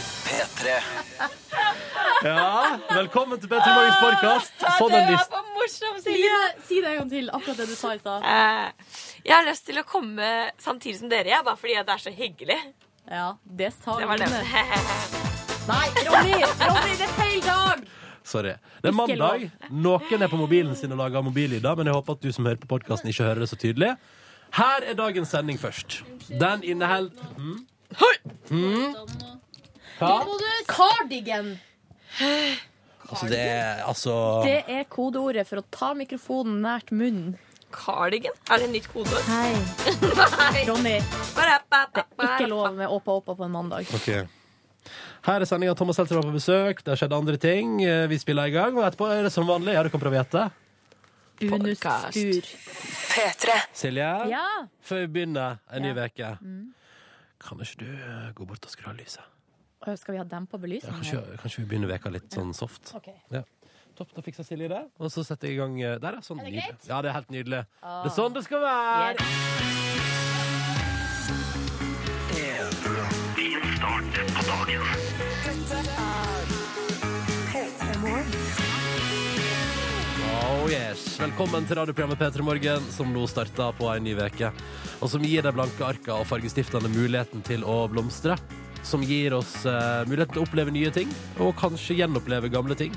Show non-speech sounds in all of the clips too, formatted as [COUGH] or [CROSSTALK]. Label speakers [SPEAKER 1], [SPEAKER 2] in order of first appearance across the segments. [SPEAKER 1] P3.
[SPEAKER 2] Ja, velkommen til Petter Morgens podkast. Sånn en liste.
[SPEAKER 3] for morsom,
[SPEAKER 4] Line, si det en gang til, akkurat det du sa i stad.
[SPEAKER 3] Eh, Jeg har lyst til å komme samtidig som dere, jeg, bare fordi at det er så hyggelig.
[SPEAKER 4] Ja, det sa
[SPEAKER 3] Det var det.
[SPEAKER 4] Line.
[SPEAKER 3] [LAUGHS]
[SPEAKER 4] Nei, Ronny! Ronny, det er feil dag!
[SPEAKER 2] Sorry. Det er mandag. Noen er på mobilen sin og lager mobillyder, men jeg håper at du som hører på podkasten, ikke hører det så tydelig. Her er dagens sending først. Den inneholder mm. Hva?
[SPEAKER 4] Cardigan!
[SPEAKER 2] Altså, det er altså
[SPEAKER 4] Det er kodeordet for å ta mikrofonen nært munnen.
[SPEAKER 3] Cardigan? Er det et nytt kodeord?
[SPEAKER 4] Hei.
[SPEAKER 3] Nei.
[SPEAKER 4] Ronny, ikke
[SPEAKER 3] Ikke
[SPEAKER 4] lov med åpa-åpa på en mandag.
[SPEAKER 2] OK. Her er sendinga Thomas Seltzer var på besøk. Det har skjedd andre ting. Eh, Vi spiller i gang. Og etterpå er det som vanlig. Ja, du kan prøve å gjette.
[SPEAKER 3] Podcast.
[SPEAKER 4] Bonusspur.
[SPEAKER 2] Silje,
[SPEAKER 4] Ja. Mm.
[SPEAKER 2] før vi begynner en ny
[SPEAKER 4] Ja.
[SPEAKER 2] uke, kan ikke du eh, gå bort og skru av lyset?
[SPEAKER 4] Ø, Skal vi ha dempa
[SPEAKER 2] Ja,
[SPEAKER 4] belysning?
[SPEAKER 2] kanskje, kanskje vi begynner veka litt sånn soft.
[SPEAKER 4] Ok.
[SPEAKER 2] Ja. Topp, da fikser Silje det. Og så setter jeg i gang eh, der, ja. Sånn, er det greit? Ja, det er helt nydelig. Det er sånn det skal være! Oh yes. Velkommen til radioprogrammet P3 Morgen, som nå starter på en ny veke Og som gir de blanke arka og fargestiftene muligheten til å blomstre. Som gir oss eh, muligheten til å oppleve nye ting, og kanskje gjenoppleve gamle ting.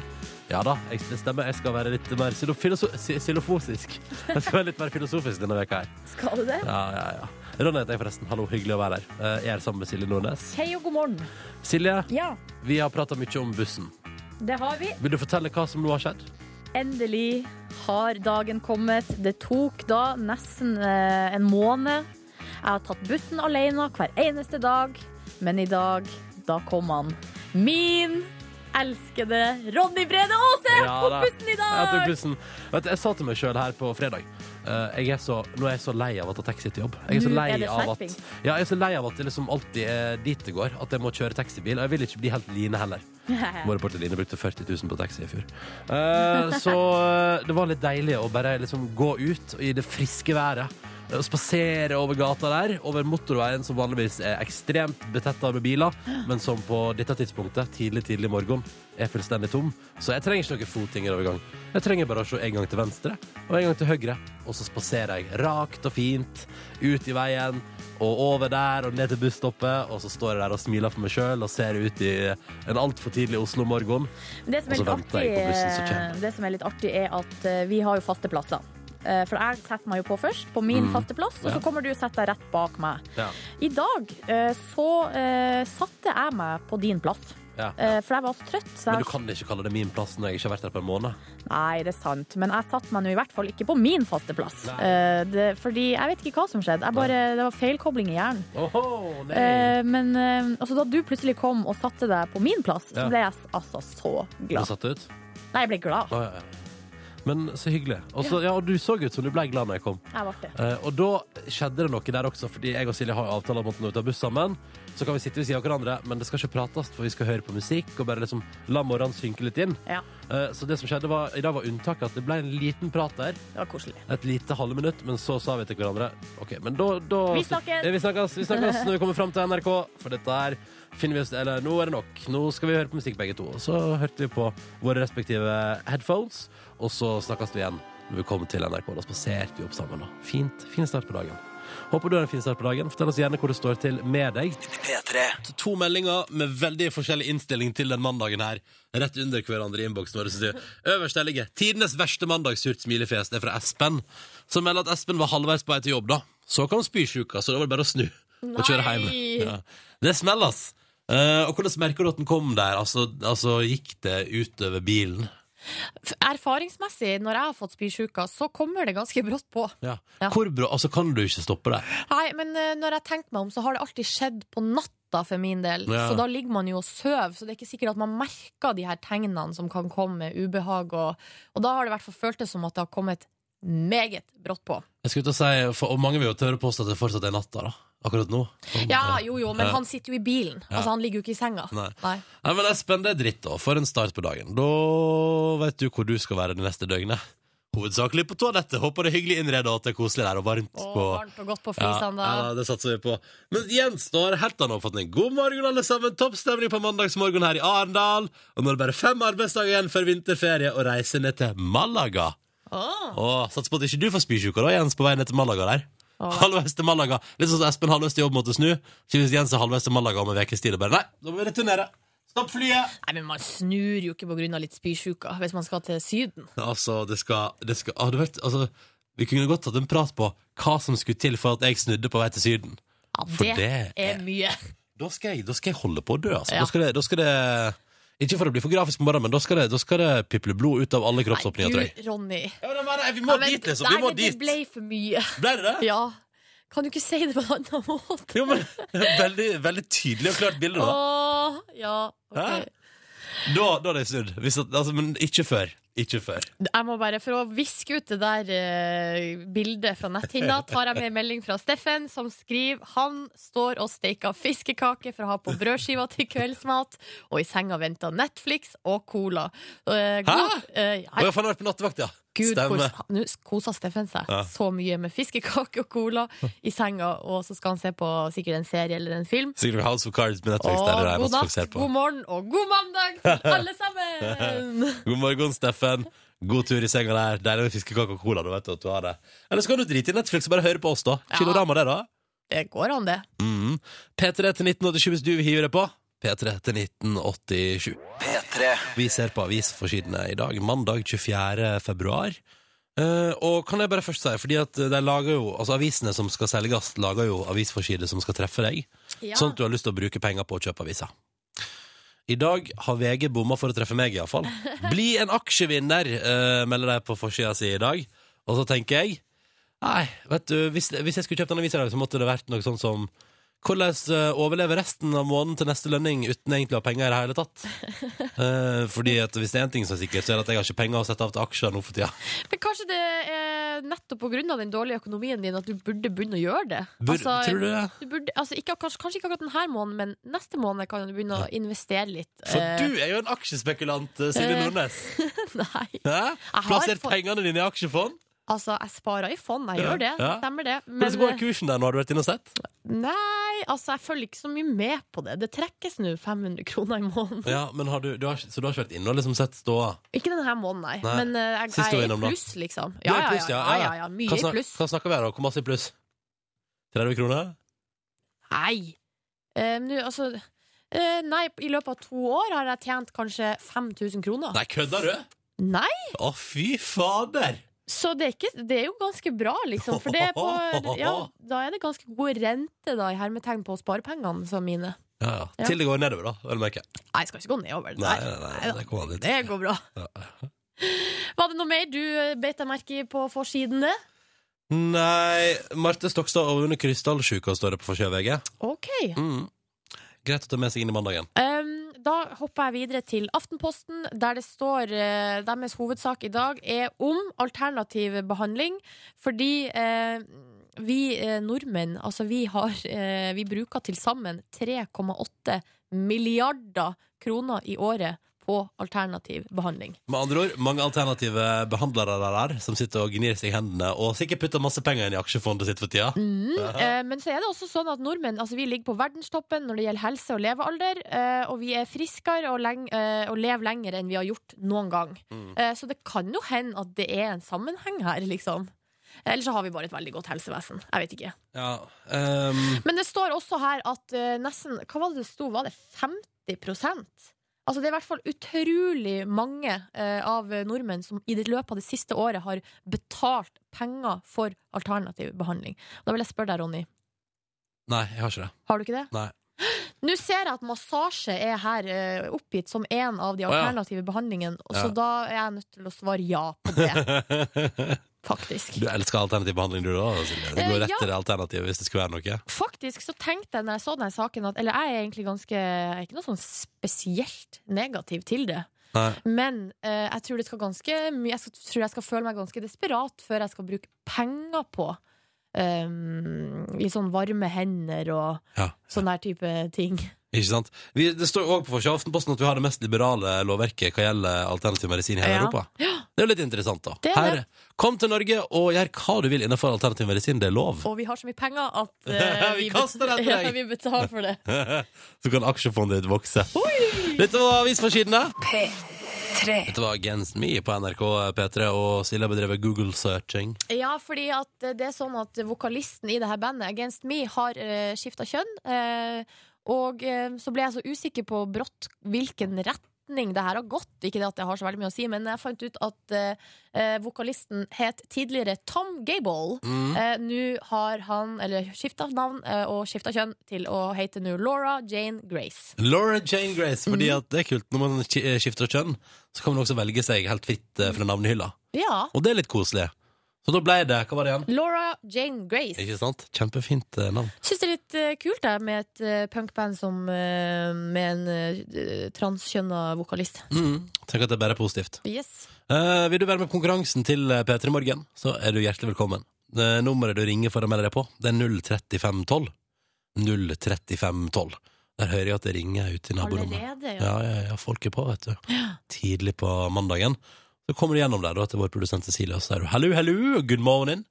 [SPEAKER 2] Ja da, jeg, det stemmer. Jeg skal være litt mer silo- filoso si- silofosisk. Jeg skal være litt mer filosofisk denne veka her.
[SPEAKER 4] Skal du det?
[SPEAKER 2] Ja, ja, ja. Ronny heter jeg forresten. Hallo, hyggelig å være her. Eh, Jeg er sammen med Silje Nordnes.
[SPEAKER 4] Hei og god morgen.
[SPEAKER 2] Silje,
[SPEAKER 4] Ja,
[SPEAKER 2] vi har prata mye om bussen.
[SPEAKER 4] det har vi.
[SPEAKER 2] Vil du fortelle hva som nå har skjedd?
[SPEAKER 4] Endelig har dagen kommet. Det tok da nesten eh, en måned. Jeg har tatt bussen alene hver eneste dag, men i dag, da kom han. Min elskede Ronny Brede Aase
[SPEAKER 2] Ja,
[SPEAKER 4] på
[SPEAKER 2] da.
[SPEAKER 4] bussen i
[SPEAKER 2] Jeg, tok
[SPEAKER 4] dag!
[SPEAKER 2] bussen. Vet, du, jeg sa til meg sjøl her på fredag eh, jeg er så, Nå er jeg så lei av å ta taxi til jobb. Jeg er så
[SPEAKER 5] Mm,
[SPEAKER 4] Nå
[SPEAKER 2] lei
[SPEAKER 4] Mm, er det
[SPEAKER 2] av at,
[SPEAKER 4] skjerping.
[SPEAKER 2] ja, jeg er så lei av at det liksom alltid er dit det går. At jeg må kjøre taxibil. Og jeg vil ikke bli helt Line heller. [LAUGHS] Vår reporter Line brukte 40 000 på taxi i fjor. Eh, så eh, det var litt deilig å bare liksom gå ut i det friske været. eh, og Spasere over gata der, over motorveien som vanligvis er ekstremt betetta med biler, men som på dette tidspunktet, tidlig tidlig morgen, er fullstendig tom. Så jeg trenger ikke noen fotgjengerovergang. Jeg trenger bare å se en gang til venstre og en gang til høyre, og så spaserer jeg rakt og fint ut i veien og over der og ned til busstoppet, og så står jeg der og smiler for meg sjøl og ser ut i en altfor tidlig Oslo-morgen.
[SPEAKER 4] Det som, er
[SPEAKER 2] Og så
[SPEAKER 4] litt
[SPEAKER 2] venter
[SPEAKER 4] artig,
[SPEAKER 2] jeg på bussen som kommer.
[SPEAKER 4] eh, det som er litt artig, er at eh, vi har jo faste plasser. Eh, For jeg setter meg jo på først, på min faste plass, og
[SPEAKER 2] Mm. Ja.
[SPEAKER 4] så kommer du og setter deg rett bak meg.
[SPEAKER 2] Ja.
[SPEAKER 4] I dag eh, så eh, satte jeg meg på din plass.
[SPEAKER 2] Ja.
[SPEAKER 4] Eh, For jeg var så trøtt. Så jeg...
[SPEAKER 2] Men du kan ikke kalle det min plass når jeg ikke har vært der på en måned.
[SPEAKER 4] Nei, det er sant. Men jeg satte meg nå i hvert fall ikke på min faste plass.
[SPEAKER 2] Nei.
[SPEAKER 4] Eh, det, fordi jeg vet ikke hva som skjedde. Jeg bare, det var feilkobling i hjernen.
[SPEAKER 2] Oho, nei.
[SPEAKER 4] Eh, men eh, altså, da du plutselig kom og satte deg på min plass,
[SPEAKER 2] Ja.
[SPEAKER 4] så ble jeg s- altså så
[SPEAKER 2] Ble du
[SPEAKER 4] glad.
[SPEAKER 2] satt ut?
[SPEAKER 4] Nei, jeg ble glad.
[SPEAKER 2] Å, ja, ja. Men så hyggelig. Og så- ja, og du så ut som du ble glad når jeg kom.
[SPEAKER 4] Jeg ble det.
[SPEAKER 2] Eh, og da skjedde det noe der også, fordi jeg og Silje har jo avtale om at når vi tar buss sammen, så kan vi sitte ved siden av hverandre, men det skal ikke prates, for vi skal høre på musikk og bare liksom la morgenen synke litt inn.
[SPEAKER 4] Ja,
[SPEAKER 2] Eh, så det som skjedde var, i dag var unntaket at det ble en liten prat der,
[SPEAKER 4] det var koselig.
[SPEAKER 2] et lite halve minutt, men så sa vi til hverandre Ok, men da, da
[SPEAKER 4] Vi snakkes.
[SPEAKER 2] Ja, Vi snakkes, vi snakkes når vi kommer fram til NRK, for dette her finner vi oss Eller nå er det nok. Nå skal vi høre på musikk, begge to. Og så hørte vi på våre respektive headphones, og så snakkes vi igjen når vi kommer til NRK. Da spaserte vi opp sammen. da Fint, Fin start på dagen. Håper du har en fin start på dagen. Fortell oss gjerne hvor det står til med deg
[SPEAKER 1] P3.
[SPEAKER 2] to meldinger med veldig forskjellig innstilling til den mandagen her. Rett under hverandre i innboksen vår. så sier jeg, Øverst der ligger 'Tidenes verste mandagssurt smilefjes'. Det er fra Espen, som melder at Espen var halvveis på vei til jobb, da. Så kom spysjuka, så da var det bare å snu og kjøre
[SPEAKER 3] Nei!
[SPEAKER 2] hjem. Ja. Det smeller, ass. Eh, og hvordan merker du at den kom der? Altså, altså gikk det utover bilen?
[SPEAKER 5] Erfaringsmessig, når jeg har fått spysjuka, så kommer det ganske brått på.
[SPEAKER 2] Ja.
[SPEAKER 5] Ja.
[SPEAKER 2] Hvor bra? Altså, kan du ikke stoppe det?
[SPEAKER 5] Nei, men eh, når jeg tenker meg om, så har det alltid skjedd på natta for min del.
[SPEAKER 2] Ja.
[SPEAKER 5] Så da ligger man jo og sover, så det er ikke sikkert at man merker de her tegnene som kan komme med ubehag. Og, og da har det i hvert fall føltes som at det har kommet meget brått på.
[SPEAKER 2] Jeg skulle til å si, for, og Mange vil jo tørre påstå at det fortsatt er natta, da. Akkurat nå. Sånn,
[SPEAKER 5] Ja,
[SPEAKER 2] ja.
[SPEAKER 5] jo jo, men
[SPEAKER 2] Ja.
[SPEAKER 5] han sitter jo i bilen.
[SPEAKER 2] Ja.
[SPEAKER 5] Altså, han ligger jo ikke i senga.
[SPEAKER 2] Nei. Nei, men Espen, det er dritt da. For en start på dagen. Da vet du hvor du skal være det neste døgnet. Hovedsakelig på toalettet. Håper det er hyggelig innredet og at det er koselig der og varmt.
[SPEAKER 5] Og
[SPEAKER 2] på
[SPEAKER 5] varmt og godt på
[SPEAKER 2] ja,
[SPEAKER 5] flisene da.
[SPEAKER 2] ja, det satser vi på. Men gjenstår helt annen oppfatning. God morgen, alle sammen. Topp stemning på mandagsmorgen her i Arendal. Og nå er det bare fem arbeidsdager igjen før vinterferie og reise ned til Malaga.
[SPEAKER 5] Åh.
[SPEAKER 2] Åh, Satser på at ikke du får spysjuka da, Jens, på vei ned til Malaga der.
[SPEAKER 5] Åh.
[SPEAKER 2] Halvveis til Malaga. Litt sånn som Espen halvveis til jobb måtte snu. Så hvis Jens er halvveis til Malaga om en ukes tid og bare Nei, da må vi returnere. Stopp flyet!
[SPEAKER 5] Nei, men man snur jo ikke på grunn av litt spysjuka hvis man skal til Syden.
[SPEAKER 2] Altså, det skal, det skal ah, du vet, altså, Vi kunne godt tatt en prat på hva som skulle til for at jeg snudde på vei til Syden.
[SPEAKER 5] Ja,
[SPEAKER 2] For
[SPEAKER 5] det,
[SPEAKER 2] det
[SPEAKER 5] er mye.
[SPEAKER 2] Da skal jeg, da skal jeg holde på å dø, altså.
[SPEAKER 5] Ja.
[SPEAKER 2] Da, skal det, da skal det Ikke for å bli for grafisk på morgenen, men da skal det, da skal det piple blod ut av alle kroppsåpninger, tror jeg.
[SPEAKER 5] Gud, Ronny.
[SPEAKER 2] Ja, men det var det. vi
[SPEAKER 5] Ja,
[SPEAKER 2] må
[SPEAKER 5] men-
[SPEAKER 2] dit, liksom! Vi
[SPEAKER 5] nei,
[SPEAKER 2] må
[SPEAKER 5] men
[SPEAKER 2] dit!
[SPEAKER 5] Det ble for mye.
[SPEAKER 2] Ble det det?
[SPEAKER 5] Ja. Kan du ikke si det på en annen måte?
[SPEAKER 2] Jo, men [LAUGHS] veldig, veldig tydelig og klart bilde, da.
[SPEAKER 5] Åh, ja. ok.
[SPEAKER 2] Hæ? Da, da hadde jeg snudd. Hvis at, altså, men ikke før. Ikke før.
[SPEAKER 5] Jeg må bare, For å viske ut det der eh, bildet fra netthinna, tar jeg med en melding fra Steffen, som skriver han står og steker fiskekake for å ha på brødskiva til kveldsmat, og i senga venter Netflix og cola. Eh, god- eh,
[SPEAKER 2] Å,
[SPEAKER 5] ja,
[SPEAKER 2] jeg har vært på nattevakt, ja.
[SPEAKER 5] Gud,
[SPEAKER 2] Stemmer.
[SPEAKER 5] hvor- Nå koser Steffen seg
[SPEAKER 2] Ja.
[SPEAKER 5] så mye med fiskekake og cola i senga, og så skal han se på sikkert en serie eller en film.
[SPEAKER 2] Sikkert House of Cards med Netflix. der er
[SPEAKER 5] Og
[SPEAKER 2] det eneste
[SPEAKER 5] god
[SPEAKER 2] folk ser
[SPEAKER 5] natt,
[SPEAKER 2] på.
[SPEAKER 5] god morgen og god mandag til alle sammen!
[SPEAKER 2] [LAUGHS] God morgen, Steffen. God tur i senga der. Deilig med fiskekake og cola. Du vet at du har det. Eller så kan du drite i Netflix og bare høre på oss, da.
[SPEAKER 5] Ja.
[SPEAKER 2] Kilorama, det, da.
[SPEAKER 5] Det går an, det.
[SPEAKER 2] Mhm. P3 til 1987 hvis du vil hive deg på. P3 til 1987. Vi ser på avisforsidene i dag, mandag 24. februar. Eh, og kan jeg bare først si, fordi at de lager jo, altså avisene som skal selges, lager jo avisforsider som skal treffe deg,
[SPEAKER 5] Ja.
[SPEAKER 2] sånn at du har lyst til å bruke penger på å kjøpe aviser. I dag har VG bomma for å treffe meg,
[SPEAKER 5] [LAUGHS]
[SPEAKER 2] iallfall. Bli en aksjevinner, eh, melder de på forsida si i dag. Og så tenker jeg Nei, vet du, hvis, hvis jeg skulle kjøpt en avis i dag, så måtte det vært noe sånn som hvordan eh, overleve resten av måneden til neste lønning uten egentlig å ha penger i det hele
[SPEAKER 5] [LAUGHS]
[SPEAKER 2] tatt? Eh, fordi at hvis det er en ting som er sikkert, så er det at jeg har ikke penger å sette av til aksjer nå for tida.
[SPEAKER 5] Men kanskje det er nettopp pga. den dårlige økonomien din at du burde begynne å gjøre det.
[SPEAKER 2] Bur,
[SPEAKER 5] altså,
[SPEAKER 2] tror du det?
[SPEAKER 5] du burde, altså, ikke, kanskje, kanskje ikke akkurat denne måneden, men neste måned kan du begynne å investere litt.
[SPEAKER 2] For
[SPEAKER 5] Eh,
[SPEAKER 2] du er jo en aksjespekulant, eh, Silje
[SPEAKER 5] eh,
[SPEAKER 2] Nordnes.
[SPEAKER 5] [LAUGHS] Nei.
[SPEAKER 2] Hæ?
[SPEAKER 5] har
[SPEAKER 2] Plassert
[SPEAKER 5] fått-
[SPEAKER 2] pengene dine i aksjefond?
[SPEAKER 5] Altså, jeg sparer i fond, jeg
[SPEAKER 2] Ja,
[SPEAKER 5] gjør det.
[SPEAKER 2] ja.
[SPEAKER 5] Stemmer det. Men eh,
[SPEAKER 2] Hvordan går kursen der nå? Har du vært inne og sett?
[SPEAKER 5] nei, altså, jeg følger ikke så mye med på det. Det trekkes nå 500 kroner i måneden.
[SPEAKER 2] Ja, men har du, du har, ikke- Så du har ikke vært inne og liksom sett ståa?
[SPEAKER 5] Ikke denne måneden, nei.
[SPEAKER 2] Nei.
[SPEAKER 5] Men eh, jeg,
[SPEAKER 2] Sist du var
[SPEAKER 5] jeg er i
[SPEAKER 2] innom, da.
[SPEAKER 5] pluss, liksom.
[SPEAKER 2] Du er
[SPEAKER 5] Ja,
[SPEAKER 2] i
[SPEAKER 5] ja,
[SPEAKER 2] pluss,
[SPEAKER 5] ja. ja, ja, ja. Mye
[SPEAKER 2] Hva,
[SPEAKER 5] i
[SPEAKER 2] snak,
[SPEAKER 5] pluss.
[SPEAKER 2] hva snakker vi her om? Hvor masse i pluss? 30 kroner?
[SPEAKER 5] Nei. Eh, nå, altså eh, Nei, i løpet av to år har jeg tjent kanskje 5000 kroner.
[SPEAKER 2] Nei, kødder du?
[SPEAKER 5] nei.
[SPEAKER 2] Å, fy fader!
[SPEAKER 5] Så det er, ikke, det er jo ganske bra, liksom. For det er på,
[SPEAKER 2] [LAUGHS]
[SPEAKER 5] ja, da er det ganske god rente da, i hermetegn på sparepengene som mine.
[SPEAKER 2] Ja, ja.
[SPEAKER 5] Ja.
[SPEAKER 2] Til det går nedover, da. Vel merke.
[SPEAKER 5] Nei, jeg skal ikke gå nedover.
[SPEAKER 2] Nei, nei, nei,
[SPEAKER 5] Neida.
[SPEAKER 2] det kommer aldri til.
[SPEAKER 5] det går bra.
[SPEAKER 2] Ja.
[SPEAKER 5] Var det noe mer du eh, beit deg merke i på forsidene?
[SPEAKER 2] Nei, Marte Stokstad og Rune Krystallsjuka står det på forsida av VG.
[SPEAKER 5] OK.
[SPEAKER 2] Mm. Greit å ta med seg inn i mandagen.
[SPEAKER 5] Um, da hopper jeg videre til Aftenposten, der det står eh, deres hovedsak i dag er om alternativ behandling. Fordi eh, vi eh, nordmenn, altså vi har eh, Vi bruker til sammen 3,8 milliarder kroner i året på alternativ behandling.
[SPEAKER 2] Med andre ord, mange alternative behandlere der, er, som sitter og gnir seg i hendene og sikkert putter masse penger inn i aksjefondet sitt for tida.
[SPEAKER 5] Mm,
[SPEAKER 2] Aha.
[SPEAKER 5] eh, men så er det også sånn at nordmenn altså vi ligger på verdenstoppen når det gjelder helse og levealder. Eh, og vi er friskere og, leng, eh, og lever lenger enn vi har gjort noen gang.
[SPEAKER 2] Mm.
[SPEAKER 5] Eh, så det kan jo hende at det er en sammenheng her, liksom. Eller så har vi bare et veldig godt helsevesen. Jeg vet ikke.
[SPEAKER 2] Ja, ehm,
[SPEAKER 5] Men det står også her at eh, nesten Hva var det det sto? Var det 50 Altså Det er i hvert fall utrolig mange eh, av nordmenn som i det løpet av det siste året har betalt penger for alternativ behandling. Da vil jeg spørre deg, Ronny.
[SPEAKER 2] nei, jeg har ikke det.
[SPEAKER 5] Har du ikke det?
[SPEAKER 2] Nei.
[SPEAKER 5] Nå ser jeg at massasje er her eh, oppgitt som en av de
[SPEAKER 2] Å, ja.
[SPEAKER 5] alternative behandlingene, og så
[SPEAKER 2] Ja.
[SPEAKER 5] da er jeg nødt til å svare ja på
[SPEAKER 2] [LAUGHS]
[SPEAKER 5] det, faktisk.
[SPEAKER 2] Du elsker alternativ behandling, du da? Silje. Du går
[SPEAKER 5] Eh,
[SPEAKER 2] rett
[SPEAKER 5] ja.
[SPEAKER 2] til det alternativet hvis det skulle være noe.
[SPEAKER 5] Faktisk så tenkte jeg når jeg så denne saken at Eller jeg er egentlig ganske jeg er Ikke noe sånn spesielt negativ til det
[SPEAKER 2] Nei.
[SPEAKER 5] Men eh, jeg tror det skal ganske mye Jeg skal, tror jeg skal føle meg ganske desperat Før jeg skal bruke penger på eh, Litt sånn varme hender Og
[SPEAKER 2] Ja.
[SPEAKER 5] sånne der type ting
[SPEAKER 2] Ikke sant? Vi, det står òg på forsida av Aftenposten at vi har det mest liberale lovverket hva gjelder alternativ medisin i hele
[SPEAKER 5] Ja.
[SPEAKER 2] Europa. Det er jo litt interessant, da.
[SPEAKER 5] Det er
[SPEAKER 2] Her, kom til Norge og gjør hva du vil innenfor alternativ medisin. Det er lov.
[SPEAKER 5] Og vi har så mye penger at
[SPEAKER 2] [LAUGHS]
[SPEAKER 5] eh,
[SPEAKER 2] Vi
[SPEAKER 5] bet-
[SPEAKER 2] kaster det etter deg.
[SPEAKER 5] [LAUGHS] ja, vi betaler for det.
[SPEAKER 2] [LAUGHS] Så kan aksjefondet ditt vokse. Dette var avisforsidene. Dette var Gens Me på NRK P3, og Silje bedrev Google-searching.
[SPEAKER 5] Ja, fordi at det er sånn at vokalisten i det her bandet, Against Me, har uh, skifta kjønn. eh, og eh, så ble jeg så usikker på brått hvilken retning det her har gått. Ikke det at det har så veldig mye å si, men jeg fant ut at eh, eh, vokalisten het tidligere Tom Gable.
[SPEAKER 2] Mm.
[SPEAKER 5] Eh, nå har han eller skifta navn eh, og skifta kjønn til å hete nå Laura Jane Grace.
[SPEAKER 2] Laura Jane Grace, fordi
[SPEAKER 5] Mm.
[SPEAKER 2] at det er kult. Når man ki- eh, skifter kjønn, så kan man også velge seg helt fritt eh, fra navnehylla.
[SPEAKER 5] Ja.
[SPEAKER 2] Og det er litt koselig. Så da ble det Hva var det igjen?
[SPEAKER 5] Laura Jane Grace.
[SPEAKER 2] Ikke sant? Kjempefint eh, navn.
[SPEAKER 5] Syns det er litt eh, kult det, med et eh, punkband som, eh, med en uh, transkjønna vokalist.
[SPEAKER 2] Mm. Tenk at det bare er positivt.
[SPEAKER 5] Yes.
[SPEAKER 2] Eh, vil du være med på konkurransen til eh, P3 Morgen, så er du hjertelig velkommen. Eh, nummeret du ringer for å melde deg på, det er 03512. 03512. Der hører jeg at det ringer ute i naborommet.
[SPEAKER 5] Allerede, ja.
[SPEAKER 2] Ja, ja, ja, folk er på, vet du. Tidlig på mandagen. Så kommer du gjennom der da, til vår produsent Cecilie, og så sier du 'hallo, hallo, good morning'.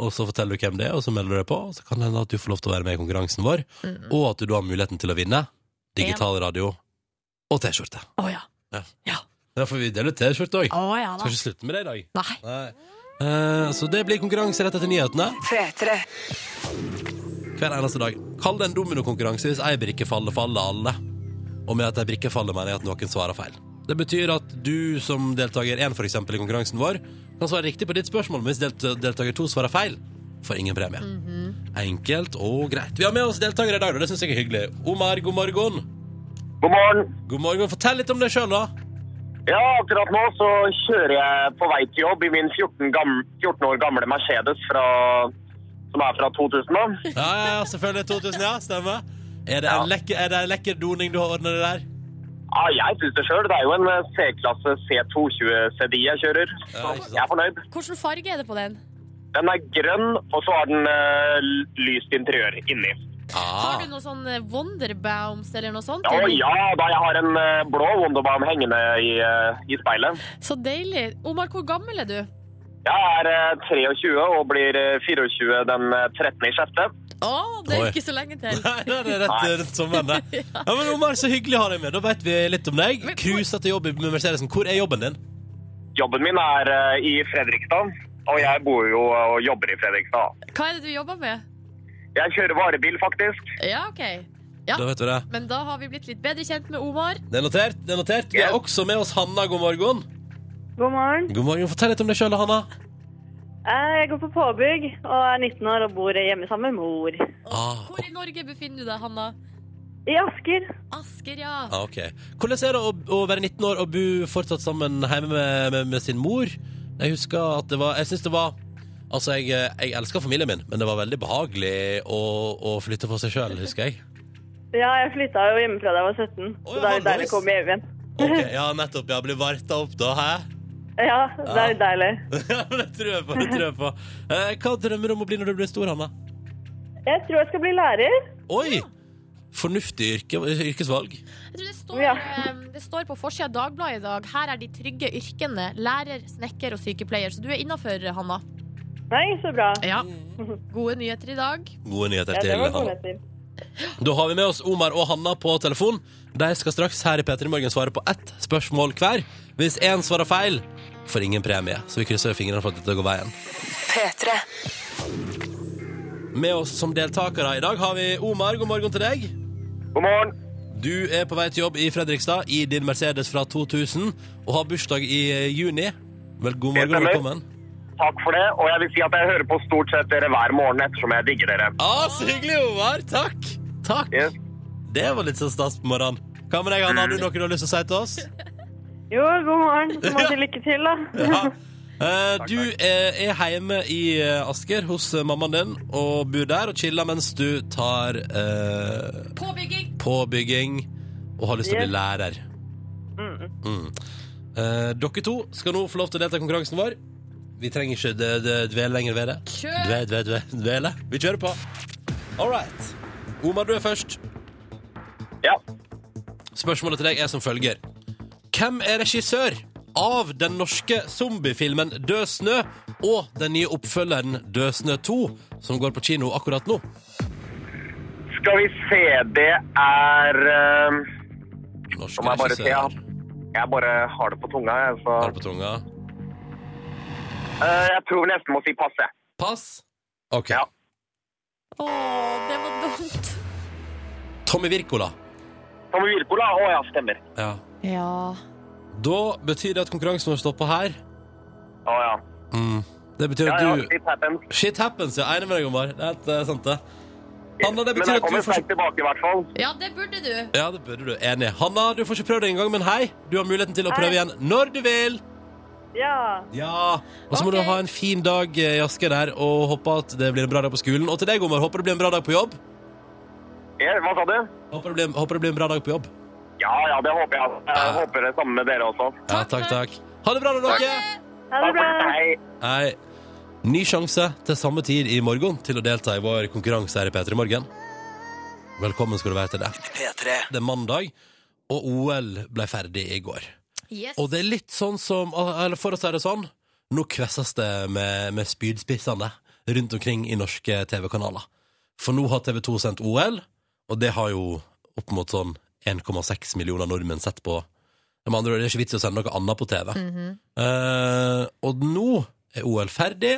[SPEAKER 2] Og så forteller du hvem det er, og så melder du deg på. Og så kan det hende at du får lov til å være med i konkurransen vår,
[SPEAKER 5] Mm.
[SPEAKER 2] og at du da har muligheten til å vinne digital radio og T-skjorte.
[SPEAKER 5] Å ja.
[SPEAKER 2] Da får vi dele ut T-skjorte òg.
[SPEAKER 5] Å ja da.
[SPEAKER 2] Skal ikke slutte med det i dag.
[SPEAKER 5] Nei.
[SPEAKER 2] Nei. Eh, så det blir konkurranse rett etter nyhetene. Hver eneste dag. Kall det en dominokonkurranse hvis ei brikke faller, faller alle. Og med at ei brikke faller, mener jeg at noen svarer feil. Det betyr at du som deltaker én, for eksempel, i konkurransen vår, kan svare riktig på ditt spørsmål, men hvis delt deltaker to svarer feil, får ingen premie. Mhm. Enkelt og greit. Vi har med oss deltakere i dag, og det syns jeg er hyggelig. Omar, god morgen.
[SPEAKER 1] God morgen.
[SPEAKER 2] God morgen. Fortell litt om deg sjøl, da.
[SPEAKER 1] Ja, akkurat nå så kjører jeg på vei til jobb i min 14, gam- 14 år gamle Mercedes fra, som er fra 2000 da.
[SPEAKER 2] Ja, ja, ja, selvfølgelig. 2000, ja. Stemmer. Er det
[SPEAKER 1] Ja.
[SPEAKER 2] en lekker, er det en lekker doning du har ordna det der?
[SPEAKER 1] Ja, jeg synes det selv. Det er jo en eh, C-klasse C220 CDI jeg kjører. Så
[SPEAKER 2] Ja, ikke sant.
[SPEAKER 1] jeg er fornøyd.
[SPEAKER 5] Hvilken farge er det på den?
[SPEAKER 1] Den er grønn, og så har den eh, lyst interiør inni.
[SPEAKER 2] Ah.
[SPEAKER 5] Har du noe sånn eh, Wonderbaums eller noe sånt?
[SPEAKER 1] Ja, og
[SPEAKER 5] eller?
[SPEAKER 1] ja, da jeg har en eh, blå Wonderbaum hengende i, eh, i speilet.
[SPEAKER 5] Så deilig. Omar, hvor gammel er du?
[SPEAKER 1] Jeg er eh, 23 og blir eh, 24 den eh, 13. i sjette.
[SPEAKER 5] Å, det
[SPEAKER 2] Oi.
[SPEAKER 5] er ikke så lenge til.
[SPEAKER 2] [LAUGHS] Nei, det er rett rundt sommeren, det. Ja, men Omar, så hyggelig å ha deg med. Da vet vi litt om deg.
[SPEAKER 5] Men hvor-
[SPEAKER 2] Cruiser til jobb med Mercedesen. Hvor er jobben din?
[SPEAKER 1] Jobben min er eh, i Fredrikstad, og jeg bor jo eh, og jobber i Fredrikstad.
[SPEAKER 5] Hva er det du jobber med?
[SPEAKER 1] Jeg kjører varebil, faktisk.
[SPEAKER 5] Ja, OK. Ja.
[SPEAKER 2] Da vet vi det.
[SPEAKER 5] Men da har vi blitt litt bedre kjent med Omar.
[SPEAKER 2] Det er notert. det er notert. Vi
[SPEAKER 1] Yes.
[SPEAKER 2] har også med oss Hanna. God morgen.
[SPEAKER 6] God morgen. Eh,
[SPEAKER 2] God morgen. Fortell litt om deg sjøl, Hanna.
[SPEAKER 6] Jeg går på påbygg og er 19 år og bor hjemme sammen med mor.
[SPEAKER 2] Ah,
[SPEAKER 5] Hvor i Norge befinner du deg, Hanna?
[SPEAKER 6] I Asker.
[SPEAKER 5] Asker, ja.
[SPEAKER 2] ah, ok. Hvordan er det å, å være 19 år og bo fortsatt sammen hjemme med, med, med sin mor? Jeg husker at det var Jeg syns det var Altså, jeg, jeg elsker familien min, men det var veldig behagelig å, å flytte for seg sjøl, husker jeg.
[SPEAKER 6] Ja, jeg flytta jo hjemmefra da jeg var 17,
[SPEAKER 2] Å,
[SPEAKER 6] så
[SPEAKER 2] ja,
[SPEAKER 6] det er jo deilig
[SPEAKER 2] nice.
[SPEAKER 6] å komme hjem igjen.
[SPEAKER 2] Ok, [LAUGHS] Ja, nettopp. Ja, blir varta opp da, hæ?
[SPEAKER 6] Ja, det er jo deilig.
[SPEAKER 2] [LAUGHS] Ja, men det tror jeg på. det tror jeg på eh, Hva drømmer du om å bli når du blir stor, Hanna?
[SPEAKER 6] Jeg tror jeg skal bli lærer.
[SPEAKER 2] Oi! Fornuftig yrke, yrkesvalg.
[SPEAKER 5] Jeg tror det står,
[SPEAKER 6] Ja.
[SPEAKER 5] eh, det står på forsida av Dagbladet i dag. Her er de trygge yrkene. Lærer, snekker og sykepleier. Så du er innafor, Hanna.
[SPEAKER 6] Nei, så bra. [LAUGHS]
[SPEAKER 5] Ja. Gode nyheter i dag.
[SPEAKER 2] Gode nyheter
[SPEAKER 6] Ja, det
[SPEAKER 2] til
[SPEAKER 6] var gode
[SPEAKER 2] Hanna.
[SPEAKER 6] nyheter.
[SPEAKER 2] Da har vi med oss Omar og Hanna på telefon. De skal straks her i P3 Morgen svare på ett spørsmål hver. Hvis én svarer feil, får ingen premie. Så vi krysser fingrene for at dette går veien. Med oss som deltakere i dag har vi Omar. God morgen til deg.
[SPEAKER 1] God morgen.
[SPEAKER 2] Du er på vei til jobb i Fredrikstad i din Mercedes fra 2000 og har bursdag i eh, juni. Vel, god
[SPEAKER 1] Det
[SPEAKER 2] morgen og
[SPEAKER 1] stemmer.
[SPEAKER 2] velkommen.
[SPEAKER 1] Takk for det, og jeg vil si at jeg hører på stort sett dere hver morgen ettersom jeg digger dere.
[SPEAKER 2] Ah, så hyggelig, Omar. Takk. Takk.
[SPEAKER 1] Yes.
[SPEAKER 2] Det var litt sånn stas på morgenen. Hva med deg,
[SPEAKER 1] Mm.
[SPEAKER 2] Anna? Har du noe du har lyst til å si til oss?
[SPEAKER 6] Jo, god morgen. Så må du lykke til, da.
[SPEAKER 2] Ja. Eh, du er, er hjemme i eh, Asker hos eh, mammaen din og bor der og chiller mens du tar eh,
[SPEAKER 5] Påbygging!
[SPEAKER 2] påbygging og har lyst til å bli
[SPEAKER 6] Yes.
[SPEAKER 2] lærer. Mm. Eh, dere to skal nå få lov til å delta i konkurransen vår. Vi trenger ikke d d dvele lenger ved det.
[SPEAKER 5] Kjør!
[SPEAKER 2] Dve, dve, dve, dvele. Vi kjører på. All right. Omar, du er først.
[SPEAKER 1] Ja.
[SPEAKER 2] Spørsmålet til deg er som følger. Hvem er regissør av den norske zombiefilmen Død snø og den nye oppfølgeren Død snø 2, som går på kino akkurat nå.
[SPEAKER 1] Skal vi se, det er eh,
[SPEAKER 2] Norske
[SPEAKER 1] Nå må jeg bare se.
[SPEAKER 2] regissører.
[SPEAKER 1] Jeg, jeg bare har det på tunga. Jeg, så,
[SPEAKER 2] Har det på tunga.
[SPEAKER 1] Eh, jeg tror nesten må si pass, jeg.
[SPEAKER 2] Pass. OK.
[SPEAKER 1] Ja.
[SPEAKER 5] Å, det var dumt.
[SPEAKER 2] Tommy Wirkola.
[SPEAKER 1] Tommy Wirkola? Å ja, stemmer.
[SPEAKER 2] Ja.
[SPEAKER 5] Ja.
[SPEAKER 2] Da betyr det at konkurransen vår stopper her.
[SPEAKER 1] Å ja.
[SPEAKER 2] Mm. Det betyr
[SPEAKER 1] Ja,
[SPEAKER 2] at
[SPEAKER 1] ja,
[SPEAKER 2] du
[SPEAKER 1] it happens.
[SPEAKER 2] Shit happens, ja. Jeg er enig med deg, Omar. Det er helt eh, sant, det. Hanna,
[SPEAKER 1] Men
[SPEAKER 2] det betyr
[SPEAKER 1] jeg
[SPEAKER 2] at du
[SPEAKER 1] kommer
[SPEAKER 2] får
[SPEAKER 1] sterkt tilbake, i hvert fall.
[SPEAKER 5] ja, det burde du.
[SPEAKER 2] Ja, det burde du. Enig. Hanna, du får ikke prøvd det engang, men hei, du har muligheten til å prøve igjen når du vil.
[SPEAKER 6] [LAUGHS] Ja.
[SPEAKER 2] Ja. Og så må
[SPEAKER 5] Ok.
[SPEAKER 2] du ha en fin dag eh, i Asker der, og håpe at det blir en bra dag på skolen. Og til deg, Omar, håper det blir en bra dag på jobb.
[SPEAKER 1] Ja, Hva sa du?
[SPEAKER 2] Håper det blir, håper det blir en bra dag på jobb.
[SPEAKER 1] Ja ja, det håper jeg. Jeg håper det samme med dere også.
[SPEAKER 2] Ja, takk, takk. Ha det bra, da, dere.
[SPEAKER 6] Ha det bra.
[SPEAKER 1] Hei.
[SPEAKER 2] Hei. Ny sjanse til samme tid i morgen til å delta i vår konkurranse her i P3 Morgen. Velkommen skal du være til det. Det er mandag, og OL ble ferdig i går.
[SPEAKER 5] Yes.
[SPEAKER 2] Og det er litt sånn som Eller for å si det sånn Nå kvesses det med, med spydspissene Rundt omkring i norske TV-kanaler For nå har TV 2 sendt OL Og det har jo opp mot sånn 1,6 millioner nordmenn sett på Med andre ord, det er ikke vits i å sende noe annet på TV
[SPEAKER 5] Mhm. Mm-hmm.
[SPEAKER 2] Eh, Og nå er OL ferdig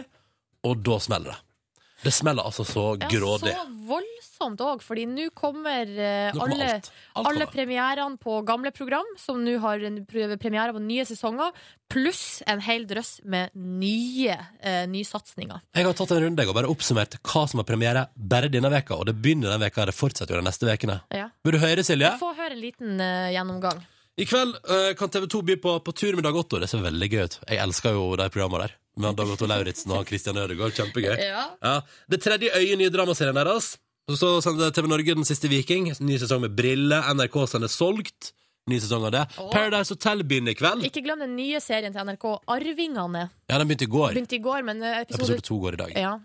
[SPEAKER 2] Og da smeller det Det smeller altså så grådig
[SPEAKER 5] Ja, så voldsomt òg, fordi nå kommer, eh,
[SPEAKER 2] Nå kommer
[SPEAKER 5] alle,
[SPEAKER 2] alt. Alt
[SPEAKER 5] alle
[SPEAKER 2] kommer.
[SPEAKER 5] premierene på gamle program, som nå har en prøve- premiere på nye sesonger, pluss en hel drøss med nye eh, nysatsinger.
[SPEAKER 2] Jeg har tatt en runde jeg har bare oppsummert hva som har premiere Bare denne veka, og det begynner denne veka og Det fortsetter jo de neste vekene
[SPEAKER 5] Ja.
[SPEAKER 2] Vil du høre, Silje?
[SPEAKER 5] Få høre en liten eh, gjennomgang.
[SPEAKER 2] I kveld eh, kan TV 2 by på, på tur med Dag Otto. Det ser veldig gøy ut. Jeg elsker jo de programmene der. Med han Dag Otto Lauritzen og han Christian Ødegaard. Kjempegøy. Ja. Det tredje øyet, nye dramaserien deres. Og Så sender TV Norge Den siste viking. Ny sesong med Brille. NRK sender Solgt. Ny sesong av det.
[SPEAKER 5] Åh.
[SPEAKER 2] Paradise Hotel begynner i kveld.
[SPEAKER 5] Ikke glem den nye serien til NRK, Arvingene.
[SPEAKER 2] Ja, den begynte i går.
[SPEAKER 5] Begynte i går, men eh, episode
[SPEAKER 2] Episode to går i dag.
[SPEAKER 5] ja.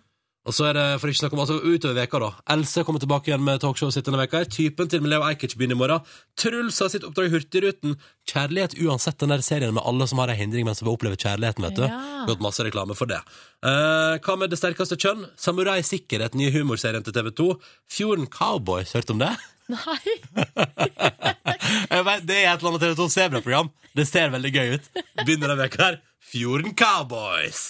[SPEAKER 2] Og så er det for ikke å snakke om altså, utover veka da Else kommer tilbake igjen med talkshowet sitt denne veka her. Typen til med Leo Ajkic begynner i morgen. Truls har sitt oppdrag i Hurtigruten. Kjærlighet uansett den der serien med alle som har ei hindring, men som vil oppleve kjærligheten, vet du.
[SPEAKER 5] Ja.
[SPEAKER 2] Gått masse reklame for det. Eh, hva med Det sterkeste kjønn? Samurai Sikkerhet, nye humorserien til TV 2. Fjorden Cowboys, hørte du om det?
[SPEAKER 5] Nei!
[SPEAKER 2] Jeg vet, det er et eller annet TV 2 Sebra-program. Det ser veldig gøy ut. Begynner denne veka her. Fjorden Cowboys.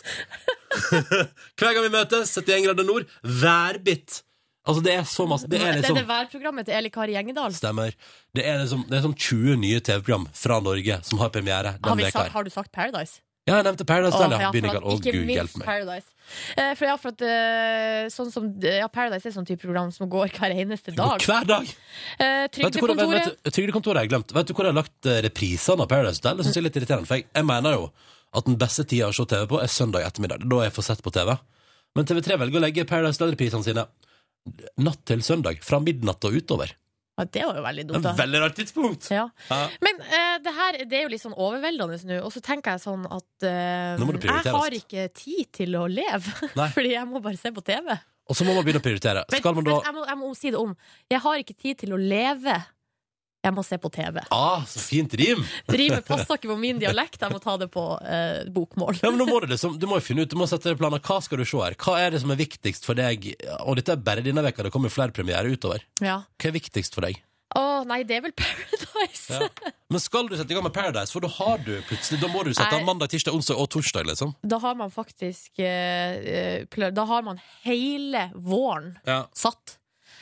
[SPEAKER 2] [LAUGHS] Hver gang vi møtes, 71 grader nord, værbitt. Altså, det er så masse Det
[SPEAKER 5] Det
[SPEAKER 2] er
[SPEAKER 5] er
[SPEAKER 2] liksom
[SPEAKER 5] det værprogrammet til Eli Kari Gjengedal.
[SPEAKER 2] Stemmer. Det er liksom, det er som 20 nye TV-program fra Norge som har premiere
[SPEAKER 5] Har,
[SPEAKER 2] denne
[SPEAKER 5] vi
[SPEAKER 2] veka
[SPEAKER 5] sagt,
[SPEAKER 2] her.
[SPEAKER 5] har du sagt Paradise?
[SPEAKER 2] Ja, jeg nevnte Paradise Hotel,
[SPEAKER 5] Åh,
[SPEAKER 2] ja.
[SPEAKER 5] ja,
[SPEAKER 2] Begynner i
[SPEAKER 5] for
[SPEAKER 2] kveld. Å,
[SPEAKER 5] at- ikke
[SPEAKER 2] gud
[SPEAKER 5] minst
[SPEAKER 2] hjelpe meg.
[SPEAKER 5] Paradise. Eh, for ja, for at, eh, sånn som, ja, Paradise er sånn type program som går hver eneste
[SPEAKER 2] Det går
[SPEAKER 5] dag.
[SPEAKER 2] Hver dag!
[SPEAKER 5] Eh,
[SPEAKER 2] Vet du hvor, vet,
[SPEAKER 5] Trygdekontoret.
[SPEAKER 2] du- Trygdekontoret har jeg glemt. Vet du hvor jeg har lagt eh, reprisene av Paradise Hotel? Det synes jeg er litt irriterende, for jeg, jeg mener jo at den beste tida å se TV på er søndag ettermiddag. Da jeg får sett på TV. Men TV3 velger å legge Paradise Hotel-reprisene sine natt til søndag. Fra midnatt og utover.
[SPEAKER 5] Ja, det var jo veldig dumt,
[SPEAKER 2] Det er
[SPEAKER 5] da.
[SPEAKER 2] et veldig rart tidspunkt!
[SPEAKER 5] Ja.
[SPEAKER 2] Ja.
[SPEAKER 5] Men eh, det her det er jo litt sånn overveldende nå, og så tenker jeg sånn at eh,
[SPEAKER 2] Nå må det
[SPEAKER 5] jeg har
[SPEAKER 2] prioriteres.
[SPEAKER 5] ikke tid til å leve,
[SPEAKER 2] Nei.
[SPEAKER 5] [LAUGHS] fordi jeg må bare se på TV.
[SPEAKER 2] Og så må man begynne å prioritere.
[SPEAKER 5] Men,
[SPEAKER 2] Skal man da
[SPEAKER 5] men jeg, må, jeg må si det om. Jeg har ikke tid til å leve. Jeg må se på TV.
[SPEAKER 2] Ah, så fint rim! [LAUGHS]
[SPEAKER 5] Driver med passakke på min dialekt, jeg må ta det på eh, bokmål.
[SPEAKER 2] Ja, men nå må du, liksom, du må jo finne ut, du må sette deg planer. Hva skal du se her? Hva er det som er viktigst for deg? Og dette er bare denne veka, det kommer flere premierer utover.
[SPEAKER 5] Ja.
[SPEAKER 2] Hva er viktigst for deg?
[SPEAKER 5] Å nei, det er vel Paradise.
[SPEAKER 2] Ja. Men skal du sette i gang med Paradise, for da har du plutselig Da må du sette
[SPEAKER 5] Nei.
[SPEAKER 2] av mandag, tirsdag, onsdag og torsdag, liksom.
[SPEAKER 5] [LAUGHS] Da har man faktisk eh, eh, plø- Da har man hele våren satt.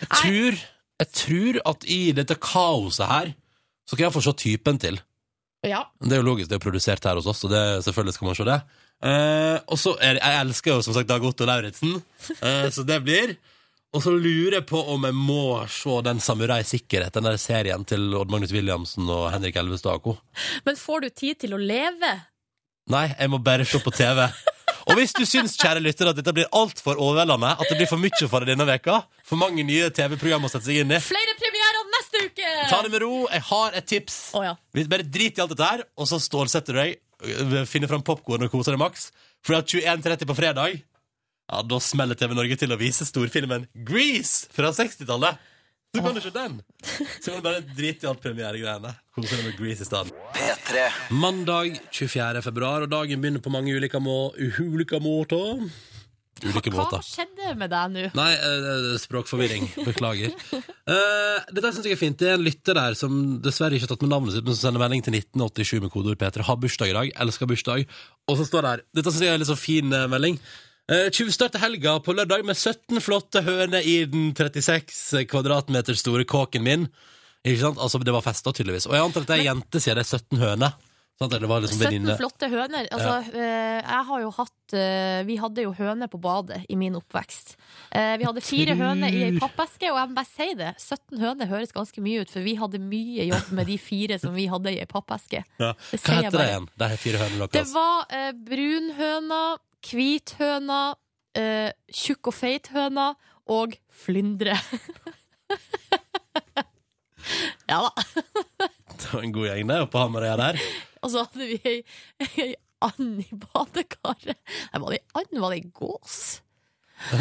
[SPEAKER 2] Jeg, tror, jeg tror at i dette kaoset her, så kan jeg få se typen til.
[SPEAKER 5] Ja.
[SPEAKER 2] Det er jo logisk, det er jo produsert her hos oss, så det, selvfølgelig skal man se det. Eh, og så er, Jeg elsker jo som sagt Dag Otto Lauritzen, eh, så det blir. Og så lurer jeg på om jeg må se den Samurai Sikkerhet, den der serien til Odd Magnus Williamsen og Henrik Elvestad og co.
[SPEAKER 5] Men får du tid til å leve?
[SPEAKER 2] Nei, jeg må bare se på TV. Og hvis du syns, kjære lytter, at dette blir altfor overveldende, at det blir for mye for deg denne veka, for mange nye TV-program å sette seg inn i,
[SPEAKER 5] Flere premierer neste uke!
[SPEAKER 2] ta det med ro. Jeg har et tips.
[SPEAKER 5] Å ja.
[SPEAKER 2] Vi Bare drit i alt dette her, og så stålsetter du deg, øh, finner fram popkorn og koser deg maks. For at 21.30 på fredag, ja, da smeller TV Norge til å vise storfilmen Grease fra 60-tallet. Så kan du ikke den! Så kan du bare drite i alt premieregreiene. Kose deg med Grease i stedet. Mandag 24. februar, og dagen begynner på mange ulike, må ulike måter. Ulike
[SPEAKER 5] Hva
[SPEAKER 2] måter.
[SPEAKER 5] skjedde med deg nå?
[SPEAKER 2] Nei, eh, språkforvirring. Beklager. [LAUGHS] Eh, dette syns jeg er fint. Det er en lytter der som dessverre ikke har tatt med navnet sitt, men som sender melding til 1987 med kodeord P3. Har bursdag i dag. Elsker bursdag. Og så står det her Dette syns jeg er en litt sånn fin eh, melding. Eh, Tjuvstart til helga på lørdag med 17 flotte høner i den 36 kvadratmeter store kåken min. Ikke sant? Altså, det var festa, tydeligvis. Og jeg antar at det er jente, siden det er 17 høner. Sant? Eller det var liksom
[SPEAKER 5] 17
[SPEAKER 2] venninne
[SPEAKER 5] flotte høner. Altså, eh, jeg har jo hatt eh, Vi hadde jo høner på badet i min oppvekst. Eh, vi hadde fire
[SPEAKER 2] tror-
[SPEAKER 5] høner i ei pappeske, og jeg må bare si det. 17 høner høres ganske mye ut, for vi hadde mye jobb med de fire som vi hadde i ei pappeske.
[SPEAKER 2] ja. Hva
[SPEAKER 5] Det sier jeg
[SPEAKER 2] heter det
[SPEAKER 5] bare.
[SPEAKER 2] igjen? De fire hønene
[SPEAKER 5] Det
[SPEAKER 2] deres?
[SPEAKER 5] var [LAUGHS] eh, brunhøna, hvithøna, eh, tjukk og feithøna og flyndre. [LAUGHS] ja da.
[SPEAKER 2] Det var en god gjeng, det, oppe på Hamarøya der.
[SPEAKER 5] Og så hadde vi ei, ei and i badekaret. Nei, var det ei and? Var det ei gås?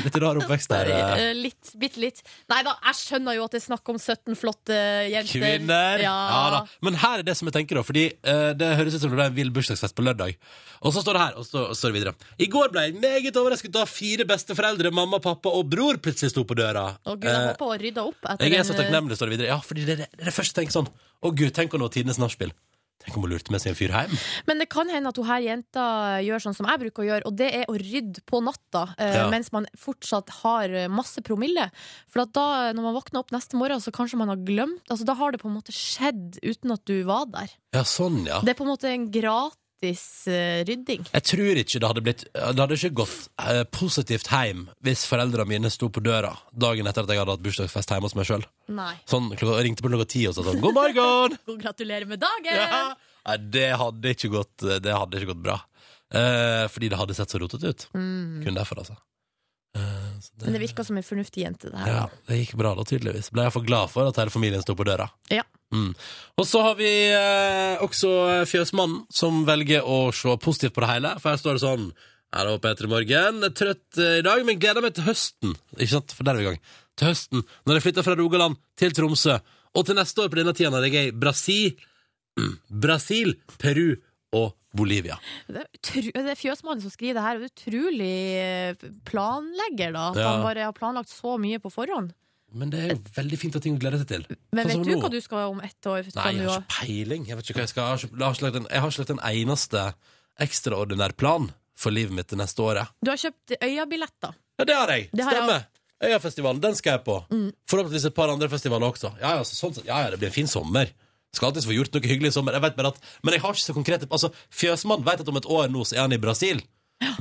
[SPEAKER 2] Litt rar oppvekst der. eh.
[SPEAKER 5] Eh, litt, bitte litt. Nei da, jeg skjønner jo at det er snakk om 17 flotte jenter.
[SPEAKER 2] Kvinner! Ja.
[SPEAKER 5] Ja.
[SPEAKER 2] da. Men her er det som jeg tenker, da. Fordi eh, det høres ut som det ble en vill bursdagsfest på lørdag. Og så står det her, og så, og så står det videre. I går ble jeg meget overrasket da fire besteforeldre, mamma, pappa og bror plutselig sto på døra.
[SPEAKER 5] Og Gud, jeg
[SPEAKER 2] Eh,
[SPEAKER 5] håper hun rydda opp etter
[SPEAKER 2] jeg er så
[SPEAKER 5] den, eh,
[SPEAKER 2] takknemlig, står det videre. Ja, fordi det er det, det, er det første jeg tenker sånn. Å gud, tenk om det var tidenes nachspiel. Tenk om hun lurte med seg en fyr hjem.
[SPEAKER 5] eh, Men det kan hende at hun her jenta gjør sånn som jeg bruker å gjøre, og det er å rydde på natta eh,
[SPEAKER 2] Ja.
[SPEAKER 5] mens man fortsatt har eh, masse promille. For at da, eh, når man våkner opp neste morgen, så kanskje man har glemt Altså, da har det på en måte skjedd uten at du var der.
[SPEAKER 2] Ja, sånn, ja.
[SPEAKER 5] Det er på en måte en gratis eh, rydding.
[SPEAKER 2] Jeg tror ikke det hadde blitt Det hadde ikke gått eh, positivt hjem hvis foreldrene mine sto på døra dagen etter at jeg hadde hatt bursdagsfest hjemme hos meg sjøl.
[SPEAKER 5] Nei.
[SPEAKER 2] Sånn, klokka- ringte på klokka ti og sa sånn 'God
[SPEAKER 5] [LAUGHS]
[SPEAKER 2] morgen!' [LAUGHS]
[SPEAKER 5] Og gratulerer med dagen!
[SPEAKER 2] Ja. Nei, det hadde ikke gått, det hadde ikke gått bra. Eh, fordi det hadde sett så rotete ut.
[SPEAKER 5] Mm.
[SPEAKER 2] Kun derfor, altså. Eh, så
[SPEAKER 5] Men det virka som ei fornuftig jente, det her.
[SPEAKER 2] ja, det gikk bra da, tydeligvis. Ble jeg for glad for at hele familien sto på døra.
[SPEAKER 5] Ja.
[SPEAKER 2] Mm. Og så har vi eh, også eh, Fjøsmannen, som velger å se positivt på det hele. For her står det sånn Her er Peter Morgen. Jeg er Trøtt eh, i dag, men gleder meg til høsten. Ikke sant? For der er vi i gang. Til høsten. Når jeg flytter fra Rogaland til Tromsø. Og til neste år på denne tida når jeg er i Brasil, mm, Brasil, Peru og Bolivia.
[SPEAKER 5] Det er, utru, det er fjøsmannen som skriver det her, og det er utrolig eh, planlegger, da. At
[SPEAKER 2] Ja.
[SPEAKER 5] han bare har planlagt så mye på forhånd.
[SPEAKER 2] Men det er jo veldig fint at ting å glede seg til.
[SPEAKER 5] Men
[SPEAKER 2] Sånn
[SPEAKER 5] vet
[SPEAKER 2] som
[SPEAKER 5] du
[SPEAKER 2] nå.
[SPEAKER 5] hva du skal om ett år?
[SPEAKER 2] Nei,
[SPEAKER 5] Skal
[SPEAKER 2] jeg
[SPEAKER 5] du
[SPEAKER 2] har
[SPEAKER 5] ha-
[SPEAKER 2] ikke peiling. Jeg vet ikke hva jeg skal. Jeg har ikke, jeg har ikke, lagt, en, jeg har ikke lagt en eneste ekstraordinær plan for livet mitt det neste året.
[SPEAKER 5] Du har kjøpt øyabilletter.
[SPEAKER 2] Ja, det har jeg!
[SPEAKER 5] Det har jeg
[SPEAKER 2] Stemmer. Øyafestivalen, den skal jeg på.
[SPEAKER 5] Mm.
[SPEAKER 2] Forhåpentligvis et par andre festivaler også. Ja, ja, så, sånn, sett. ja, ja, det blir en fin sommer. Skal alltids få gjort noe hyggelig i sommer. Jeg vet bare at, men jeg har ikke så konkrete Altså, Fjøsmann vet at om et år nå så er han i Brasil.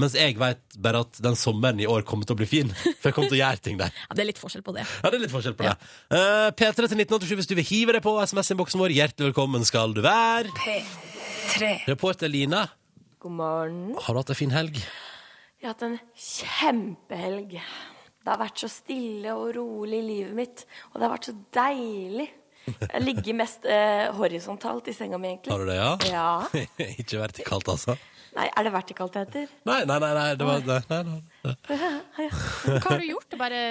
[SPEAKER 2] Mens jeg vet bare at den sommeren i år kommer til å bli fin. For jeg kommer til å gjøre ting der.
[SPEAKER 5] Ja, det er litt forskjell på det.
[SPEAKER 2] Ja, det er litt forskjell på det. Eh, P3 til 1987 hvis du vil hive deg på SMS-innboksen vår. Hjertelig velkommen skal du være. Reporter Line,
[SPEAKER 3] God morgen.
[SPEAKER 2] har du hatt ei en fin helg?
[SPEAKER 3] Jeg har hatt en kjempehelg. Det har vært så stille og rolig i livet mitt, og det har vært så deilig. Jeg ligger mest eh, horisontalt i senga mi, egentlig.
[SPEAKER 2] Har du det, ja?
[SPEAKER 3] Ja.
[SPEAKER 2] [LAUGHS] Ikke vertikalt, altså?
[SPEAKER 3] Nei, er det vertikalt det heter?
[SPEAKER 2] Nei, nei, nei. nei, det var, nei, nei, nei.
[SPEAKER 5] [LAUGHS] Hva har du gjort? Det er bare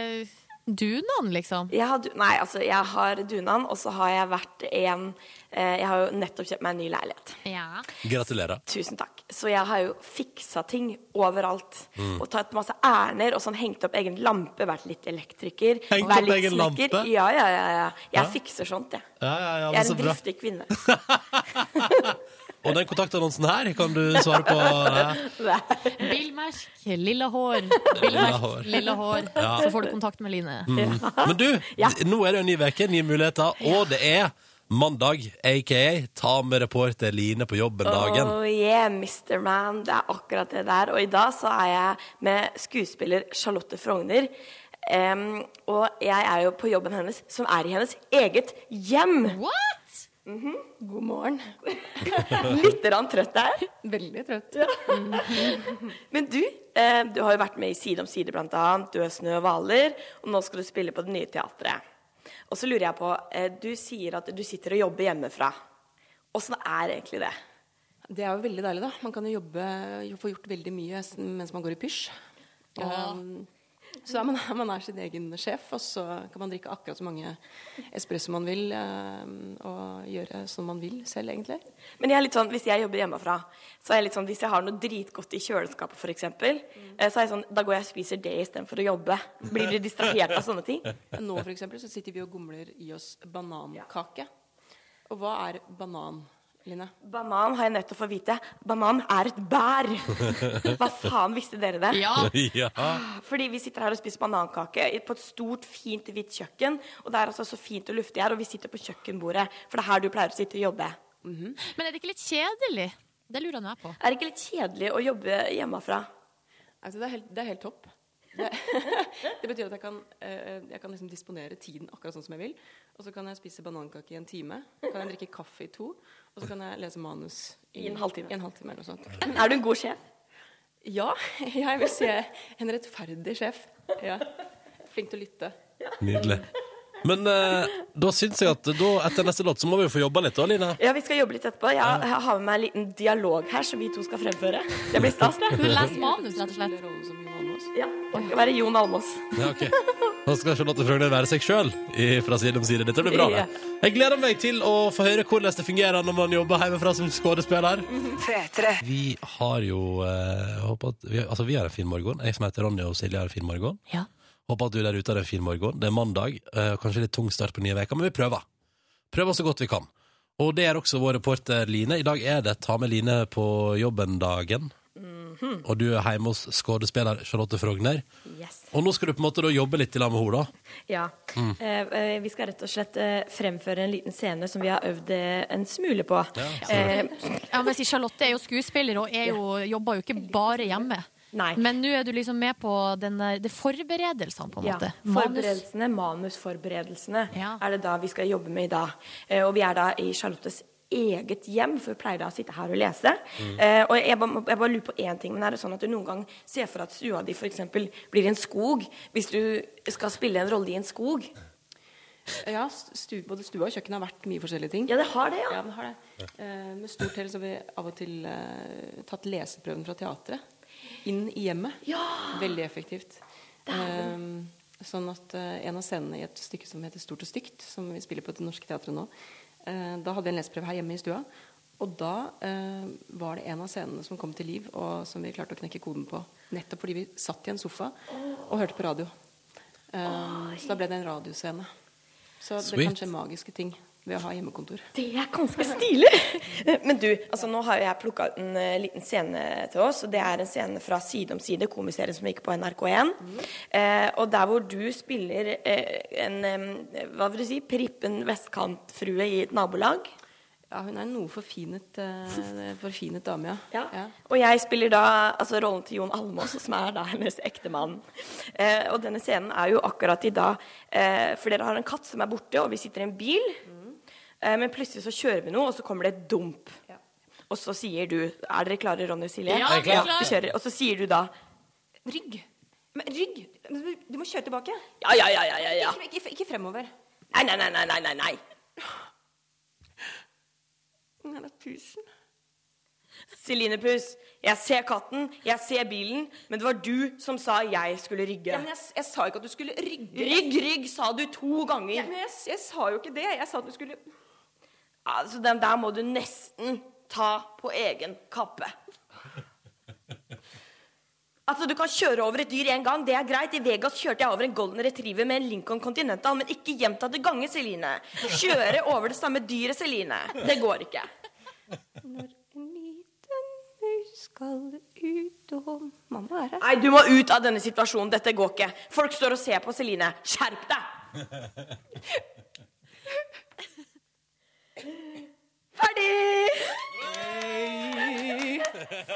[SPEAKER 5] dunan, liksom?
[SPEAKER 3] Jeg har, du- nei, altså, jeg har dunan, og så har jeg vært en eh, Jeg har jo nettopp kjøpt meg en ny leilighet.
[SPEAKER 5] Ja.
[SPEAKER 2] Gratulerer.
[SPEAKER 3] Tusen takk. Så jeg har jo fiksa ting overalt.
[SPEAKER 2] Mm.
[SPEAKER 3] Og tatt masse ærender og sånn hengt opp egen lampe, vært litt elektriker.
[SPEAKER 2] Hengt
[SPEAKER 3] vært
[SPEAKER 2] opp
[SPEAKER 3] litt
[SPEAKER 2] egen
[SPEAKER 3] snekker.
[SPEAKER 2] lampe?
[SPEAKER 3] Ja, ja, ja. ja. Jeg fikser sånt, jeg.
[SPEAKER 2] Ja, ja, ja,
[SPEAKER 3] Jeg
[SPEAKER 2] men
[SPEAKER 3] er
[SPEAKER 2] så
[SPEAKER 3] en
[SPEAKER 2] bra.
[SPEAKER 3] driftig kvinne.
[SPEAKER 2] [LAUGHS] Og den kontaktannonsen her kan du svare på. eh,
[SPEAKER 3] [LAUGHS]
[SPEAKER 5] Bilmerk, lilla hår.
[SPEAKER 2] [LAUGHS] Lilla hår. Mm.
[SPEAKER 5] Bilmerk, lilla
[SPEAKER 2] [LAUGHS]
[SPEAKER 5] hår. Så får du kontakt med Line.
[SPEAKER 2] Men du, d- nå er det jo en ny uke, nye muligheter, og det er mandag, aka ta med reporter Line på jobben-dagen.
[SPEAKER 3] Oh yeah, Mr. Man. Det er akkurat det der. Og i dag så er jeg med skuespiller Charlotte Frogner. Em, og jeg er jo på jobben hennes, som er i hennes eget hjem.
[SPEAKER 5] What?!
[SPEAKER 7] God morgen.
[SPEAKER 3] Litt rann trøtt der.
[SPEAKER 7] Veldig trøtt. Mm.
[SPEAKER 3] Men du, eh, du har jo vært med i Side om side blant annet, Død snø og hvaler, og nå skal du spille på det nye teatret. Og så lurer jeg på, eh, du sier at du sitter og jobber hjemmefra. Åssen er egentlig det?
[SPEAKER 7] Det er jo veldig deilig, da. Man kan jo jobbe, jo få gjort veldig mye s- mens man går i pysj. Um, Så er man, [LAUGHS] man er sin egen sjef, og så kan man drikke akkurat så mange espresso man vil, eh, og gjøre som man vil selv, egentlig.
[SPEAKER 3] Men jeg er litt sånn, hvis jeg jobber hjemmefra, så er jeg litt sånn, hvis jeg har noe dritgodt i kjøleskapet f.eks., eh, så er jeg sånn, da går jeg og spiser det istedenfor å jobbe. Blir du distrahert av sånne ting?
[SPEAKER 7] [LAUGHS] Nå for eksempel, så sitter vi og gomler i oss banankake. Og hva er banan, Line?
[SPEAKER 3] Banan har jeg nettopp fått vite. Banan er et bær! Hva faen, visste dere det?
[SPEAKER 5] Ja!
[SPEAKER 2] [LAUGHS] ja.
[SPEAKER 5] Ah.
[SPEAKER 3] Fordi vi sitter her og spiser banankake i- på et stort, fint, hvitt kjøkken. Og det er altså så fint og luftig her, og vi sitter på kjøkkenbordet. For det er her du pleier å sitte og jobbe.
[SPEAKER 5] Mhm. Men er det ikke litt kjedelig? Det lurer nå jeg på.
[SPEAKER 3] Er det ikke litt kjedelig å jobbe hjemmefra?
[SPEAKER 7] Altså, det, er helt, det er helt topp. Det, det betyr at jeg kan, eh, jeg kan liksom disponere tiden akkurat sånn som jeg vil. Og så kan jeg spise banankake i en time. Kan jeg drikke kaffe i to. Og så kan jeg lese manus i,
[SPEAKER 3] I en halvtime.
[SPEAKER 7] i en halvtime eller noe sånt.
[SPEAKER 3] Er du en god sjef?
[SPEAKER 7] [LAUGHS] Ja, jeg vil se en rettferdig sjef. Ja. Flink til å lytte.
[SPEAKER 2] Nydelig. Men eh, da syns jeg at da, etter neste låt så må vi jo få jobba litt, da, Line.
[SPEAKER 3] Ja, vi skal jobbe litt etterpå. Jeg har- jeg har med meg en liten dialog her som vi to skal fremføre. Det blir stas,
[SPEAKER 5] Du
[SPEAKER 3] det.
[SPEAKER 5] leser manus, rett og slett.
[SPEAKER 7] Spiller rollen som Jon Almaas.
[SPEAKER 3] Ja, det skal være Jon Almås.
[SPEAKER 2] Ja, ok. Da skal Charlotte Frogner være seg sjøl fra side om side. Dette blir bra. det. Jeg gleder meg til å få høre hvordan det fungerer når man jobber hjemmefra som skuespiller.
[SPEAKER 1] Mhm.
[SPEAKER 2] Vi har jo eh, håper at, vi, altså vi har en fin morgen. Jeg som heter Ronny og Silje har en fin morgen.
[SPEAKER 5] Ja.
[SPEAKER 2] Håper at du der ute har en fin morgen. Det er mandag. eh, kanskje litt tung start på nye veka, men vi prøver. Prøver så godt vi kan. Og det er også vår reporter Line. I dag er det Ta med Line på jobben-dagen.
[SPEAKER 7] Mhm.
[SPEAKER 2] Og du er hjemme hos skuespiller Charlotte Frogner.
[SPEAKER 3] Mm. Yes.
[SPEAKER 2] Og nå skal du på en måte da jobbe litt i lag med henne, da.
[SPEAKER 3] Ja.
[SPEAKER 5] Mm.
[SPEAKER 3] Eh, eh, vi skal rett og slett eh, fremføre en liten scene som vi har øvd eh, en smule på. Eh,
[SPEAKER 5] Ja, men si, Charlotte er jo skuespiller og er jo, jobber jo ikke bare hjemme.
[SPEAKER 3] nei.
[SPEAKER 5] Men nå er du liksom med på den der, det forberedelsene, på en
[SPEAKER 3] Ja,
[SPEAKER 5] måte. Manus.
[SPEAKER 3] forberedelsene, manusforberedelsene
[SPEAKER 5] Ja.
[SPEAKER 3] er det da vi skal jobbe med i dag. Eh, og vi er da i Charlottes eget hjem, for vi pleier da å sitte her og lese.
[SPEAKER 5] Mm.
[SPEAKER 3] Eh, og jeg, bare- jeg bare lurer på én ting, men er det sånn at du noen gang ser for deg at stua di f.eks. blir en skog, hvis du skal spille en rolle i en skog?
[SPEAKER 7] Ja, stu, både stua og kjøkkenet har vært mye forskjellige ting.
[SPEAKER 3] Ja, det har det, ja.
[SPEAKER 7] Ja, det har det. Eh, med stort hell så har vi av og til eh, tatt leseprøven fra teatret inn i hjemmet. Veldig effektivt. Eh, sånn at eh, en av scenene i et stykke som heter Stort og stygt, som vi spiller på Det Norske Teatret nå, eh, da hadde vi en leseprøve her hjemme i stua. Og da eh, var det en av scenene som kom til liv, og som vi klarte å knekke koden på. Nettopp fordi vi satt i en sofa og hørte på radio. Eh, så da ble det en radioscene. Så det
[SPEAKER 2] Sweet.
[SPEAKER 7] kan skje magiske ting ved å ha hjemmekontor.
[SPEAKER 3] Det er ganske stilig! Men du, altså nå har jo jeg plukka ut en eh, liten scene til oss. og Det er en scene fra Side om side, komiserien som gikk på NRK1. Eh, og der hvor du spiller eh, en eh, Hva vil du si? Prippen vestkantfrue i et nabolag.
[SPEAKER 7] Ja, hun er en noe forfinet, eh, forfinet dame, ja.
[SPEAKER 3] Og jeg spiller da altså rollen til Jon Almaas, som er da hennes ektemann. Eh, og denne scenen er jo akkurat i dag, eh, for dere har en katt som er borte, og vi sitter i en bil. Eh, men plutselig så kjører vi noe, og så kommer det et dump. Og så sier du Er dere klare, Ronny og Silje?
[SPEAKER 5] Ja, vi er klare.
[SPEAKER 3] vi kjører. Og så sier du da
[SPEAKER 7] Rygg.
[SPEAKER 3] Men rygg!
[SPEAKER 7] Du må kjøre tilbake.
[SPEAKER 3] Ja, ja, ja, ja, ja, ja.
[SPEAKER 7] Ikke, ikke fremover.
[SPEAKER 3] Nei, nei, nei, nei, nei, nei, nei.
[SPEAKER 7] Nei, det er tusen.
[SPEAKER 3] Celine Puss, jeg ser katten, jeg ser bilen, men det var du som sa jeg skulle rygge.
[SPEAKER 7] men jeg, s- jeg sa ikke at du skulle rygge.
[SPEAKER 3] Rygg, rygg, sa du to ganger.
[SPEAKER 7] Men jeg, s- jeg sa jo ikke det. Jeg sa at du skulle
[SPEAKER 3] Altså, den der må du nesten ta på egen kappe. Altså, Du kan kjøre over et dyr én gang, det er greit. I Vegas kjørte jeg over en golden retriever med en Lincoln Continental, men ikke gjentatte ganger, Celine. Kjøre over det samme dyret, Celine. Det går ikke. Når en liten maur skal ut og Mamma er her. Nei, du må ut av denne situasjonen. Dette går ikke. Folk står og ser på Celine. Skjerp deg! Ferdig!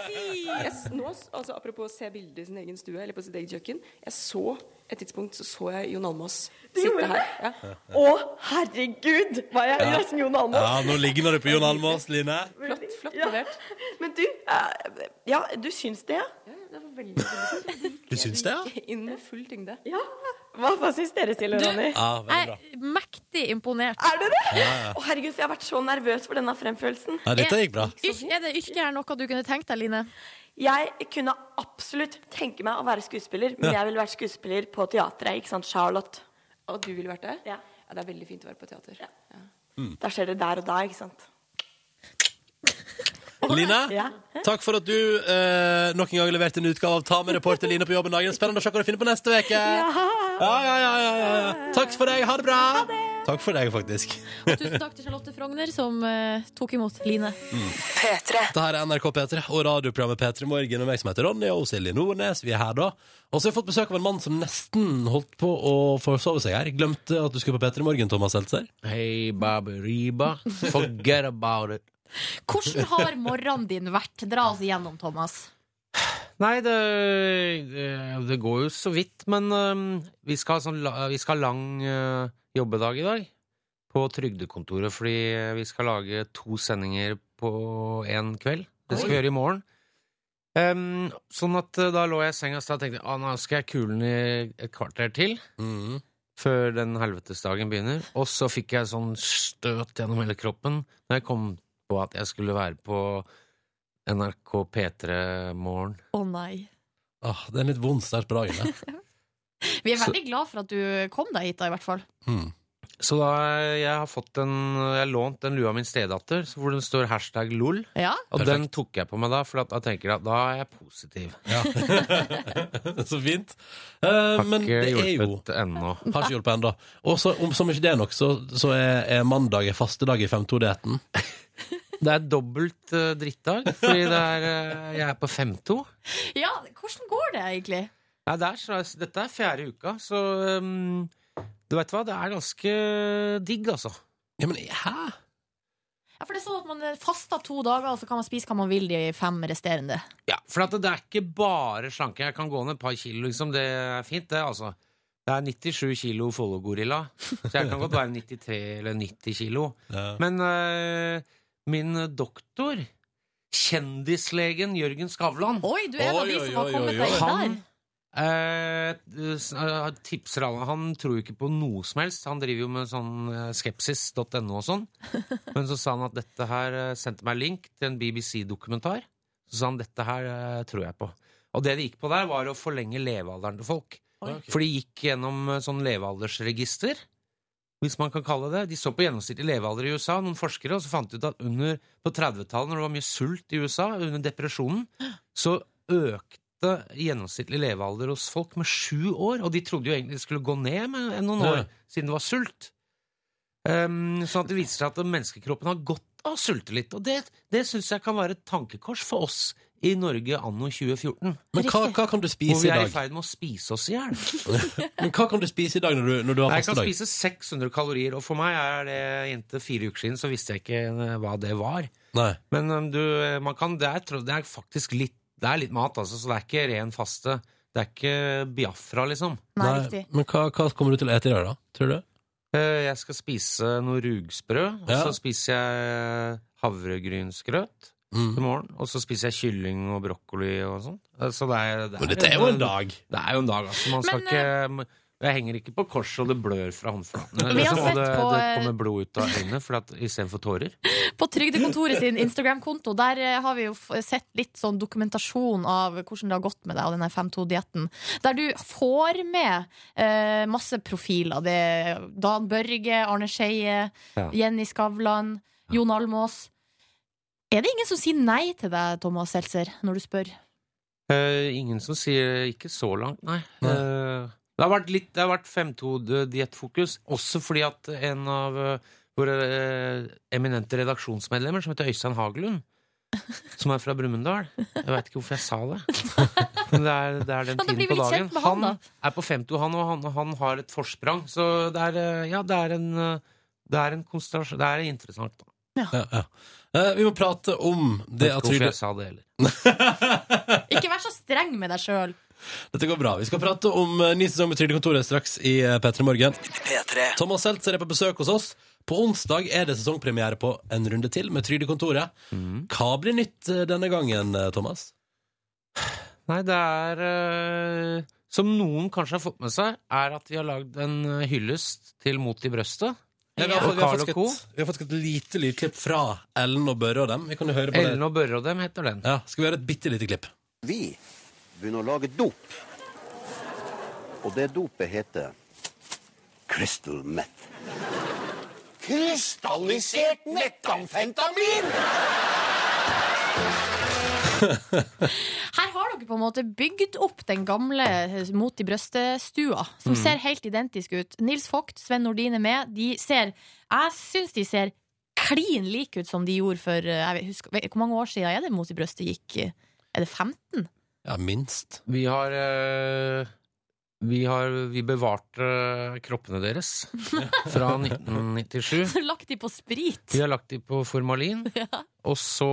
[SPEAKER 7] jeg, s- nå, s- altså, Apropos å se bilder i sin egen stue eller på sitt eget kjøkken. Jeg så et tidspunkt så, så jeg Jon Almaas sitte her. Ja.
[SPEAKER 3] Å, herregud! Var jeg nesten Jon Almaas?
[SPEAKER 2] Ja, nå ligner du på Jon Almaas, Line.
[SPEAKER 7] Flott, flott
[SPEAKER 8] [LAUGHS]
[SPEAKER 3] Ja.
[SPEAKER 7] levert.
[SPEAKER 3] Men du eh, Ja, du syns det, ja?
[SPEAKER 7] Det var veldig, veldig
[SPEAKER 2] Du syns det, ja?
[SPEAKER 7] fint. Inn med full tyngde.
[SPEAKER 3] ja. Hva, hva syns dere, Silje og Ronny?
[SPEAKER 2] Ja, veldig
[SPEAKER 5] Jeg
[SPEAKER 2] bra.
[SPEAKER 5] er mektig imponert.
[SPEAKER 3] Er du det? Å, herregud, for jeg har vært så nervøs for denne fremførelsen.
[SPEAKER 2] Ja, dette gikk bra.
[SPEAKER 5] Yrk- er det yrket her noe du kunne tenkt deg, Line?
[SPEAKER 8] Jeg kunne absolutt tenke meg å være skuespiller, men jeg ville vært skuespiller på teatret. Ikke sant, Charlotte?
[SPEAKER 7] Og du ville vært det?
[SPEAKER 8] Ja.
[SPEAKER 7] Det er veldig fint å være på teater. Ja.
[SPEAKER 2] Mm.
[SPEAKER 8] Da skjer det der og da, ikke sant?
[SPEAKER 2] Line,
[SPEAKER 8] Ja.
[SPEAKER 2] takk for at du eh, nok en gang leverte en utgave av Ta med reporter Line på jobben dagen. Spennende å se hva du finner på neste uke. Ja. Ja, ja, ja, ja, ja. Takk for deg. Ha det bra. Takk for deg, faktisk.
[SPEAKER 5] Tusen
[SPEAKER 2] [LAUGHS]
[SPEAKER 5] takk til Charlotte Frogner, som eh, tok imot Line.
[SPEAKER 2] Dette Mm. her er NRK P3 og radioprogrammet P3 Morgen med meg som heter Ronny og Silje Nordnes. Vi er her da. Og så har jeg fått besøk av en mann som nesten holdt på å forsove seg her. Glemte at du skulle på P3 Morgen, Thomas Seltzer.
[SPEAKER 9] Hey, Baberiba. Forget about it.
[SPEAKER 4] Hvordan har morgenen din vært? Dra oss igjennom, Thomas.
[SPEAKER 9] Nei, det, eh, det går jo så vidt, men eh, vi skal ha, sånn, la- vi skal ha lang eh, jobbedag i dag på trygdekontoret, fordi eh, vi skal lage to sendinger på én kveld. Det skal vi gjøre i morgen. Em, sånn at eh, da lå jeg i senga og tenkte jeg, ah, nå skal jeg kulen i et kvarter til.
[SPEAKER 2] Mhm.
[SPEAKER 9] før den helvetesdagen begynner. Og så fikk jeg sånn støt gjennom hele kroppen da jeg kom på at jeg skulle være på NRK P3 Morgen.
[SPEAKER 5] Å nei.
[SPEAKER 2] Ah, det er en litt vond start på dagen. det.
[SPEAKER 5] Vi er veldig glad for at du kom deg hit, da, i hvert fall.
[SPEAKER 2] Mhm.
[SPEAKER 9] Så da jeg har fått en Jeg har lånt den lua av min stedatter, så hvor den står hashtag lol.
[SPEAKER 5] Ja.
[SPEAKER 9] Og
[SPEAKER 2] Perfekt.
[SPEAKER 9] den tok jeg på meg da, for at jeg tenker at da er jeg positiv.
[SPEAKER 2] [LAUGHS] så fint. Eh,
[SPEAKER 9] Har
[SPEAKER 2] men
[SPEAKER 9] ikke
[SPEAKER 2] det er jo
[SPEAKER 9] hjulpet ennå.
[SPEAKER 2] Har ikke hjulpet ennå. Og så, om som ikke det er nok, så, så er, er mandag er faste dag i 5-2-dietten.
[SPEAKER 9] [LAUGHS] Det er dobbelt eh, drittdag, fordi det er, eh, jeg er på 5-2.
[SPEAKER 5] ja, hvordan går det egentlig?
[SPEAKER 9] Nei, det er, så- dette er fjerde uka, så um, du veit hva, det er ganske digg, altså.
[SPEAKER 2] Ja, men hæ?
[SPEAKER 5] Ja, for det er sånn at man er fasta to dager, og så kan man spise hva man vil de fem resterende.
[SPEAKER 9] Ja, For at det er ikke bare slanke. Jeg kan gå ned et par kilo, liksom. Det er fint, det, altså. Det er 97 kilo Follo-gorilla, så jeg kan godt være 93 eller 90 kilo. Men øh, min doktor, kjendislegen Jørgen Skavlan
[SPEAKER 5] Oi, du er en av de
[SPEAKER 2] Oi,
[SPEAKER 5] som
[SPEAKER 2] oi,
[SPEAKER 5] har kommet
[SPEAKER 2] oi, oi,
[SPEAKER 5] deg inn der.
[SPEAKER 9] Han eh, s- eh, tipser alle Han tror jo ikke på noe som helst. Han driver jo med sånn eh, skepsis.no og
[SPEAKER 5] [LAUGHS]
[SPEAKER 9] sånn. Men så sa han at dette her eh, sendte meg link til en BBC-dokumentar. Så sa han dette her eh, tror jeg på. Og det det gikk på der, var å forlenge levealderen til folk. For de gikk gjennom eh, sånn levealdersregister, hvis man kan kalle det. De så på gjennomsnittlig levealder i USA, noen forskere, og så fant de ut at under, på 30-tallet, når det var mye sult i USA, under depresjonen, så økte gjennomsnittlig levealder hos folk med sju år. Og de trodde jo egentlig det skulle gå ned med noen år,
[SPEAKER 2] Ja.
[SPEAKER 9] siden det var sult. Um, sånn at det viser seg at menneskekroppen har godt av å sulte litt. Og det, det syns jeg kan være et tankekors for oss i Norge anno 2014.
[SPEAKER 2] Men hva,
[SPEAKER 5] Riktig.
[SPEAKER 2] hva kan du
[SPEAKER 9] Hvor
[SPEAKER 2] spise
[SPEAKER 9] vi
[SPEAKER 2] i
[SPEAKER 9] er i
[SPEAKER 2] dag?
[SPEAKER 9] ferd med å spise oss i hjel.
[SPEAKER 2] Men hva kan du spise i dag når du, når du har
[SPEAKER 9] Jeg
[SPEAKER 2] faste
[SPEAKER 9] kan
[SPEAKER 2] dag?
[SPEAKER 9] spise 600 kalorier, og for meg er det inntil fire uker siden, så visste jeg ikke eh, hva det var.
[SPEAKER 2] Nei.
[SPEAKER 9] Men um, du, eh, man kan, det, er, tro- det er faktisk litt, det er litt mat, altså, så det er ikke ren faste. Det er ikke Biafra, liksom.
[SPEAKER 5] Nei,
[SPEAKER 2] Nei.
[SPEAKER 5] riktig.
[SPEAKER 2] Men hva, hva kommer du til å ete i dag, da? Tror du?
[SPEAKER 9] Eh, Jeg skal spise noe rugsprø, og
[SPEAKER 2] Ja.
[SPEAKER 9] så spiser jeg havregrynsgrøt
[SPEAKER 2] Mm.
[SPEAKER 9] til morgen. Og så spiser jeg kylling og brokkoli og sånn. Eh, Så det er, det
[SPEAKER 2] Men dette er jo en dag!
[SPEAKER 9] Det er jo en dag, altså. Man skal
[SPEAKER 5] Men, eh,
[SPEAKER 9] ikke jeg henger ikke på korset, og det blør fra håndflatene.
[SPEAKER 5] Vi har
[SPEAKER 9] liksom, og
[SPEAKER 5] sett
[SPEAKER 9] det,
[SPEAKER 5] på,
[SPEAKER 9] det
[SPEAKER 5] eh,
[SPEAKER 9] kommer blod ut av øynene for at- istedenfor tårer.
[SPEAKER 5] På Trygdekontoret sin Instagram-konto Der eh, har vi jo f- sett litt sånn dokumentasjon av hvordan det har gått med deg og denne 5-2-dietten. Der du får med eh, masse profiler. Det er Dan Børge, Arne Skeie,
[SPEAKER 9] Ja.
[SPEAKER 5] Jenny Skavlan, Jon Almås. Er det ingen som sier nei til deg, Thomas Seltzer, når du spør?
[SPEAKER 9] Eh, ingen som sier ikke så langt, nei.
[SPEAKER 2] Nei.
[SPEAKER 9] Eh, det har vært litt Det har vært 5-2-diettfokus, også fordi at en av eh, våre eh, eminente redaksjonsmedlemmer, som heter Øystein Hagelund,
[SPEAKER 5] [LAUGHS]
[SPEAKER 9] som er fra Brumunddal Jeg veit ikke hvorfor jeg sa
[SPEAKER 5] [LAUGHS]
[SPEAKER 9] det. Men det er, det er den
[SPEAKER 5] Ja, da blir
[SPEAKER 9] tiden
[SPEAKER 5] vi
[SPEAKER 9] på
[SPEAKER 5] litt
[SPEAKER 9] dagen.
[SPEAKER 5] kjent med han,
[SPEAKER 9] er på 5-2, han, og han, han har et forsprang. Så det er, eh, ja, det er en eh, Det er en konstellasjon Det er interessant. da.
[SPEAKER 2] Ja, ja. Eh, vi må prate om det
[SPEAKER 9] Vet ikke hvorfor
[SPEAKER 2] at trygde...
[SPEAKER 9] jeg sa det heller.
[SPEAKER 5] Ikke vær så streng med deg sjøl.
[SPEAKER 2] Dette går bra. Vi skal prate om eh, ny sesong med Trygdekontoret straks i eh, P3 Morgen. Thomas Seltzer er på besøk hos oss. På onsdag er det sesongpremiere på En runde til med Trygdekontoret. Hva blir nytt eh, denne gangen, eh, Thomas?
[SPEAKER 9] Nei, det er eh, Som noen kanskje har fått med seg, er at vi har lagd en eh, hyllest til Mot i brøstet.
[SPEAKER 2] Ja, vi, har, fått-
[SPEAKER 9] Og
[SPEAKER 2] vi, har
[SPEAKER 9] Carl og
[SPEAKER 2] faktisk
[SPEAKER 9] Co.
[SPEAKER 2] et, vi har faktisk et lite lydklipp fra Ellen og Børre og dem. Vi kan jo høre på det.
[SPEAKER 9] Ellen og Børre og dem heter den.
[SPEAKER 2] Ja, skal vi gjøre et bitte lite klipp?
[SPEAKER 10] Vi begynner å lage dop. Og det dopet heter crystal meth.
[SPEAKER 11] Krystallisert metamfentamin!
[SPEAKER 5] Her har dere på en måte bygd opp den gamle eh, Mot i brøstet-stua, som
[SPEAKER 12] Mm.
[SPEAKER 5] ser helt identisk ut. Nils Vogt, Sven Nordin er med. De ser Jeg syns de ser klin like ut som de gjorde for eh, jeg vet- husker, vet- Hvor mange år siden er det Mot i brøstet gikk? eh, Er det 15?
[SPEAKER 2] Ja, minst.
[SPEAKER 9] Vi har eh, Vi, har, vi bevarte kroppene
[SPEAKER 2] [LAUGHS]
[SPEAKER 9] deres fra 1997.
[SPEAKER 5] [LAUGHS] Så lagt de på sprit!
[SPEAKER 9] Vi har lagt dem på formalin, og så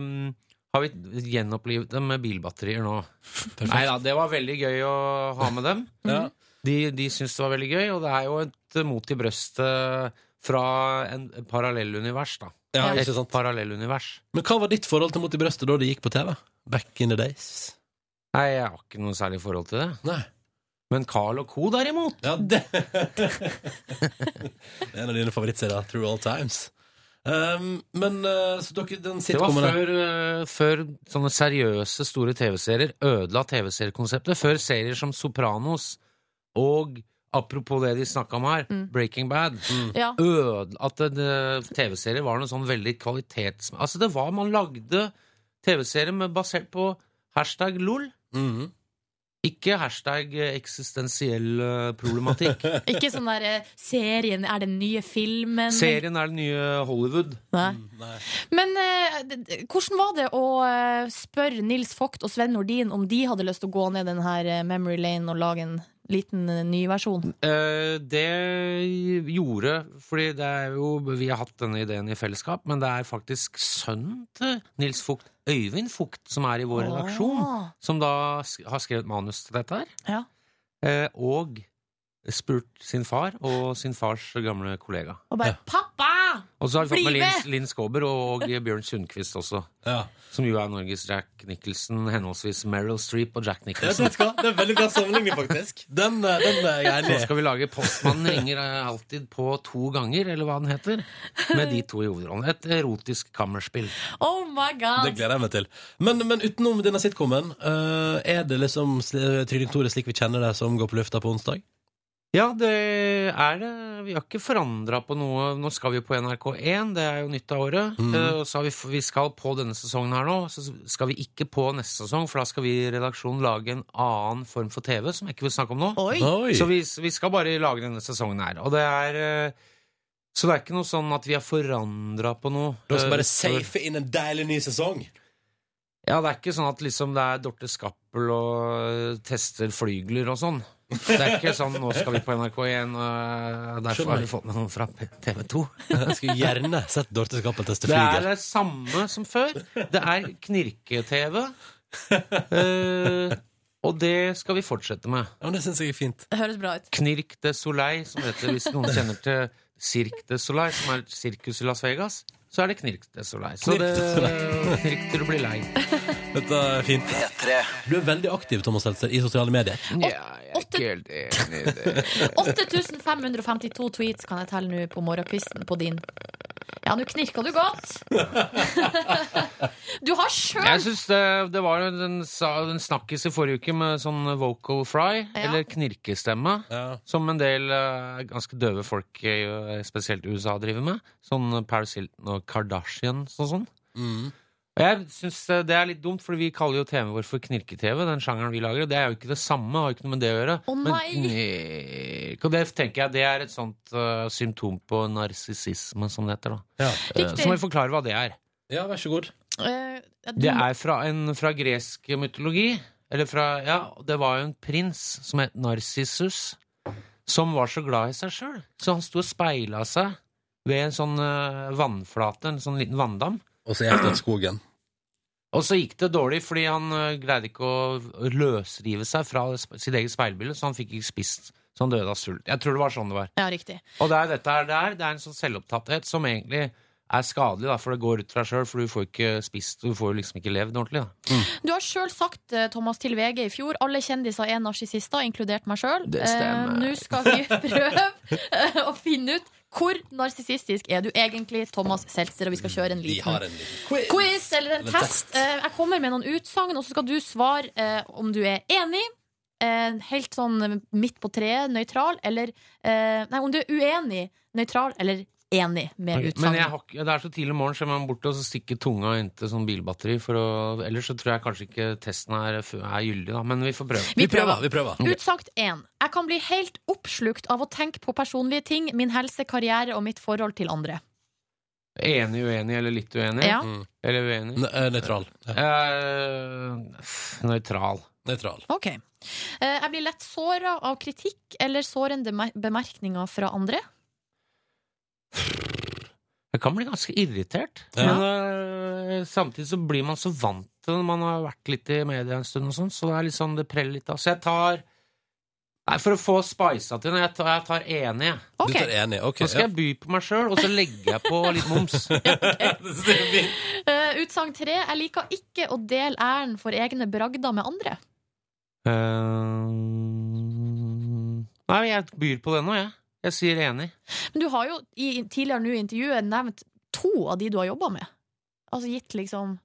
[SPEAKER 9] mm, har vi gjenopplivet dem med bilbatterier nå. Nei da, det var veldig gøy å ha med dem. De, de syns det var veldig gøy, og det er jo et mot i brøstet fra en et parallellunivers, da.
[SPEAKER 2] Ja,
[SPEAKER 9] Et
[SPEAKER 2] ikke sant.
[SPEAKER 9] parallellunivers.
[SPEAKER 2] Men hva var ditt forhold til Mot i brøstet da det gikk på TV? Back in the days?
[SPEAKER 9] Nei, jeg har ikke noe særlig forhold til det. Men Carl og Co, derimot
[SPEAKER 2] Ja, det [LAUGHS] Det er en av dine favorittserier, Through All Times. Um, men eh, så dere, den
[SPEAKER 9] Det var
[SPEAKER 2] sitcomen der-
[SPEAKER 9] før, eh, før sånne seriøse, store TV-serier ødela TV-seriekonseptet. Før serier som Sopranos og Apropos det de snakka om her, Breaking Bad.
[SPEAKER 5] Mm.
[SPEAKER 9] mm,
[SPEAKER 5] Ja.
[SPEAKER 9] Ødela- at det- det- TV-serier var noe sånn veldig kvalitets... Altså, det var Man lagde TV-serier med- basert på hashtag LOL. Ikke hashtag eh, eksistensiell eh, problematikk.
[SPEAKER 5] [LAUGHS] Ikke sånn der eh, serien er den nye filmen.
[SPEAKER 9] Serien er det nye Hollywood.
[SPEAKER 5] Nei. Men eh, d- d- hvordan var det å eh, spørre Nils Vogt og Sven Nordin om de hadde lyst til å gå ned den her eh, memory lane og lage en liten eh, ny versjon?
[SPEAKER 9] Eh, det gjorde Fordi det er jo Vi har hatt denne ideen i fellesskap, men det er faktisk sønnen til Nils Fugt, Øyvind Fugt, som er i vår
[SPEAKER 5] Ah.
[SPEAKER 9] redaksjon, som da sk- har skrevet manus til dette her.
[SPEAKER 5] Ja.
[SPEAKER 9] Eh, og spurt sin far og sin fars gamle kollega.
[SPEAKER 5] Og bare 'pappa!
[SPEAKER 9] Og så har vi fått med
[SPEAKER 5] bli
[SPEAKER 9] Linn,
[SPEAKER 5] med!'
[SPEAKER 9] Linn Skåber og, og Bjørn Sundquist også. Som jo er Norges Jack Nicholson, henholdsvis Meryl Streep og Jack
[SPEAKER 2] Ja,
[SPEAKER 9] Nicholson.
[SPEAKER 2] vet du hva? Det er veldig bra sammenligning, faktisk. Den, eh, den er jeg
[SPEAKER 9] Nå
[SPEAKER 2] enig i.
[SPEAKER 9] skal vi lage Postmannen ringer eh, alltid på to ganger, eller hva den heter, med de to i hovedrollen. Et erotisk kammerspill.
[SPEAKER 5] Oh my
[SPEAKER 2] Det
[SPEAKER 5] god!
[SPEAKER 2] gleder jeg meg til. Men, men utenom denne sitcomen, eh, er det liksom sl- Trygdekontoret slik vi kjenner det, som går på lufta på onsdag?
[SPEAKER 9] Ja, det er det. Vi har ikke forandra på noe. Nå skal vi på NRK1, det er jo nytt av året.
[SPEAKER 2] Mhm.
[SPEAKER 9] Eh, Og så har vi, f- vi skal på denne sesongen her nå, så skal vi ikke på neste sesong, for da skal vi i redaksjonen lage en annen form for TV, som jeg ikke vil snakke om nå.
[SPEAKER 2] Oi.
[SPEAKER 9] Så vi, vi skal bare lage denne sesongen her. Og det er eh, Så det er ikke noe sånn at vi har forandra på noe.
[SPEAKER 2] Dere skal
[SPEAKER 9] eh,
[SPEAKER 2] bare
[SPEAKER 9] utover-
[SPEAKER 2] safe inn en deilig ny sesong?
[SPEAKER 9] Ja, det er ikke sånn at liksom det er Dorte Skappel og øh, tester flygler og sånn. Det er ikke sånn 'nå skal vi på NRK1', og eh, derfor har vi fått med noen fra TV 2.
[SPEAKER 2] [LAUGHS] Jeg skulle gjerne sett Dorte Skappel teste
[SPEAKER 9] Det er
[SPEAKER 2] flyger.
[SPEAKER 9] det samme som før. Det er knirke-TV. Eh, og det skal vi fortsette med.
[SPEAKER 2] Ja, men Det syns jeg er fint.
[SPEAKER 5] Det høres bra ut.
[SPEAKER 9] Knirk de Soleil, som heter hvis noen kjenner til Cirque de Soleil, som er et sirkus i Las Vegas, så er det Knirk de Soleil. Så
[SPEAKER 2] Knirk
[SPEAKER 9] det,
[SPEAKER 2] de Soleil.
[SPEAKER 9] knirk til du blir lei.
[SPEAKER 2] Dette er fint. Du er veldig aktiv Thomas Seltzer, i sosiale medier.
[SPEAKER 9] jeg er ikke helt enig i det.
[SPEAKER 2] [LAUGHS]
[SPEAKER 5] 8552 tweets kan jeg telle nå på morgenkvisten på din. Ja, nå knirka du
[SPEAKER 2] [LAUGHS]
[SPEAKER 5] godt. du har
[SPEAKER 9] Jeg
[SPEAKER 5] sjøl
[SPEAKER 9] synes det, det var jo en, sa- en snakkis i forrige uke med sånn vocal fry, eller knirkestemme, som en del eh, ganske døve folk, i, eh, spesielt i USA, driver med. Sånn Paris Hilton og Kardashians og sånn.
[SPEAKER 2] Mm.
[SPEAKER 9] Og jeg synes eh, det er litt dumt, for vi kaller jo TV-en vår for knirke-TV, den sjangeren vi lager, og det er jo ikke det samme, har jo ikke noe med det å gjøre.
[SPEAKER 5] Å, nei!
[SPEAKER 9] Men knirk, og det tenker jeg, det er et sånt eh, symptom på narsissisme, som det heter da. Eh,
[SPEAKER 5] Riktig.
[SPEAKER 9] så må vi forklare hva det er.
[SPEAKER 2] Ja, vær så god.
[SPEAKER 5] Eh,
[SPEAKER 9] Det er fra, en, fra gresk mytologi. Eller fra, ja, det var jo en prins som het Narsissus, som var så glad i seg sjøl. Så han sto og speila seg ved en sånn eh, vannflate, en sånn liten vanndam.
[SPEAKER 2] Og så gikk det skogen.
[SPEAKER 9] Og så gikk det dårlig, fordi han eh, greide ikke å løsrive seg fra sp- sitt eget speilbilde, så han fikk ikke spist. Så han døde av sult. Jeg tror det var sånn det var.
[SPEAKER 5] Ja, riktig.
[SPEAKER 9] Og det er dette her det er. Det er en sånn selvopptatthet som egentlig er skadelig, da, for det går ut fra sjøl, for du får ikke spist, du får liksom ikke levd ordentlig. da.
[SPEAKER 5] Du har sjøl sagt eh, Thomas, til VG i fjor alle kjendiser er narsissister, inkludert meg sjøl. [LAUGHS]
[SPEAKER 9] Det stemmer.
[SPEAKER 5] Nå skal vi prøve eh, å finne ut Hvor narsissistisk er du egentlig, Thomas Seltzer? Og vi skal kjøre en
[SPEAKER 2] Vi
[SPEAKER 5] liten
[SPEAKER 2] har en liten quiz.
[SPEAKER 5] quiz eller en
[SPEAKER 2] Eller en
[SPEAKER 5] test. Eh, Jeg kommer med noen utsagn, og så skal du svare eh, om du er enig, eh, helt sånn midt på treet, nøytral, eller eh, Nei, om du er uenig, nøytral eller enig med
[SPEAKER 9] Ok, Men
[SPEAKER 5] utsagnet.
[SPEAKER 9] jeg har, ikke- det er så tidlig morgen, så jeg må bort og stikke tunga inn til sånn bilbatteri. For å, ellers så tror jeg kanskje ikke testen er, er gyldig, da. Men vi får prøve.
[SPEAKER 5] Vi prøver,
[SPEAKER 2] vi prøver.
[SPEAKER 5] Utsagt 1. Jeg kan bli helt oppslukt av å tenke på personlige ting, min helse, karriere og mitt forhold til andre.
[SPEAKER 9] Enig, uenig eller litt uenig?
[SPEAKER 5] Ja.
[SPEAKER 9] Eller uenig?
[SPEAKER 2] eh,
[SPEAKER 9] Eh,
[SPEAKER 2] nøytral.
[SPEAKER 9] nøytral.
[SPEAKER 2] Nøytral.
[SPEAKER 5] Ok. Eh, Jeg blir lett såra av kritikk eller sårende mer- bemerkninger fra andre.
[SPEAKER 9] Jeg kan bli ganske irritert. Men øh, samtidig så blir man så vant til det når man har vært litt i media en stund, og sånn, så det er litt sånn det preller litt av. Så jeg tar Nei, for å få spisa til det, jeg tar, jeg tar enig. jeg.
[SPEAKER 2] Du tar enig, ok.
[SPEAKER 9] Nå skal jeg by på meg sjøl, og så legger jeg på litt moms.
[SPEAKER 2] [LAUGHS]
[SPEAKER 5] Eh, Utsagn 3. Jeg liker ikke å dele æren for egne bragder med andre.
[SPEAKER 9] Ehm, Eh, nei, jeg byr på det nå, jeg. Jeg sier enig.
[SPEAKER 5] Men du har jo i, tidligere nå i intervjuet nevnt to av de du har jobba med. Altså gitt liksom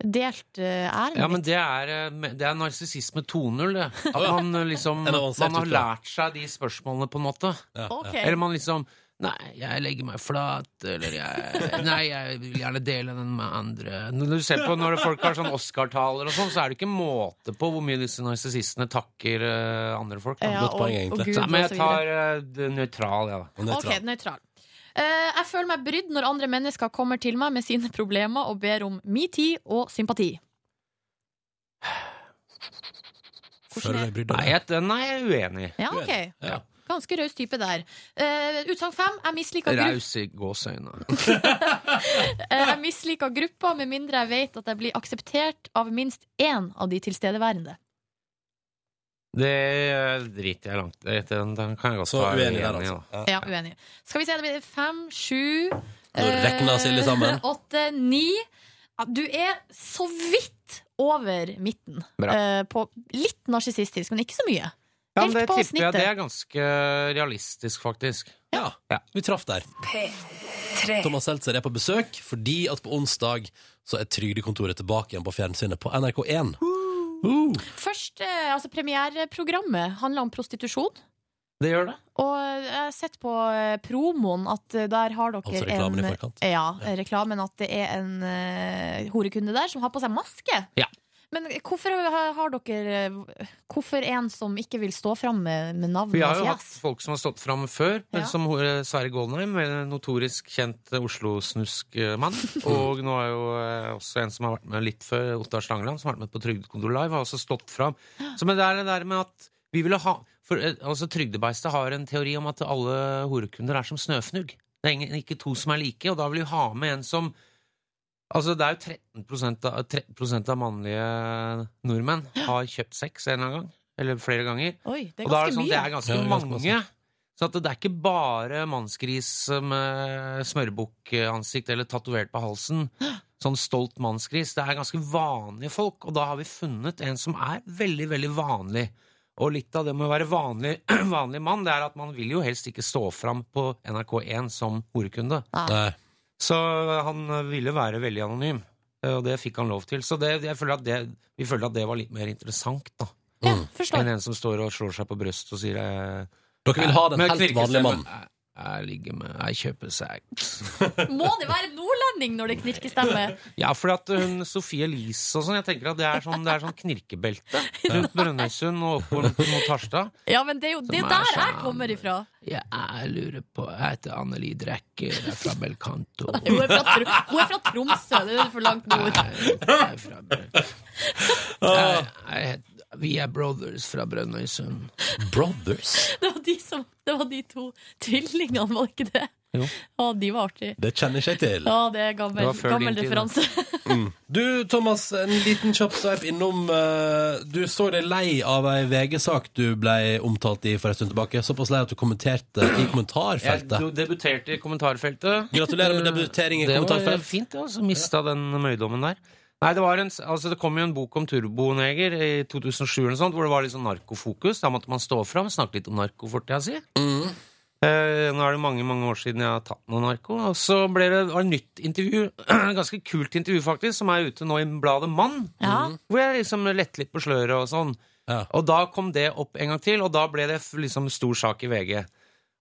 [SPEAKER 5] Delt eh, æren.
[SPEAKER 9] Ja,
[SPEAKER 5] litt.
[SPEAKER 9] men det er, eh, det er narsissisme 2.0, det. At man eh, liksom
[SPEAKER 2] En avansert
[SPEAKER 9] Man har
[SPEAKER 2] type.
[SPEAKER 9] lært seg de spørsmålene, på en måte.
[SPEAKER 2] Ok.
[SPEAKER 9] Eller man liksom Nei, jeg legger meg flat, eller jeg [LAUGHS] Nei, jeg vil gjerne dele den med andre. Når du ser på når folk har sånn Oscar-taler og sånn, så er det ikke måte på hvor mye disse narsissistene takker eh, andre folk. da.
[SPEAKER 5] Ja, Godt poeng, og- egentlig. og Gud
[SPEAKER 9] så, men
[SPEAKER 5] og så
[SPEAKER 9] jeg tar eh, det nøytral, jeg, da.
[SPEAKER 5] Ok, nøytral. Eh, jeg føler meg brydd når andre mennesker kommer til meg med sine problemer og ber om min tid og sympati.
[SPEAKER 9] Føler du deg brydd av det? Nei, jeg- den er jeg uenig i.
[SPEAKER 5] Ja, ok.
[SPEAKER 9] Ja.
[SPEAKER 5] Ganske raus type der. Uh, Utsagn fem. Jeg misliker, grupp,
[SPEAKER 9] Raus i gåseøyne.
[SPEAKER 5] eh, jeg misliker grupper med mindre jeg vet at jeg blir akseptert av minst én av de tilstedeværende.
[SPEAKER 9] Det eh, driter jeg langt i. Den, den kan jeg godt
[SPEAKER 2] Så
[SPEAKER 9] være
[SPEAKER 2] uenig der,
[SPEAKER 9] i,
[SPEAKER 2] altså.
[SPEAKER 9] da.
[SPEAKER 5] Ja, uenig. Skal vi se, det blir fem, sju eh,
[SPEAKER 9] Nå rekna Silje sammen.
[SPEAKER 5] Åtte, ni. Ja, Du er så vidt over midten.
[SPEAKER 9] Bra.
[SPEAKER 5] Eh, på litt narsissistisk, men ikke så mye.
[SPEAKER 9] Ja, men
[SPEAKER 5] Helt
[SPEAKER 9] det
[SPEAKER 5] på
[SPEAKER 9] tipper jeg.
[SPEAKER 5] snittet.
[SPEAKER 9] Det er ganske realistisk, faktisk.
[SPEAKER 2] Ja, vi traff der. Thomas Seltzer er på besøk fordi at på onsdag så er Trygdekontoret tilbake igjen på fjernsynet på NRK1. Uh.
[SPEAKER 5] Først, eh, altså Premiereprogrammet handler om prostitusjon.
[SPEAKER 9] Det gjør det.
[SPEAKER 5] Og jeg har sett på eh, promoen at eh, der har dere
[SPEAKER 2] Altså reklamen
[SPEAKER 5] en,
[SPEAKER 2] i forkant.
[SPEAKER 5] Ja, eh, reklamen at det er en eh, horekunde der som har på seg maske.
[SPEAKER 9] Ja.
[SPEAKER 5] Men hvorfor har har dere eh, Hvorfor en som ikke vil stå fram med, med navn
[SPEAKER 9] Vi har
[SPEAKER 5] og
[SPEAKER 9] jo hatt
[SPEAKER 5] fjes?
[SPEAKER 9] folk som har stått fram før, men
[SPEAKER 5] Ja.
[SPEAKER 9] som eh, Sverre Goldenheim, en notorisk kjent eh,
[SPEAKER 5] [LAUGHS]
[SPEAKER 9] Oslo-snuskmann. Og nå er jo eh, også en som har vært med litt før, Ottar Stangeland, som har vært med på Trygdekontor Live, har også stått fram. Så men det er det der med at vi ville ha for, eh, altså Trygdebeistet har en teori om at alle horekunder er som snøfnugg. Det er ingen, ikke to som er like, og da vil vi ha med en som Altså, det er jo 13 av, 13 av mannlige nordmenn har kjøpt sex en eller annen gang. Eller flere ganger.
[SPEAKER 5] Oi, det er
[SPEAKER 9] og da er det
[SPEAKER 5] ganske
[SPEAKER 9] sånn,
[SPEAKER 5] mye.
[SPEAKER 9] det er ganske
[SPEAKER 2] Ja, det er ganske
[SPEAKER 9] mange. Så at det er ikke bare mannsgris med smørbukkansikt eller tatovert på halsen. Sånn stolt mannsgris. Det er ganske vanlige folk, og da har vi funnet en som er veldig, veldig vanlig. Og litt av det med å være vanlig, [CLEARS THROAT] vanlig mann, det er at man vil jo helst ikke stå fram på NRK1 som horekunde.
[SPEAKER 2] Nei.
[SPEAKER 9] Så han ville være veldig anonym, eh, og det fikk han lov til. Så det, jeg føler at det, vi føler at det var litt mer interessant, da.
[SPEAKER 5] forstår.
[SPEAKER 9] Enn en som står og slår seg på brystet og sier eh,
[SPEAKER 2] Dere vil ha den
[SPEAKER 9] med
[SPEAKER 2] helt
[SPEAKER 9] knirkestemmen,
[SPEAKER 2] vanlige mannen.
[SPEAKER 9] Jeg, jeg ligger med Jeg kjøper seg
[SPEAKER 5] Må det være nordlending når det knirkestemme?
[SPEAKER 9] Ja, for at eh, hun Sofie Elise og sånn, jeg tenker at det er sånn, det er sånn
[SPEAKER 5] [LAUGHS]
[SPEAKER 9] knirkebelte rundt Brønnøysund og oppover mot Harstad.
[SPEAKER 5] Ja, men det er jo det
[SPEAKER 9] Som
[SPEAKER 5] er
[SPEAKER 9] er
[SPEAKER 5] der jeg
[SPEAKER 9] sånn.
[SPEAKER 5] kommer ifra.
[SPEAKER 9] Ja, jeg lurer på Jeg heter Anneli Drekke, jeg er fra Belcanto.
[SPEAKER 5] Hun er fra, Tr hun er fra Tromsø, det er for langt nord. Ah.
[SPEAKER 9] Jeg, jeg heter, vi er brothers fra Brønnøysund.
[SPEAKER 2] Brothers?
[SPEAKER 5] Det var de, som, det var de to tvillingene, var det ikke det?
[SPEAKER 9] Jo.
[SPEAKER 5] Å, de var artige.
[SPEAKER 2] Det kjenner ikke jeg til.
[SPEAKER 5] Ja, det er
[SPEAKER 2] Det
[SPEAKER 5] gammel,
[SPEAKER 2] var før
[SPEAKER 5] gammel
[SPEAKER 2] din tid,
[SPEAKER 5] referanse.
[SPEAKER 2] Mm. Du, Thomas, en liten kjapp sveip innom. eh, Du så deg lei av ei VG-sak du ble omtalt i for en stund tilbake. Såpass lei at du kommenterte i kommentarfeltet.
[SPEAKER 9] Jeg debuterte i kommentarfeltet.
[SPEAKER 2] Gratulerer med debutering i
[SPEAKER 9] Det
[SPEAKER 2] kommentarfelt.
[SPEAKER 9] var fint, det. Altså, mista den møydommen der. Nei, det, var en, altså, det kom jo en bok om Turboneger i
[SPEAKER 2] Mm.
[SPEAKER 9] 2007 eller sånt, hvor det var litt sånn narkofokus. Da måtte man stå fram, snakke litt om narkofortida si. Eh, nå er det mange mange år siden jeg har tatt noe narko. Og så ble det, det var et nytt intervju, [CLEARS THROAT] et ganske kult intervju faktisk, som er ute nå i bladet Mann.
[SPEAKER 12] Ja.
[SPEAKER 9] Hvor jeg liksom lette litt på sløret og sånn. Og da kom det opp en gang til, og da ble det f- liksom stor sak i VG.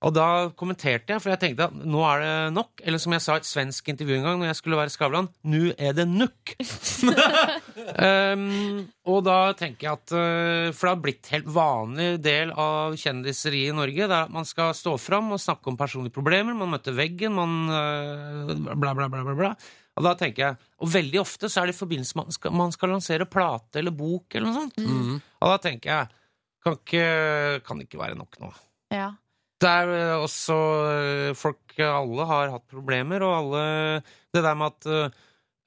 [SPEAKER 9] Og da kommenterte jeg, for jeg tenkte at nå er det nok. Eller som jeg sa i et svensk intervju en gang når jeg skulle være Skavlan, nu er det nukk! um, og da tenker jeg at eh, For det har blitt helt vanlig del av kjendiseriet i Norge. Det er at man skal stå fram og snakke om personlige problemer. Man møter veggen, man eh, bla, bla, bla, bla, bla. Og da tenker jeg, og veldig ofte så er det i forbindelse med at man skal, man skal lansere plate eller bok eller noe sånt.
[SPEAKER 5] Mm.
[SPEAKER 9] Og da tenker jeg kan ikke, kan ikke være nok nå.
[SPEAKER 5] [LAUGHS] Ja.
[SPEAKER 9] Det er eh, også eh, folk Alle har hatt problemer, og alle Det der med at eh,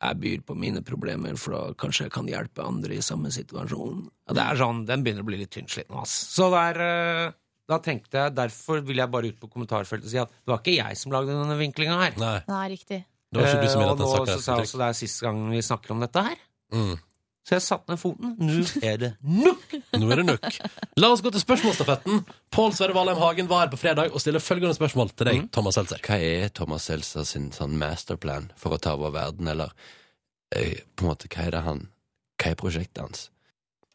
[SPEAKER 9] jeg byr på mine problemer, for da kanskje jeg kan hjelpe andre i samme situasjon. Ja, Det er sånn, Den begynner å bli litt tynnsliten. ass. Så der, eh, da tenkte jeg, Derfor vil jeg bare ut på kommentarfeltet og si at det var ikke jeg som lagde denne vinklinga her.
[SPEAKER 5] Nei, riktig.
[SPEAKER 2] Det var ikke du som
[SPEAKER 9] Eh,
[SPEAKER 2] ville
[SPEAKER 9] og
[SPEAKER 2] at den
[SPEAKER 9] nå
[SPEAKER 2] saken
[SPEAKER 9] så sa jeg
[SPEAKER 2] skulle
[SPEAKER 9] også det er siste gang vi snakker om dette her.
[SPEAKER 2] Mm.
[SPEAKER 9] Så jeg satte ned foten. Nå
[SPEAKER 2] [LAUGHS]
[SPEAKER 9] er det nok!
[SPEAKER 2] Nå er det nok. La oss gå til spørsmålstafetten. Pål Sverre Valheim Hagen var her på fredag og stiller følgende spørsmål til deg, Thomas Seltzer.
[SPEAKER 13] Mhm. Hva er Thomas Seltzer sin sånn masterplan for å ta over verden, eller eh, på en måte, hva er det han Hva er prosjektet hans?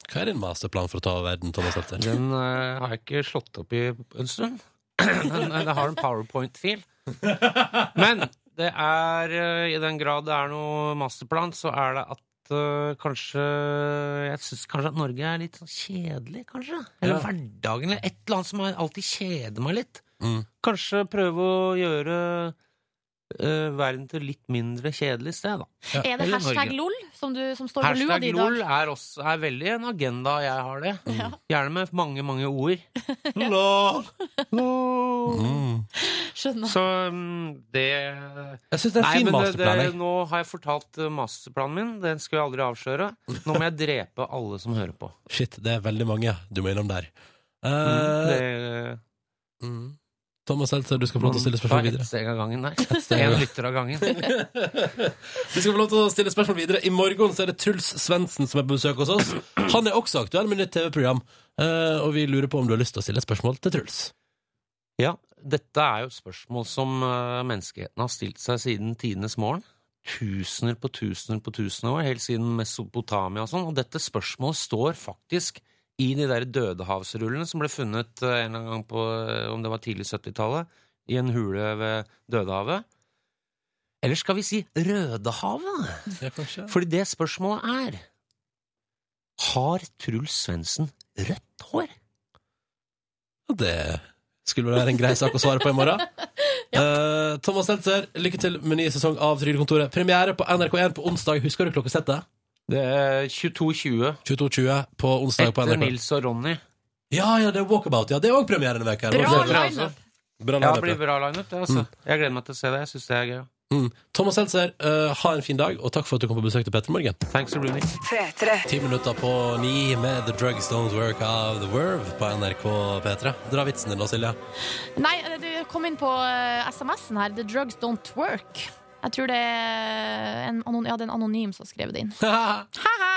[SPEAKER 2] Hva er din masterplan for å ta over verden, Thomas Seltzer?
[SPEAKER 9] Den eh, har jeg ikke slått opp i en stund. [CLEARS THROAT] Den, den har en powerpoint-fil. Men det er, eh, i den grad det er noe masterplan, så er det at eh, kanskje Jeg syns kanskje at Norge er litt sånn kjedelig, kanskje. Eller
[SPEAKER 2] Ja.
[SPEAKER 9] hverdagen, eller et eller annet som er- alltid kjeder meg litt.
[SPEAKER 2] Mm.
[SPEAKER 9] Kanskje prøve å gjøre eh, verden til litt mindre kjedelig sted, da.
[SPEAKER 5] Er det
[SPEAKER 9] Eller
[SPEAKER 5] hashtag
[SPEAKER 9] Norge.
[SPEAKER 5] LOL som, du, som står på lua
[SPEAKER 9] Hashtag
[SPEAKER 5] di i
[SPEAKER 9] LOL
[SPEAKER 5] dag? Mm.
[SPEAKER 9] er, også, er veldig en agenda jeg har det. Gjerne med mange, mange ord. [LAUGHS] LOL! LOL!
[SPEAKER 2] Mm.
[SPEAKER 5] Skjønner.
[SPEAKER 9] Så mm, det Jeg
[SPEAKER 2] syns det er en fin masterplan, jeg.
[SPEAKER 9] Nå har jeg fortalt eh, masterplanen min. Den skal jeg aldri avsløre. Nå må jeg drepe alle som hører på.
[SPEAKER 2] Shit, det er veldig mange du må innom der. [LAUGHS] Eh,
[SPEAKER 9] Mm, det, Mm.
[SPEAKER 2] Thomas Seltzer, du skal få lov til å stille spørsmål
[SPEAKER 9] Ta ett
[SPEAKER 2] videre.
[SPEAKER 9] steg av gangen der.
[SPEAKER 2] Ett steg av
[SPEAKER 9] En
[SPEAKER 2] gangen.
[SPEAKER 9] lytter av gangen.
[SPEAKER 2] [LAUGHS] Vi skal få lov til å stille spørsmål videre. I morgen så er det Truls Svendsen som er på besøk hos oss. Han er også aktuell med nytt TV-program, eh, og vi lurer på om du har lyst til å stille et spørsmål til Truls.
[SPEAKER 9] Ja, dette er jo et spørsmål som eh, menneskeheten har stilt seg siden tidenes morgen. Tusener på tusener på tusener år, helt siden Mesopotamia og sånn. Og dette spørsmålet står faktisk i de der dødehavsrullene som ble funnet eh, en eller annen gang på, eh, om det var tidlig 70-tallet, i en hule ved Dødehavet. Eller skal vi si Rødehavet?
[SPEAKER 2] Ja, kanskje.
[SPEAKER 9] Fordi det spørsmålet er Har Truls Svendsen rødt hår?
[SPEAKER 2] Og det skulle vel være en grei sak å svare på i morgen. Eh, Thomas Seltzer, lykke til med ny sesong av Trygdekontoret. Premiere på NRK1 på onsdag. Husker du klokkesettet?
[SPEAKER 9] Det er 22.20.
[SPEAKER 2] 22.20 på onsdag på
[SPEAKER 9] Etter
[SPEAKER 2] NRK.
[SPEAKER 9] Nils og Ronny.
[SPEAKER 2] Ja, ja, det er Walkabout. Ja, det er òg premiere denne uka.
[SPEAKER 9] Bra lineup.
[SPEAKER 2] Bra
[SPEAKER 9] Ja,
[SPEAKER 2] lineup,
[SPEAKER 9] det blir bra lineup, det. Altså. Jeg gleder meg til å se det. Jeg syns det er gøy.
[SPEAKER 2] Mm. Thomas Seltzer, eh, ha en fin dag, og takk for at du kom på besøk til Petter Morgen.
[SPEAKER 9] Thanks for being
[SPEAKER 2] Ti minutter på ni med The Drugs Don't Work av The Verve på NRK P3. Dra vitsen din nå, Silje.
[SPEAKER 5] Nei, du kom inn på eh, SMS-en her. The drugs don't work. Jeg tror det er en, anon ja, det er en anonym som skrev det inn. Ha-ha!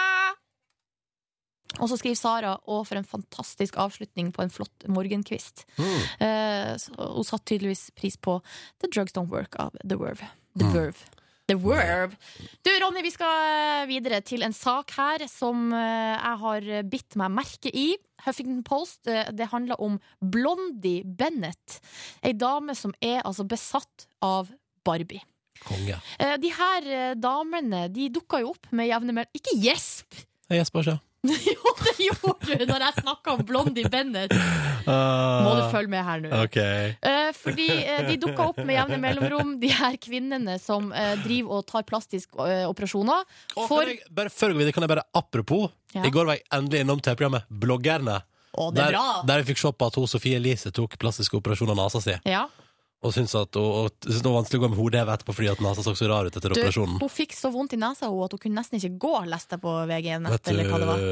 [SPEAKER 5] Og så skriver Sara å, for en fantastisk avslutning på en flott morgenkvist.
[SPEAKER 14] Mm.
[SPEAKER 5] Eh, så hun satte tydeligvis pris på The Drugs Don't Work av The Verve. The
[SPEAKER 4] Mm.
[SPEAKER 5] Verve. The Verve. Du, Ronny, vi skal videre til en sak her som eh, jeg har bitt meg merke i. Huffington Post. eh, Det handler om Blondie Bennett. Ei dame som er altså besatt av Barbie.
[SPEAKER 2] Konge.
[SPEAKER 5] Eh, De her eh, damene de dukka jo opp med jevne mellom Ikke gjesp! [LAUGHS]
[SPEAKER 2] Jeg gjesper ikke.
[SPEAKER 5] Jo, det gjorde du når jeg snakka om Blondie Bennett! Må du følge med her nå.
[SPEAKER 2] Ok.
[SPEAKER 5] Eh, fordi eh, de dukka opp med jevne mellomrom, de her kvinnene som eh, driver og tar plastiske eh, operasjoner.
[SPEAKER 2] Og
[SPEAKER 5] For
[SPEAKER 2] kan jeg, bare før vi går videre, kan jeg bare apropos
[SPEAKER 5] Ja.
[SPEAKER 2] I går var jeg endelig innom TV-programmet Bloggerne.
[SPEAKER 5] Å, det er
[SPEAKER 2] der,
[SPEAKER 5] bra.
[SPEAKER 2] der jeg fikk se på at hun Sofie Elise tok plastisk operasjon av nesa si.
[SPEAKER 5] ja,
[SPEAKER 2] Og syntes at hun, og syntes det var vanskelig å gå med hodehevet etterpå fordi at nesa så så rar ut etter
[SPEAKER 5] du,
[SPEAKER 2] operasjonen.
[SPEAKER 5] hun fikk så vondt i nesa hun, at hun kunne nesten ikke gå, leste jeg på VG
[SPEAKER 2] Vet
[SPEAKER 5] Nett.
[SPEAKER 2] du,
[SPEAKER 5] Eller hva det, var.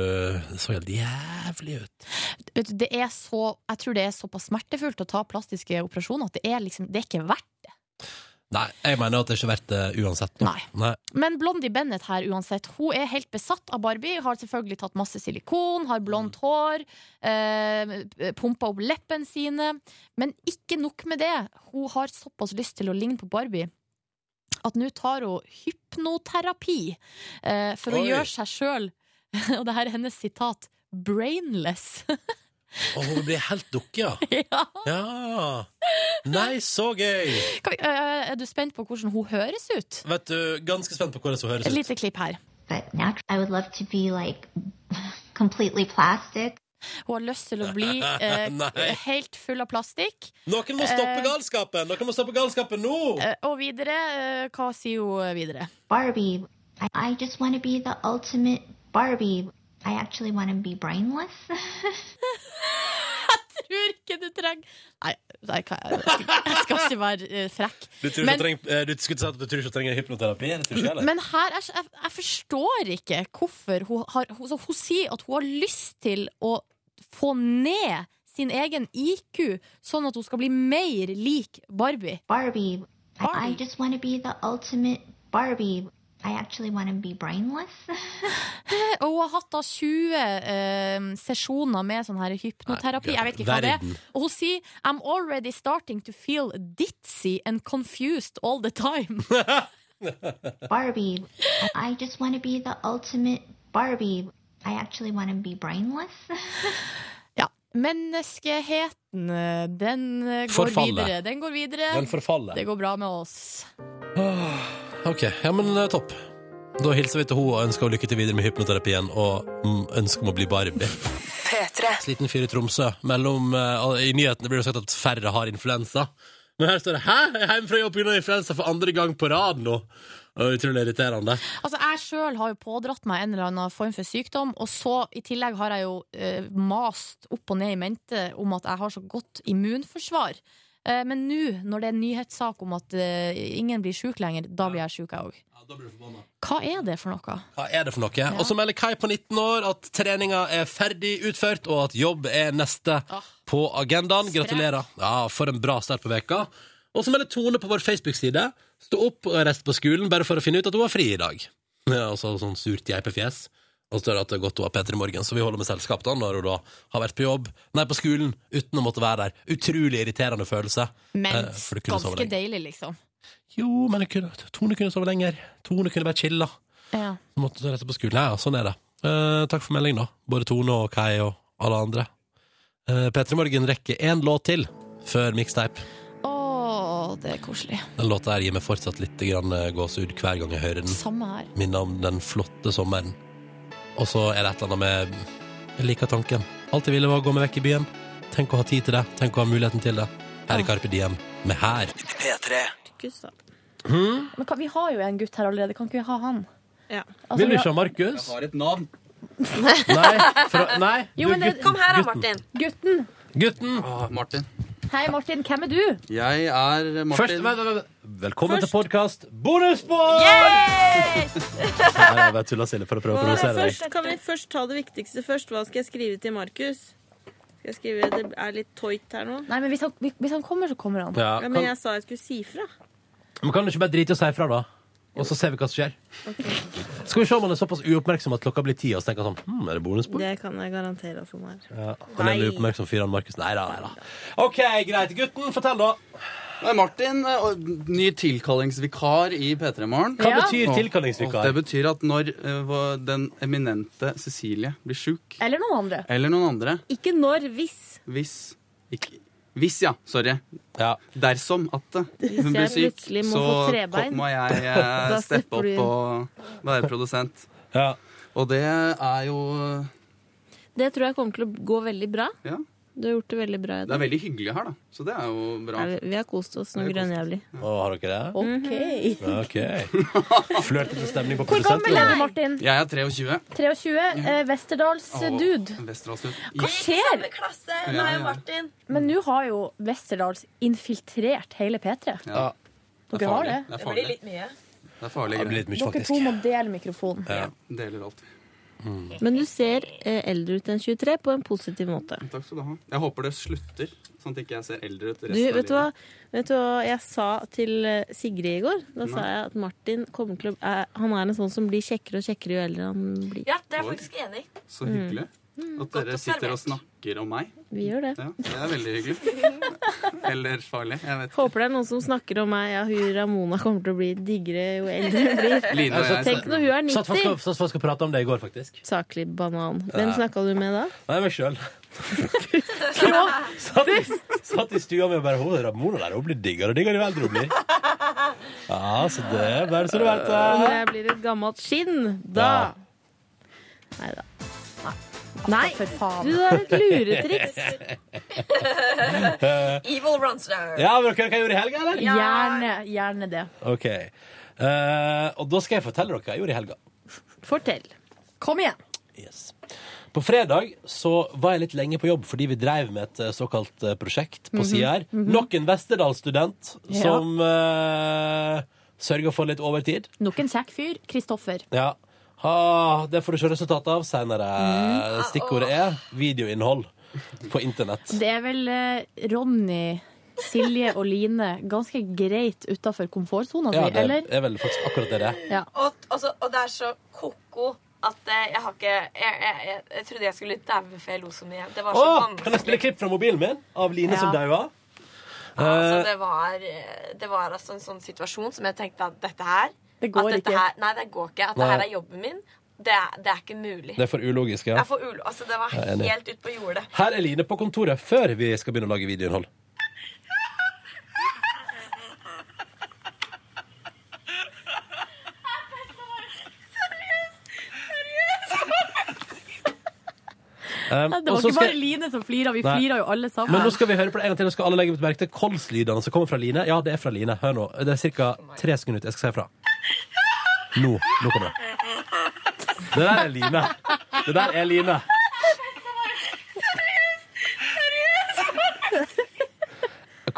[SPEAKER 2] det så helt jævlig ut.
[SPEAKER 5] Vet du, det er så, jeg tror det er såpass smertefullt å ta plastiske operasjoner at det er, liksom, det er ikke verdt
[SPEAKER 2] Nei, jeg mener at det er ikke verdt det uansett. Nei. Nei.
[SPEAKER 5] Men Blondie Bennett her uansett, hun er helt besatt av Barbie. Har selvfølgelig tatt masse silikon, har blondt hår, eh, pumpa opp leppene sine. Men ikke nok med det. Hun har såpass lyst til å ligne på Barbie at nå tar hun hypnoterapi eh, for å
[SPEAKER 12] Oi.
[SPEAKER 5] gjøre seg sjøl, [LAUGHS] og det her er hennes sitat, brainless. [LAUGHS]
[SPEAKER 2] Og hun blir helt dukke, ja. ja. Nei, så gøy!
[SPEAKER 5] Kan vi, eh, er du spent på hvordan hun høres ut?
[SPEAKER 2] Vet du, Ganske spent på hvordan hun høres
[SPEAKER 5] Et
[SPEAKER 2] ut.
[SPEAKER 5] lite klipp her.
[SPEAKER 14] But naturally, I would love to be like [LAUGHS] completely plastic.
[SPEAKER 5] Hun har lyst til å
[SPEAKER 2] [LAUGHS]
[SPEAKER 5] bli eh,
[SPEAKER 2] Nei.
[SPEAKER 5] helt full av plastikk.
[SPEAKER 2] Noen må stoppe
[SPEAKER 5] Eh,
[SPEAKER 2] galskapen! Noen må stoppe galskapen nå!
[SPEAKER 5] eh, og videre, eh, hva sier hun videre?
[SPEAKER 14] Barbie. I, I just want to be the ultimate Barbie. I actually want to be
[SPEAKER 5] [LAUGHS]
[SPEAKER 14] brainless. [LAUGHS]
[SPEAKER 5] Tror ikke du trenger Nei, nei, hva- jeg skal ikke- [LAUGHS] jeg skal ikke være eh, frekk.
[SPEAKER 2] Du,
[SPEAKER 5] [LAUGHS]
[SPEAKER 2] tror ikke
[SPEAKER 5] Men-
[SPEAKER 2] hun trenger- eh, du skulle sagt at du tror ikke hun trenger hypnoterapi? eller tror du ikke heller?
[SPEAKER 5] Men her, er, jeg, jeg forstår ikke hvorfor hun har hun, så hun sier at hun har lyst til å få ned sin egen IQ, sånn at hun skal bli mer er lik Barbie.
[SPEAKER 14] Barbie. I, I just want to be the ultimate Barbie. I actually want to be brainless. [LAUGHS]
[SPEAKER 5] [LAUGHS] Og hun har hatt da 20 eh, sesjoner med sånn her hypnoterapi. Jeg vet ikke hva det er.
[SPEAKER 14] Verden.
[SPEAKER 5] Og hun sier I'm already starting to feel ditzy and confused all the
[SPEAKER 2] [LAUGHS]
[SPEAKER 5] time.
[SPEAKER 14] Barbie. I, I just want to be the ultimate Barbie. I actually want to be brainless. [LAUGHS]
[SPEAKER 5] Menneskeheten, eh, den eh, går
[SPEAKER 2] Forfaller.
[SPEAKER 5] videre. Den går videre.
[SPEAKER 2] Den forfaller.
[SPEAKER 5] Det går bra med oss.
[SPEAKER 2] Åh, Ok, ja, men eh, topp. Da hilser vi til henne og ønsker henne lykke til videre med hypnoterapien og mm, ønsker om å bli Barbie. Sliten fyr i Tromsø. Mellom, eh, I nyhetene blir det sagt at færre har influensa. Men her står det 'Hæ? Jeg er hjemme fra jobb pga. influensa for andre gang på rad nå'. Det er Utrolig irriterende.
[SPEAKER 5] Altså, jeg sjøl har jo pådratt meg en eller annen form for sykdom, og så i tillegg har jeg jo eh, mast opp og ned i mente om at jeg har så godt immunforsvar. Eh, men nå, når det er en nyhetssak om at eh, ingen blir sjuk lenger, da blir jeg sjuk, jeg òg. Hva er det for noe?
[SPEAKER 2] Hva er det for noe? Og så melder Kai på 19 år at treninga er ferdig utført, og at jobb er neste på agendaen. Gratulerer. Ja, For en bra start på veka. Og så melder Tone på vår Facebook-side stå opp og reiste på skolen bare for å finne ut at hun var fri i dag. [LAUGHS] Ja, og så sånn surt geipefjes. Og så står det at det er godt hun har Peter i morgen, så vi holder med selskap da, når hun da har vært på jobb, nei, på skolen, uten å måtte være der. Utrolig irriterende følelse.
[SPEAKER 5] Men
[SPEAKER 2] Eh, for du kunne sove
[SPEAKER 5] ganske
[SPEAKER 2] lenger.
[SPEAKER 5] deilig, liksom.
[SPEAKER 2] Jo, men jeg kunne, Tone kunne sove lenger. Tone kunne bare chilla.
[SPEAKER 5] Ja.
[SPEAKER 2] Så måtte du rette på skolen. Ja, ja, sånn er det. Eh, takk for meldingen, da. Både Tone og Kai og alle andre. Uh, P3 Morgen rekker én låt til før mixtape.
[SPEAKER 5] Å, det er koselig.
[SPEAKER 2] Den låta her gir meg fortsatt litt grann eh, gåsehud hver gang jeg hører den.
[SPEAKER 5] Samme her.
[SPEAKER 2] Minner om den flotte sommeren. Og så er det et eller annet med Jeg liker tanken. Alt jeg ville, var å gå meg vekk i byen. Tenk å ha tid til det. Tenk å ha muligheten til det. Her i Carpe Diem med Her.
[SPEAKER 11] P3.
[SPEAKER 4] Gustav.
[SPEAKER 2] Hmm?
[SPEAKER 4] Men kan, vi har jo en gutt her allerede, kan ikke vi ha han? Altså,
[SPEAKER 2] Vil du
[SPEAKER 4] vi
[SPEAKER 2] ikke ha Markus? Jeg har et navn.
[SPEAKER 4] Nei,
[SPEAKER 2] fra- nei,
[SPEAKER 4] Jo,
[SPEAKER 2] du,
[SPEAKER 4] men det-
[SPEAKER 2] gutten, Kom her da, gutten.
[SPEAKER 4] Gutten.
[SPEAKER 2] Gutten!
[SPEAKER 15] Martin.
[SPEAKER 4] Hei, Martin. Hvem er du?
[SPEAKER 15] Jeg er Martin.
[SPEAKER 2] Først- vent, vent, Velkommen til podkast Bonusbord! Nei, jeg bare tulla, Silje, for å prøve å provosere deg.
[SPEAKER 16] Først, kan vi først ta det viktigste først? Hva skal jeg skrive til Markus? Skal jeg skrive Det er litt tøyt her nå.
[SPEAKER 4] Nei, men hvis han, hvis han kommer, så kommer han.
[SPEAKER 2] Ja,
[SPEAKER 16] men
[SPEAKER 2] kan-
[SPEAKER 16] jeg sa jeg skulle si fra.
[SPEAKER 2] Men kan du ikke bare drite i å si ifra, da? Og så ser vi hva som skjer. Skal vi se om han er såpass uoppmerksom at klokka blir ti, og så tenker han sånn hm, Er det bonusbord?
[SPEAKER 16] Det kan jeg garantere at hun er.
[SPEAKER 2] Ja, han er en uoppmerksom fyr, han Markus. Nei da, nei da. OK, greit. Gutten, fortell, da.
[SPEAKER 15] Nei, Martin, eh, og ny tilkallingsvikar i P3 Morgen.
[SPEAKER 2] Hva Ja. betyr tilkallingsvikar?
[SPEAKER 15] Det betyr at når eh, vår- den eminente Cecilie blir sjuk,
[SPEAKER 4] Eller noen andre.
[SPEAKER 15] eller noen andre
[SPEAKER 16] Ikke når, hvis.
[SPEAKER 15] Hvis ikke, Hvis, ja. Sorry. Dersom at eh,
[SPEAKER 16] Hvis
[SPEAKER 15] hun blir
[SPEAKER 16] jeg
[SPEAKER 15] syk,
[SPEAKER 16] plutselig må
[SPEAKER 15] så
[SPEAKER 16] få trebein,
[SPEAKER 15] kom- må jeg eh,
[SPEAKER 16] da
[SPEAKER 15] steppe
[SPEAKER 16] stepper du
[SPEAKER 15] opp
[SPEAKER 16] inn.
[SPEAKER 15] og være produsent. Og det er jo
[SPEAKER 16] Det tror jeg kommer til å gå veldig bra.
[SPEAKER 15] Ja.
[SPEAKER 16] Du har gjort det veldig bra i
[SPEAKER 15] Det er
[SPEAKER 16] dag.
[SPEAKER 15] veldig hyggelig her, da. Så det er jo bra.
[SPEAKER 16] Nei, vi- vi har kost oss noe
[SPEAKER 15] Vi har kost
[SPEAKER 16] grønnjævlig. Mhm.
[SPEAKER 2] Å, har dere det?
[SPEAKER 4] Ok.
[SPEAKER 2] Ja,
[SPEAKER 15] [LAUGHS]
[SPEAKER 2] OK. Flørtete stemning på
[SPEAKER 4] Hvor
[SPEAKER 2] produsenten.
[SPEAKER 4] gammel er du, Martin?
[SPEAKER 15] Jeg er 23.
[SPEAKER 4] 23. Eh, Westerdals eh,
[SPEAKER 15] Åh,
[SPEAKER 4] dude.
[SPEAKER 15] Westerdalsdude.
[SPEAKER 4] Hva skjer?
[SPEAKER 15] Ja, ja, ja.
[SPEAKER 4] Men nå har jo Westerdals infiltrert hele P3.
[SPEAKER 15] Ja.
[SPEAKER 4] Dere har det.
[SPEAKER 15] Det er farlig.
[SPEAKER 16] litt mye.
[SPEAKER 15] Det er farlig
[SPEAKER 2] Det blir litt mye,
[SPEAKER 4] Dere to må dele mikrofonen.
[SPEAKER 15] Ja. Deler alt.
[SPEAKER 16] Mm. Men du ser eh, eldre ut enn 23 på en positiv måte.
[SPEAKER 15] Takk skal du ha. Mhm. Jeg håper det slutter, sånn at ikke jeg ser eldre ut resten
[SPEAKER 16] Du, vet, du hva,
[SPEAKER 15] av livet.
[SPEAKER 16] vet du hva jeg sa til eh, Sigrid i går? Da sa
[SPEAKER 15] Nei.
[SPEAKER 16] jeg at Martin kommer til å, er, han er en sånn som blir kjekkere og kjekkere jo eldre han blir.
[SPEAKER 3] Ja, det er jeg faktisk enig i.
[SPEAKER 15] Så hyggelig
[SPEAKER 16] Mm.
[SPEAKER 15] at dere sitter og snakker om meg.
[SPEAKER 16] Vi gjør det.
[SPEAKER 15] Ja, det er veldig hyggelig.
[SPEAKER 16] [LAUGHS]
[SPEAKER 15] Eller farlig. Jeg vet
[SPEAKER 16] Håper det er noen som snakker om meg. Ja, hun Ramona kommer til å bli diggere jo eldre hun blir.
[SPEAKER 2] [LAUGHS]
[SPEAKER 16] Altså,
[SPEAKER 2] Line og jeg
[SPEAKER 16] Tenk
[SPEAKER 2] snakker
[SPEAKER 16] når hun er
[SPEAKER 2] Altså, Satt fast
[SPEAKER 16] 90!
[SPEAKER 2] satt fast og prata om det i går, faktisk.
[SPEAKER 16] Saklig banan. Hvem
[SPEAKER 2] Ja.
[SPEAKER 16] snakka du med da?
[SPEAKER 2] Nei, meg sjøl. satt, i- satt i stua mi og bare Hun Ramona der, hun blir diggere og diggere jo eldre hun blir. Ja, så det bare så du vet
[SPEAKER 16] Og
[SPEAKER 2] det.
[SPEAKER 16] Når jeg blir et gammelt skinn, da Nei da. Nei, du har et
[SPEAKER 2] [LAUGHS]
[SPEAKER 16] luretriks. [LAUGHS]
[SPEAKER 3] Evil Ronster.
[SPEAKER 2] Ja, men dere, hva gjorde i helga, eller?
[SPEAKER 5] Gjerne, gjerne det.
[SPEAKER 2] OK. Eh, og da skal jeg fortelle dere hva jeg gjorde i helga.
[SPEAKER 16] Fortell.
[SPEAKER 5] Kom igjen.
[SPEAKER 2] Yes. På fredag så var jeg litt lenge på jobb fordi vi drev med et eh, såkalt eh, prosjekt på
[SPEAKER 17] Mhm,
[SPEAKER 2] sida her.
[SPEAKER 17] mhm.
[SPEAKER 2] Nok en Westerdals-student
[SPEAKER 5] Ja.
[SPEAKER 2] som uh, sørga for litt overtid.
[SPEAKER 5] Nok en kjekk fyr. Kristoffer.
[SPEAKER 2] Ja. Ha, det får du se resultatet av
[SPEAKER 5] Mhm.
[SPEAKER 2] seinere. Stikkordet er videoinnhold på internett.
[SPEAKER 5] Det er vel eh, Ronny, Silje og Line ganske greit utafor komfortsona
[SPEAKER 2] Ja,
[SPEAKER 5] si, Altså, eller?
[SPEAKER 2] det er vel faktisk akkurat det det er.
[SPEAKER 5] Ja.
[SPEAKER 3] Og, og så- og det er så ko-ko at eh, jeg har ikke Jeg, jeg, jeg, jeg trodde jeg skulle daue før jeg lo så mye. Det var så
[SPEAKER 2] Å, kan jeg
[SPEAKER 3] vanskelig.
[SPEAKER 2] spille klipp fra mobilen min av Line som
[SPEAKER 3] Ja.
[SPEAKER 2] daua?
[SPEAKER 3] Altså,
[SPEAKER 2] Eh,
[SPEAKER 3] det var, eh, det var altså en sånn situasjon som jeg tenkte at dette her
[SPEAKER 5] Det går
[SPEAKER 3] at dette
[SPEAKER 5] ikke.
[SPEAKER 3] Her, nei, det går ikke. At
[SPEAKER 2] Nei.
[SPEAKER 3] det her er jobben min, det er, det er ikke mulig.
[SPEAKER 2] det er for ulogisk,
[SPEAKER 3] Det
[SPEAKER 2] ja.
[SPEAKER 3] er for ulo- altså, det var
[SPEAKER 2] Jeg er enig.
[SPEAKER 3] helt ut på jordet.
[SPEAKER 2] Her er Line på kontoret før vi skal begynne å lage videoinnhold. Um,
[SPEAKER 5] [LAUGHS] Det var
[SPEAKER 2] og så
[SPEAKER 5] ikke
[SPEAKER 2] skal-
[SPEAKER 5] bare Line som flira, vi
[SPEAKER 2] Nei.
[SPEAKER 5] flira jo alle sammen.
[SPEAKER 2] Men nå skal vi høre på det en gang til. Nå skal alle legge merke til kolslydene som kommer fra Line. Ja, det er fra Line. Hør nå. Det er ca. tre sekunder ut. Jeg skal si fra. Nå. Nå kommer det. Det der er Line. Det der er Line.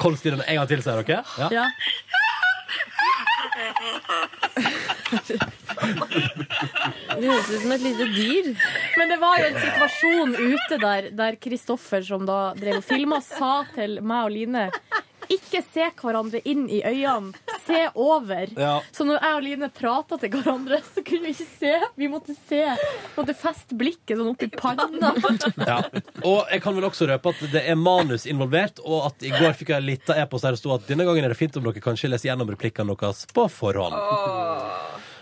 [SPEAKER 2] Kolslydene en gang til, sier dere?
[SPEAKER 5] Ja.
[SPEAKER 16] Det høres ut som et lite dyr.
[SPEAKER 5] Men det var jo en situasjon ute der der Kristoffer, som da drev og filma, sa til meg og Line ikke se hverandre inn i øynene, se over.
[SPEAKER 2] Ja.
[SPEAKER 5] Så når jeg og Line prata til hverandre, så kunne vi ikke se. Vi måtte se. Vi måtte feste blikket sånn opp i panna.
[SPEAKER 2] Ja. Og jeg kan vel også røpe at det er manus involvert, og at i går fikk jeg en liten e-post der det sto at denne gangen er det fint om dere kanskje leser gjennom replikkene deres på forhånd.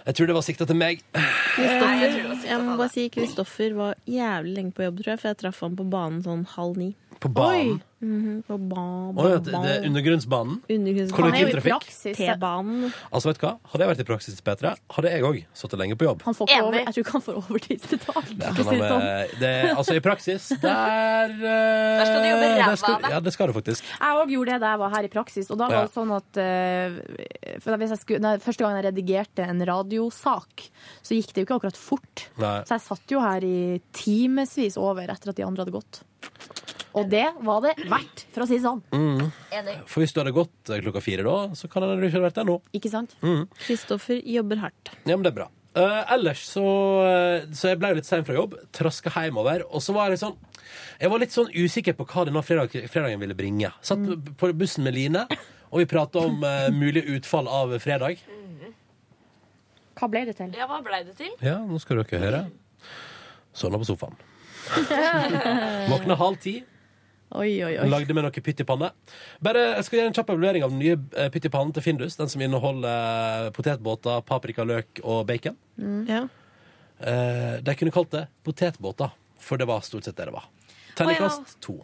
[SPEAKER 2] Jeg tror det var sikta til meg.
[SPEAKER 16] Kristoffer, jeg må bare si Kristoffer var jævlig lenge på jobb, tror jeg, for jeg traff ham på banen sånn halv ni.
[SPEAKER 2] På banen?
[SPEAKER 16] Oi. Mhm, på ba
[SPEAKER 2] Å, ja, det, det er undergrunnsbanen.
[SPEAKER 16] Undergrunns-
[SPEAKER 2] Kollektivtrafikk.
[SPEAKER 16] T-banen.
[SPEAKER 2] Altså, vet du hva? Hadde jeg vært i praksis bedre, hadde jeg òg sittet lenge på jobb.
[SPEAKER 5] Han får ikke over, jeg tror ikke han får overtidsbetalt. for å si
[SPEAKER 2] Men,
[SPEAKER 5] det sånn.
[SPEAKER 2] eh, det, altså, i
[SPEAKER 5] [LAUGHS]
[SPEAKER 2] praksis Der
[SPEAKER 5] Der skal du jobbe
[SPEAKER 2] eh,
[SPEAKER 5] ræva
[SPEAKER 2] der skal-
[SPEAKER 5] av deg.
[SPEAKER 2] Ja, det skal du faktisk.
[SPEAKER 5] Jeg òg gjorde det da jeg var her i praksis. Og da var det
[SPEAKER 2] Ja.
[SPEAKER 5] sånn at eh, for da hvis jeg skulle, nei, Første gang jeg redigerte en radiosak, så gikk det jo ikke akkurat fort.
[SPEAKER 2] Nei.
[SPEAKER 5] Så jeg satt jo her i timevis over etter at de andre hadde gått. Og det var det verdt, for å si det sånn.
[SPEAKER 2] Mm.
[SPEAKER 5] Enig.
[SPEAKER 2] For hvis du hadde gått eh, klokka fire da, så kan det ikke ha vært der nå.
[SPEAKER 5] Ikke sant?
[SPEAKER 2] Mm.
[SPEAKER 16] Kristoffer jobber hardt.
[SPEAKER 2] Ja, men det er bra. Eh, ellers så eh, Så jeg ble jo litt sein fra jobb, traska hjemover, og så var jeg sånn Jeg var litt sånn usikker på hva denne fredag, fredagen ville bringe. Satt
[SPEAKER 5] Mm.
[SPEAKER 2] på bussen med Line, og vi prata om eh, mulig utfall av fredag.
[SPEAKER 5] Hva ble det til?
[SPEAKER 3] Ja, hva blei det til?
[SPEAKER 2] Ja, nå skal dere høre. Sovna på sofaen. Våkna halv ti.
[SPEAKER 5] [LAUGHS] Oi, oi, oi.
[SPEAKER 2] Lagde med noe pytt i panne. Bare, jeg skal gjøre en kjapp evaluering av den nye eh, pytt i pannen til Findus. Den som inneholder eh, potetbåter, paprika, løk og bacon.
[SPEAKER 16] Ja.
[SPEAKER 2] Eh, de kunne kalt det potetbåter, for det var stort sett det det var. Terningkast to.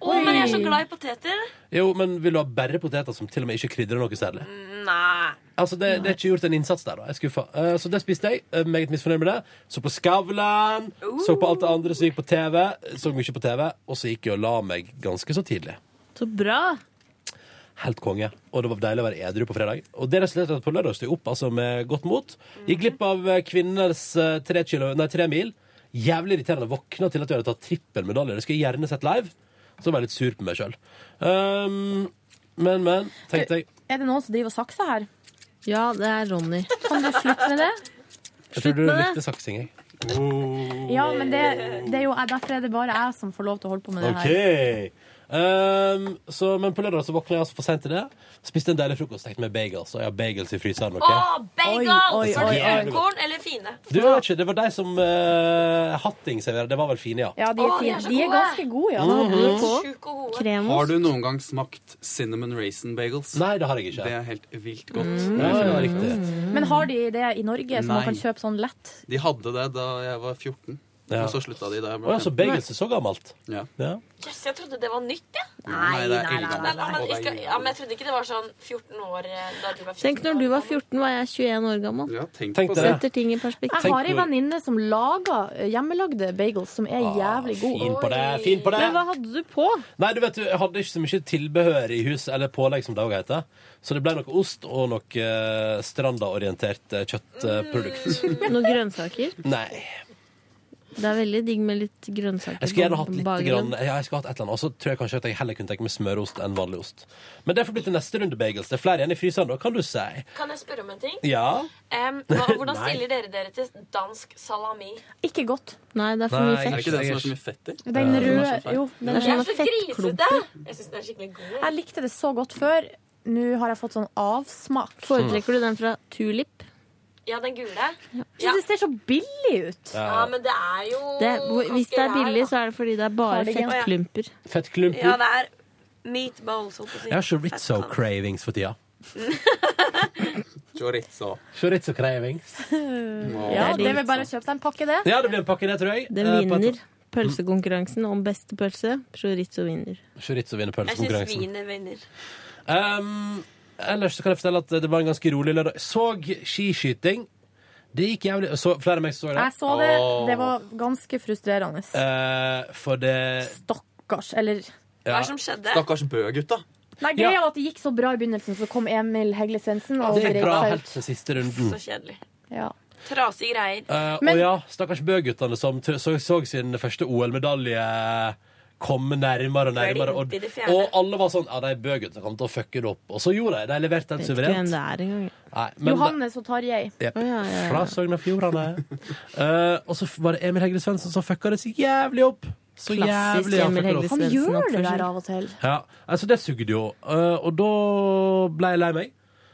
[SPEAKER 3] Å, men jeg er så glad i poteter.
[SPEAKER 2] Jo, men vil du ha bare poteter som til og med ikke krydrer noe særlig?
[SPEAKER 5] Mm.
[SPEAKER 3] Nei.
[SPEAKER 2] Altså, det, det er ikke gjort en innsats der, da. Jeg er skuffa. Eh, så det spiste jeg. Eh, meget misfornøyd med det. Så på Skavlan. Så på
[SPEAKER 5] Uh.
[SPEAKER 2] alt det andre som gikk på TV. Så mye på TV. Og så gikk jeg og la meg ganske så tidlig.
[SPEAKER 16] Så bra!
[SPEAKER 2] Helt konge. Og det var deilig å være edru på fredag. Og det resulterte i at på lørdag sto jeg opp altså, med godt mot. Gikk glipp av eh, kvinners eh, tre, kilo, nei, tre mil. Jævlig irriterende. Våkna til at jeg hadde tatt trippelmedalje. Det skulle jeg gjerne sett live. Så var jeg litt sur på meg sjøl. Um, men, men, tenkte jeg.
[SPEAKER 5] Er det noen som driver og sakser her?
[SPEAKER 16] Ja, det er Ronny.
[SPEAKER 5] Kan du slutte med det?
[SPEAKER 2] Jeg tror
[SPEAKER 16] Slutt
[SPEAKER 2] du
[SPEAKER 16] med det.
[SPEAKER 2] likte saksing, jeg.
[SPEAKER 5] Oh.
[SPEAKER 4] Ja, men det, det er jo derfor er det bare jeg som får lov til å holde på med det
[SPEAKER 2] OK. Ehm, så, men på lørdag så våkna jeg altså for sent til det. Spiste en deilig frokost stekt med bagels. Og jeg har bagels i fryseren. ok?
[SPEAKER 3] Å, bagels!
[SPEAKER 2] Oi, oi,
[SPEAKER 3] Var det
[SPEAKER 2] oi, oi.
[SPEAKER 3] gullkorn eller fine?
[SPEAKER 2] Du, jeg vet ikke, det var de som eh, Hatting serverer. Det var vel fine, ja.
[SPEAKER 4] Ja, de er,
[SPEAKER 3] Å, de er
[SPEAKER 4] fine.
[SPEAKER 3] så
[SPEAKER 4] de er
[SPEAKER 3] gode.
[SPEAKER 4] ganske gode, ja.
[SPEAKER 2] Mhm.
[SPEAKER 3] Sjukt og gode.
[SPEAKER 15] Mhm. Har du noen gang smakt cinnamon raisin bagels?
[SPEAKER 2] Nei, det har jeg ikke.
[SPEAKER 15] Det er helt vilt godt.
[SPEAKER 16] Mm.
[SPEAKER 2] Ja, ja, riktig.
[SPEAKER 4] Men har de det i Norge, så man
[SPEAKER 15] Nei.
[SPEAKER 4] kan kjøpe sånn lett?
[SPEAKER 15] De hadde det da jeg var 14,
[SPEAKER 2] Ja.
[SPEAKER 15] og så slutta de da jeg
[SPEAKER 2] Å, ja, så
[SPEAKER 15] 15.
[SPEAKER 2] bagels er så gammelt?
[SPEAKER 15] Ja.
[SPEAKER 3] Jøss, jeg trodde det var nytt, jeg.
[SPEAKER 15] Nei, det er Nei, nei, eldgammelt. nei, nei, nei.
[SPEAKER 3] Men jeg skal- Ja, men jeg trodde ikke det var sånn 14 år eh, da du var 14.
[SPEAKER 16] Tenk når du var 14, var jeg 21 år gammel.
[SPEAKER 15] tenk
[SPEAKER 2] Tenk på det. det.
[SPEAKER 16] Setter ting i perspektiv.
[SPEAKER 4] Jeg har ei venninne som lager eh, hjemmelagde bagels som er jævlig gode.
[SPEAKER 2] Ah, Fin på det. Fin på det.
[SPEAKER 16] Men hva hadde du på?
[SPEAKER 2] Nei, du vet, du, jeg hadde ikke så mye tilbehør i hus, eller pålegg som det også heter. Så det ble noe ost og noe eh, strandaorientert eh, kjøttprodukt.
[SPEAKER 3] Mm.
[SPEAKER 16] Noen grønnsaker?
[SPEAKER 2] Nei.
[SPEAKER 16] Det er veldig digg med litt grønnsaker.
[SPEAKER 2] Jeg skulle gjerne hatt litt
[SPEAKER 16] på
[SPEAKER 2] grann,
[SPEAKER 16] bakgrunnen.
[SPEAKER 2] ja, jeg skulle hatt et eller annet. Og så tror jeg kanskje at jeg heller kunne tenke meg smørost enn vanlig ost. Men det får bli til neste runde bagels. Det er flere igjen i fryseren, da, kan du si.
[SPEAKER 3] Kan jeg spørre om en ting?
[SPEAKER 2] Ja.
[SPEAKER 3] Em, hva, hvordan
[SPEAKER 2] Nei.
[SPEAKER 3] stiller dere dere til dansk salami?
[SPEAKER 4] Ikke godt.
[SPEAKER 16] Nei, det er for
[SPEAKER 2] Nei,
[SPEAKER 16] mye fett.
[SPEAKER 15] Er det ikke den som er så mye fett i?
[SPEAKER 4] Den røde
[SPEAKER 15] Ja.
[SPEAKER 2] Eh,
[SPEAKER 15] Den er så feit.
[SPEAKER 4] Jo, den
[SPEAKER 3] Den er
[SPEAKER 4] sånne
[SPEAKER 3] så
[SPEAKER 4] fettklumper.
[SPEAKER 3] grisete! Jeg syns den er skikkelig god.
[SPEAKER 4] Jeg likte det så godt før. Nå har jeg fått sånn avsmak.
[SPEAKER 16] Foretrekker du den fra Tulip?
[SPEAKER 3] Ja, den gule.
[SPEAKER 4] Så det ser så billig ut.
[SPEAKER 3] Ja, men det er jo
[SPEAKER 16] Det, hvor- hvis det er billig, så er det fordi det er bare
[SPEAKER 3] Cardigan.
[SPEAKER 16] fettklumper.
[SPEAKER 2] Fettklumper.
[SPEAKER 3] Ja, det er meatballs. holdt på å si.
[SPEAKER 2] Jeg har
[SPEAKER 3] [LAUGHS]
[SPEAKER 2] chorizo-cravings for tida.
[SPEAKER 15] Chorizo.
[SPEAKER 2] Chorizo-cravings.
[SPEAKER 4] Ja, det vil bare
[SPEAKER 2] sånn.
[SPEAKER 4] kjøpe deg en pakke, det.
[SPEAKER 2] Ja, det blir en pakke, det, tror jeg.
[SPEAKER 16] Den
[SPEAKER 2] Eh, på et-
[SPEAKER 16] vinner pølsekonkurransen om beste pølse. Chorizo vinner.
[SPEAKER 2] Chorizo vinner
[SPEAKER 3] Jeg syns
[SPEAKER 2] pølsekonkurransen.
[SPEAKER 3] vin er venner.
[SPEAKER 2] Um, ellers så kan jeg fortelle at det var en ganske rolig lørdag. Så skiskyting. Det gikk jævlig så, Flere av meg så det.
[SPEAKER 4] Jeg så det. Det var ganske frustrerende.
[SPEAKER 2] Eh, For det
[SPEAKER 4] Stakkars. Eller
[SPEAKER 2] ja.
[SPEAKER 15] Stakkars Bø-gutta.
[SPEAKER 4] Nei, greia var at det gikk så bra i begynnelsen, så kom Emil Hegle Svendsen og
[SPEAKER 2] Det gikk
[SPEAKER 4] dreit
[SPEAKER 2] bra
[SPEAKER 4] seg ut.
[SPEAKER 2] helt til siste runden.
[SPEAKER 3] Så kjedelig.
[SPEAKER 4] Ja.
[SPEAKER 3] Trasige greier.
[SPEAKER 2] Eh, og ja, stakkars Bø-guttene som t- så, så sin første OL-medalje komme nærmere og nærmere. Og,
[SPEAKER 3] Glimt i det fjerne.
[SPEAKER 2] og alle var sånn Ja, de Bø-guttene kommer til å fucke det opp. Og så gjorde de det. De leverte den
[SPEAKER 16] Vet ikke hvem
[SPEAKER 2] suverent.
[SPEAKER 16] det er engang.
[SPEAKER 2] Nei, men da-
[SPEAKER 4] Johannes og Tarjei.
[SPEAKER 2] Jep.
[SPEAKER 16] ja, ja.
[SPEAKER 2] Fra Sogn og Fjordane. Eh, og så var det Emil Hegle Svendsen som fucka det så jævlig opp. Så
[SPEAKER 16] Klassisk
[SPEAKER 2] jævlig han fucka
[SPEAKER 16] Emil
[SPEAKER 2] det
[SPEAKER 16] Hegle
[SPEAKER 2] opp.
[SPEAKER 4] Han gjør det der av og til.
[SPEAKER 2] Ja, altså det sugde jo. Eh, og da ble jeg lei meg.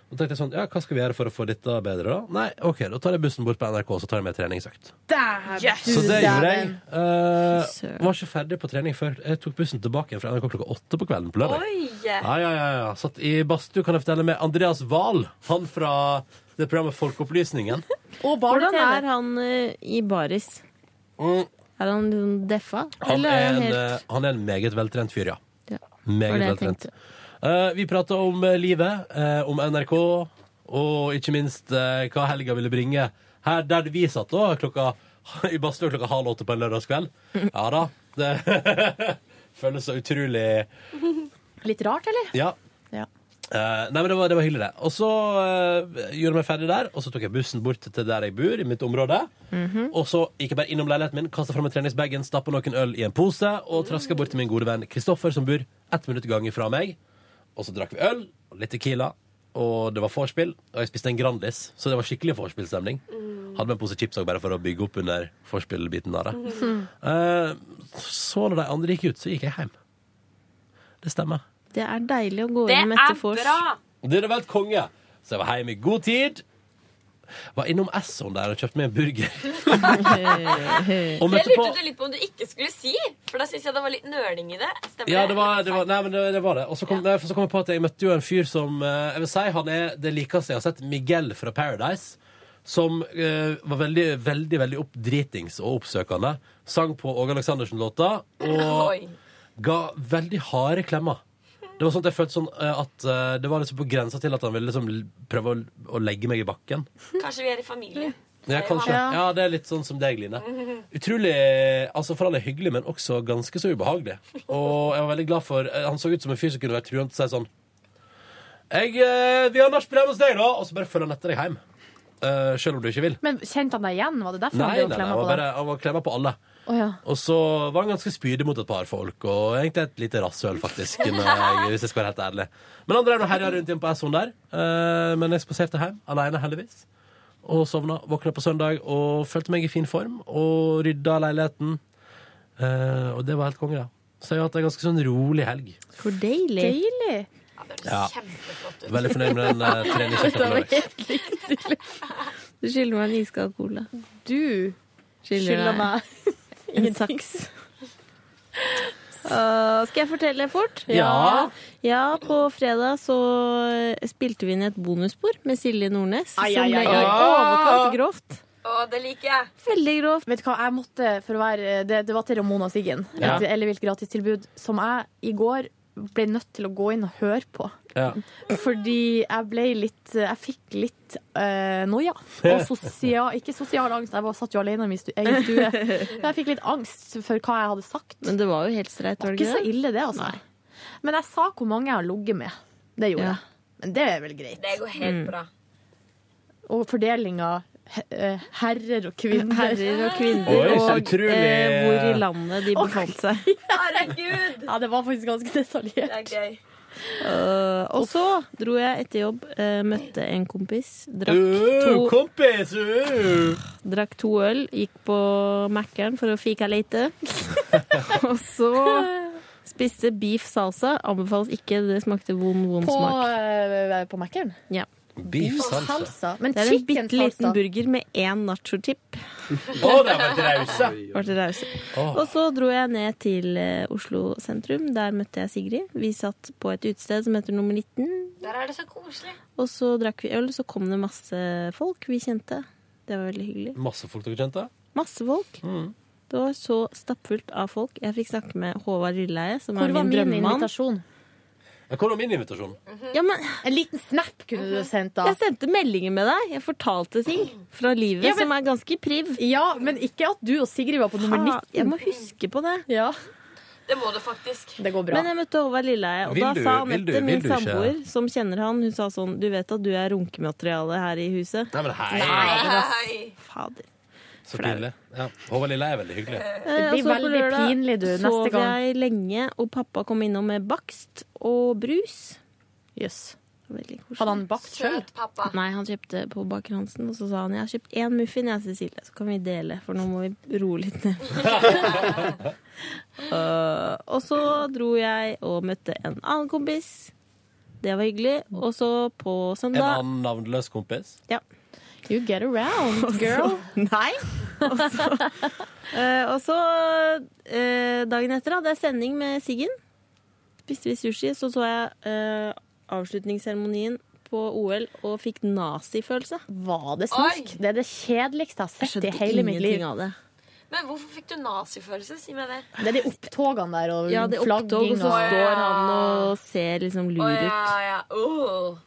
[SPEAKER 2] Og tenkte jeg sånn, ja, hva skal vi gjøre for å få dette bedre da? Nei, ok, da tar jeg bussen bort på NRK, så tar jeg med treningsøkt. Så det gjorde jeg. Eh, var ikke ferdig på trening før. Jeg tok bussen tilbake igjen fra NRK klokka åtte på kvelden på lørdag.
[SPEAKER 3] Oi!
[SPEAKER 2] Ja, ja, ja, ja. Satt i badstue, kan jeg fortelle, med Andreas Wahl. Han fra det programmet
[SPEAKER 16] [LAUGHS]
[SPEAKER 2] Folkeopplysningen.
[SPEAKER 16] Hvordan er han eh, i baris? Er han liksom deffa?
[SPEAKER 2] Han
[SPEAKER 16] Eller
[SPEAKER 2] er,
[SPEAKER 16] er
[SPEAKER 2] en,
[SPEAKER 16] han
[SPEAKER 2] eh,
[SPEAKER 16] helt
[SPEAKER 2] han er en meget veltrent fyr, ja.
[SPEAKER 16] Ja.
[SPEAKER 2] Meget
[SPEAKER 16] Var det jeg
[SPEAKER 2] veltrent. Eh, vi prata om eh, livet, eh, om NRK, og ikke minst eh, hva helga ville bringe. Her der vi satt da, klokka, [LAUGHS] i badstua klokka halv åtte på en
[SPEAKER 16] [LAUGHS]
[SPEAKER 2] lørdagskveld. Ja da. Det [LAUGHS] føles så utrolig
[SPEAKER 4] Litt rart, eller?
[SPEAKER 2] Ja.
[SPEAKER 4] Ja.
[SPEAKER 2] Eh, nei, men det var, det var hyggelig, det. Og så eh, gjorde jeg meg ferdig der, og så tok jeg bussen bort til der jeg bor, i mitt område. [LAUGHS] Og så gikk jeg bare innom leiligheten min, kasta fram treningsbagen, stappa noen øl i en pose og traska bort til min gode venn Kristoffer, som bor ett minutt gang ifra meg. Og så drakk vi øl, og litt Tequila, og det var vorspiel. Og jeg spiste en Grandis, så det var skikkelig vorspielstemning. Hadde med en pose chips også, bare for å bygge opp under vorspiel-biten der. da.
[SPEAKER 16] Hmm.
[SPEAKER 2] Eh, så når de andre gikk ut, så gikk jeg hjem. Det stemmer.
[SPEAKER 16] Det er deilig å gå
[SPEAKER 3] Det
[SPEAKER 16] inn etter
[SPEAKER 3] er
[SPEAKER 16] vors.
[SPEAKER 3] bra!
[SPEAKER 2] Det er vært konge. Så jeg var hjemme i god tid. Var innom Esson der og kjøpte meg en burger.
[SPEAKER 9] [LAUGHS]
[SPEAKER 2] Og
[SPEAKER 3] Det
[SPEAKER 2] møtte på
[SPEAKER 3] lurte du litt på om du ikke skulle si, for da syns jeg det var litt nøling i det. Stemmer
[SPEAKER 2] ja, det var det. Var, nei, men det, det, var det. Og så kom, nei, for så kom jeg på at jeg møtte jo en fyr som eh, Jeg vil si han er det likeste jeg har sett. Miguel fra Paradise. Som eh, var veldig, veldig veldig oppdritings og oppsøkende. Sang på Åge Aleksandersen-låta. Og
[SPEAKER 3] Oi.
[SPEAKER 2] ga veldig harde klemmer. Det var sånn at jeg følte sånn eh, at eh, det var liksom på grensa til at han ville liksom l- prøve å, å legge meg i bakken.
[SPEAKER 3] Kanskje vi er i familie.
[SPEAKER 2] Ja, kanskje.
[SPEAKER 3] Ja.
[SPEAKER 2] Ja, det er litt sånn som deg, Line. Utrolig altså for alle hyggelig, men også ganske så ubehagelig. Og jeg var veldig glad for eh, Han så ut som en fyr som kunne vært truende til å si sånn jeg, eh, 'Vi har nachspiel hjemme hos deg, da!' Og så bare følger han etter deg hjem. Eh, selv om du ikke vil.
[SPEAKER 4] Men kjente han deg igjen? Var det derfor
[SPEAKER 2] Nei, nei,
[SPEAKER 4] han ble
[SPEAKER 2] nei
[SPEAKER 4] klemma
[SPEAKER 2] han var
[SPEAKER 4] på deg?
[SPEAKER 2] bare han var klemmer på alle.
[SPEAKER 4] Å ja.
[SPEAKER 2] Og så var han ganske spydig mot et par folk, og egentlig et lite rasshøl, faktisk, når jeg, hvis jeg skal være helt ærlig. Men han drev og herja rundt igjen på Esson der, eh, men jeg spaserte hjem alene, heldigvis. og sovna. Våkna på søndag og følte meg i fin form og rydda leiligheten. Eh, og det var helt konge, da. Så jeg har hatt en ganske sånn rolig helg.
[SPEAKER 16] Hvor deilig.
[SPEAKER 2] Ja. Veldig fornøyd med den
[SPEAKER 16] [LAUGHS]
[SPEAKER 2] eh, treningssjefen.
[SPEAKER 16] Det var
[SPEAKER 2] på lørdag.
[SPEAKER 16] helt likt, Silje. Du skylder meg en iskald cola. Du
[SPEAKER 5] skylder
[SPEAKER 16] skylder
[SPEAKER 5] meg
[SPEAKER 16] meg [LAUGHS] en saks. Uh, skal jeg fortelle fort?
[SPEAKER 5] Ja.
[SPEAKER 16] Ja, På fredag så eh, spilte vi inn et bonusspor med Silje Nordnes.
[SPEAKER 5] Ai,
[SPEAKER 16] som
[SPEAKER 5] ai,
[SPEAKER 16] ble i
[SPEAKER 5] ai, ai.
[SPEAKER 2] Ah!
[SPEAKER 16] overkant grovt.
[SPEAKER 3] Og det liker jeg.
[SPEAKER 16] Veldig grovt.
[SPEAKER 5] Vet du hva, jeg måtte, for å være, det, det var til Ramona Siggen,
[SPEAKER 2] Ja.
[SPEAKER 5] et ellevilt gratistilbud, som jeg i går ble nødt til å gå inn og høre på.
[SPEAKER 2] Ja.
[SPEAKER 5] Fordi jeg ble litt Jeg fikk litt eh,
[SPEAKER 2] [LAUGHS]
[SPEAKER 5] noia. Og sosial, ikke sosial angst, jeg var, satt jo alene i min stu, egen
[SPEAKER 2] [LAUGHS]
[SPEAKER 5] stue. Men jeg fikk litt angst for hva jeg hadde sagt.
[SPEAKER 16] Men det var jo helt streit, var det
[SPEAKER 5] Ikke så
[SPEAKER 16] det?
[SPEAKER 5] ille, det, altså. Men jeg sa hvor mange jeg har ligget med. Det gjorde jeg. Men det er vel greit.
[SPEAKER 3] Det går helt
[SPEAKER 16] Mm.
[SPEAKER 3] bra.
[SPEAKER 5] Og fordelinga he- eh, herrer og kvinner.
[SPEAKER 16] Herrer og kvinner
[SPEAKER 2] Oi, så
[SPEAKER 16] og
[SPEAKER 2] utrolig.
[SPEAKER 16] eh, hvor i landet de
[SPEAKER 5] [LAUGHS]
[SPEAKER 16] befant [LAUGHS] seg.
[SPEAKER 3] Herregud!
[SPEAKER 5] Ja, det var faktisk ganske detaljert.
[SPEAKER 3] Det er gøy.
[SPEAKER 16] Eh, og så dro jeg etter jobb, eh, møtte en kompis, drakk
[SPEAKER 2] Øh,
[SPEAKER 16] to,
[SPEAKER 2] kompis! øh.
[SPEAKER 16] drakk to øl, gikk på Mækkern for å fika
[SPEAKER 5] [LAUGHS]
[SPEAKER 16] lite. og så spiste beef salsa. Anbefales ikke, det smakte vond, vond
[SPEAKER 5] På,
[SPEAKER 16] smak.
[SPEAKER 5] uh, på Mækkern?
[SPEAKER 16] Ja.
[SPEAKER 2] Beef salsa.
[SPEAKER 5] Men
[SPEAKER 16] det er en
[SPEAKER 5] chicken
[SPEAKER 16] bitte liten
[SPEAKER 5] salsa.
[SPEAKER 16] burger med én nachotip.
[SPEAKER 2] Å, de var rause!
[SPEAKER 16] Var [LAUGHS] det rause.
[SPEAKER 2] Åh.
[SPEAKER 16] Og så dro jeg ned til eh, Oslo sentrum. Der møtte jeg Sigrid. Vi satt på et utested som heter Nummer 19.
[SPEAKER 3] Der er det så koselig.
[SPEAKER 16] Og så drakk vi øl, så kom det masse folk vi kjente. Det var veldig hyggelig.
[SPEAKER 2] Masse folk dere kjente.
[SPEAKER 16] Masse folk.
[SPEAKER 2] Mm.
[SPEAKER 16] Det var så stappfullt av folk. Jeg fikk snakke med Håvard Rilleie, som
[SPEAKER 5] Hvor
[SPEAKER 16] er
[SPEAKER 5] var
[SPEAKER 16] min
[SPEAKER 5] min
[SPEAKER 16] drømmemann.
[SPEAKER 5] invitasjon?
[SPEAKER 2] Jeg kom med min invitasjon.
[SPEAKER 16] Ja, men
[SPEAKER 5] En liten snap kunne du sendt, da.
[SPEAKER 16] jeg sendte meldinger med deg. Jeg fortalte ting fra livet
[SPEAKER 5] Ja, men-
[SPEAKER 16] som er ganske priv.
[SPEAKER 5] Ja, men ikke at du og Sigrid var på nummer
[SPEAKER 16] Faen,
[SPEAKER 5] 19.
[SPEAKER 16] jeg må huske på det.
[SPEAKER 5] Ja,
[SPEAKER 3] Det må du faktisk.
[SPEAKER 5] det går bra.
[SPEAKER 16] Men jeg møtte Håvard Lilleheie, og
[SPEAKER 2] Vil
[SPEAKER 16] da
[SPEAKER 2] du-
[SPEAKER 16] sa
[SPEAKER 2] vil du-
[SPEAKER 16] Anette,
[SPEAKER 2] vil
[SPEAKER 16] min
[SPEAKER 2] du ikke?
[SPEAKER 16] samboer, som kjenner han, hun sa sånn Du vet at du er runkemateriale her i huset?
[SPEAKER 2] Nei, men hei!
[SPEAKER 3] Hei.
[SPEAKER 16] Fader.
[SPEAKER 2] Så pinlig. Ja. Håvard Lille er veldig hyggelig.
[SPEAKER 16] Eh,
[SPEAKER 5] blir
[SPEAKER 16] og så på
[SPEAKER 5] veldig
[SPEAKER 16] lørdag
[SPEAKER 5] pinlig, du, neste
[SPEAKER 16] Sov
[SPEAKER 5] gang.
[SPEAKER 16] jeg lenge, og pappa kom innom med bakst og brus.
[SPEAKER 5] Jøss.
[SPEAKER 16] Veldig koselig.
[SPEAKER 5] Hadde han bakt sjøl?
[SPEAKER 3] Søt pappa.
[SPEAKER 16] Nei, han kjøpte på Baker Hansen, og så sa han jeg har kjøpt én muffin, jeg, Cecilie, så kan vi dele, for nå må vi roe litt ned.
[SPEAKER 5] [LAUGHS]
[SPEAKER 16] Øh, og så dro jeg og møtte en annen kompis. Det var hyggelig. Og så på
[SPEAKER 2] En
[SPEAKER 16] søndag
[SPEAKER 2] annen navnløs kompis.
[SPEAKER 16] ja.
[SPEAKER 5] You get around, girl.
[SPEAKER 16] [LAUGHS] Nei. Og så,
[SPEAKER 5] [LAUGHS]
[SPEAKER 16] eh, og så eh, dagen etter hadde jeg sending med Siggen. Spiste vi sushi, så så jeg eh, avslutningsseremonien på OL og fikk nazifølelse.
[SPEAKER 5] Var det snork? Det er det kjedeligste jeg har sett i hele mitt liv.
[SPEAKER 16] av det.
[SPEAKER 3] Men hvorfor fikk du nazifølelse? Si meg det.
[SPEAKER 5] Det er de opptogene der og
[SPEAKER 16] Ja, det er opptog, og
[SPEAKER 5] flagging
[SPEAKER 16] så
[SPEAKER 5] og
[SPEAKER 16] står han og ser liksom
[SPEAKER 3] Å
[SPEAKER 16] lur
[SPEAKER 3] ja,
[SPEAKER 16] ut.
[SPEAKER 3] ja. Åh.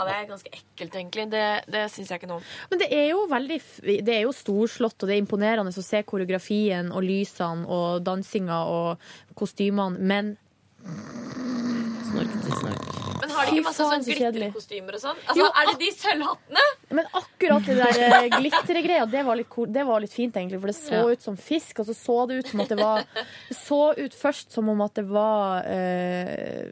[SPEAKER 3] ja, det er ganske ekkelt, egentlig. Det, det syns jeg ikke noe om.
[SPEAKER 5] Men det er jo veldig f- Det er jo storslått, og det er imponerende å se koreografien og lysene og dansinga og kostymene, men
[SPEAKER 16] Snork til snork.
[SPEAKER 3] Men har de
[SPEAKER 5] Fy
[SPEAKER 3] ikke masse
[SPEAKER 5] faen,
[SPEAKER 3] sånn
[SPEAKER 5] så kjedelig.
[SPEAKER 3] glitterkostymer og sånn? Altså, er det de sølvhattene?
[SPEAKER 5] Men akkurat det der eh, glittergreia, det, var litt ko- det var litt fint, egentlig. For det så
[SPEAKER 16] Ja.
[SPEAKER 5] ut som fisk, og så så det ut som at det var Det så ut først som om at det var eh,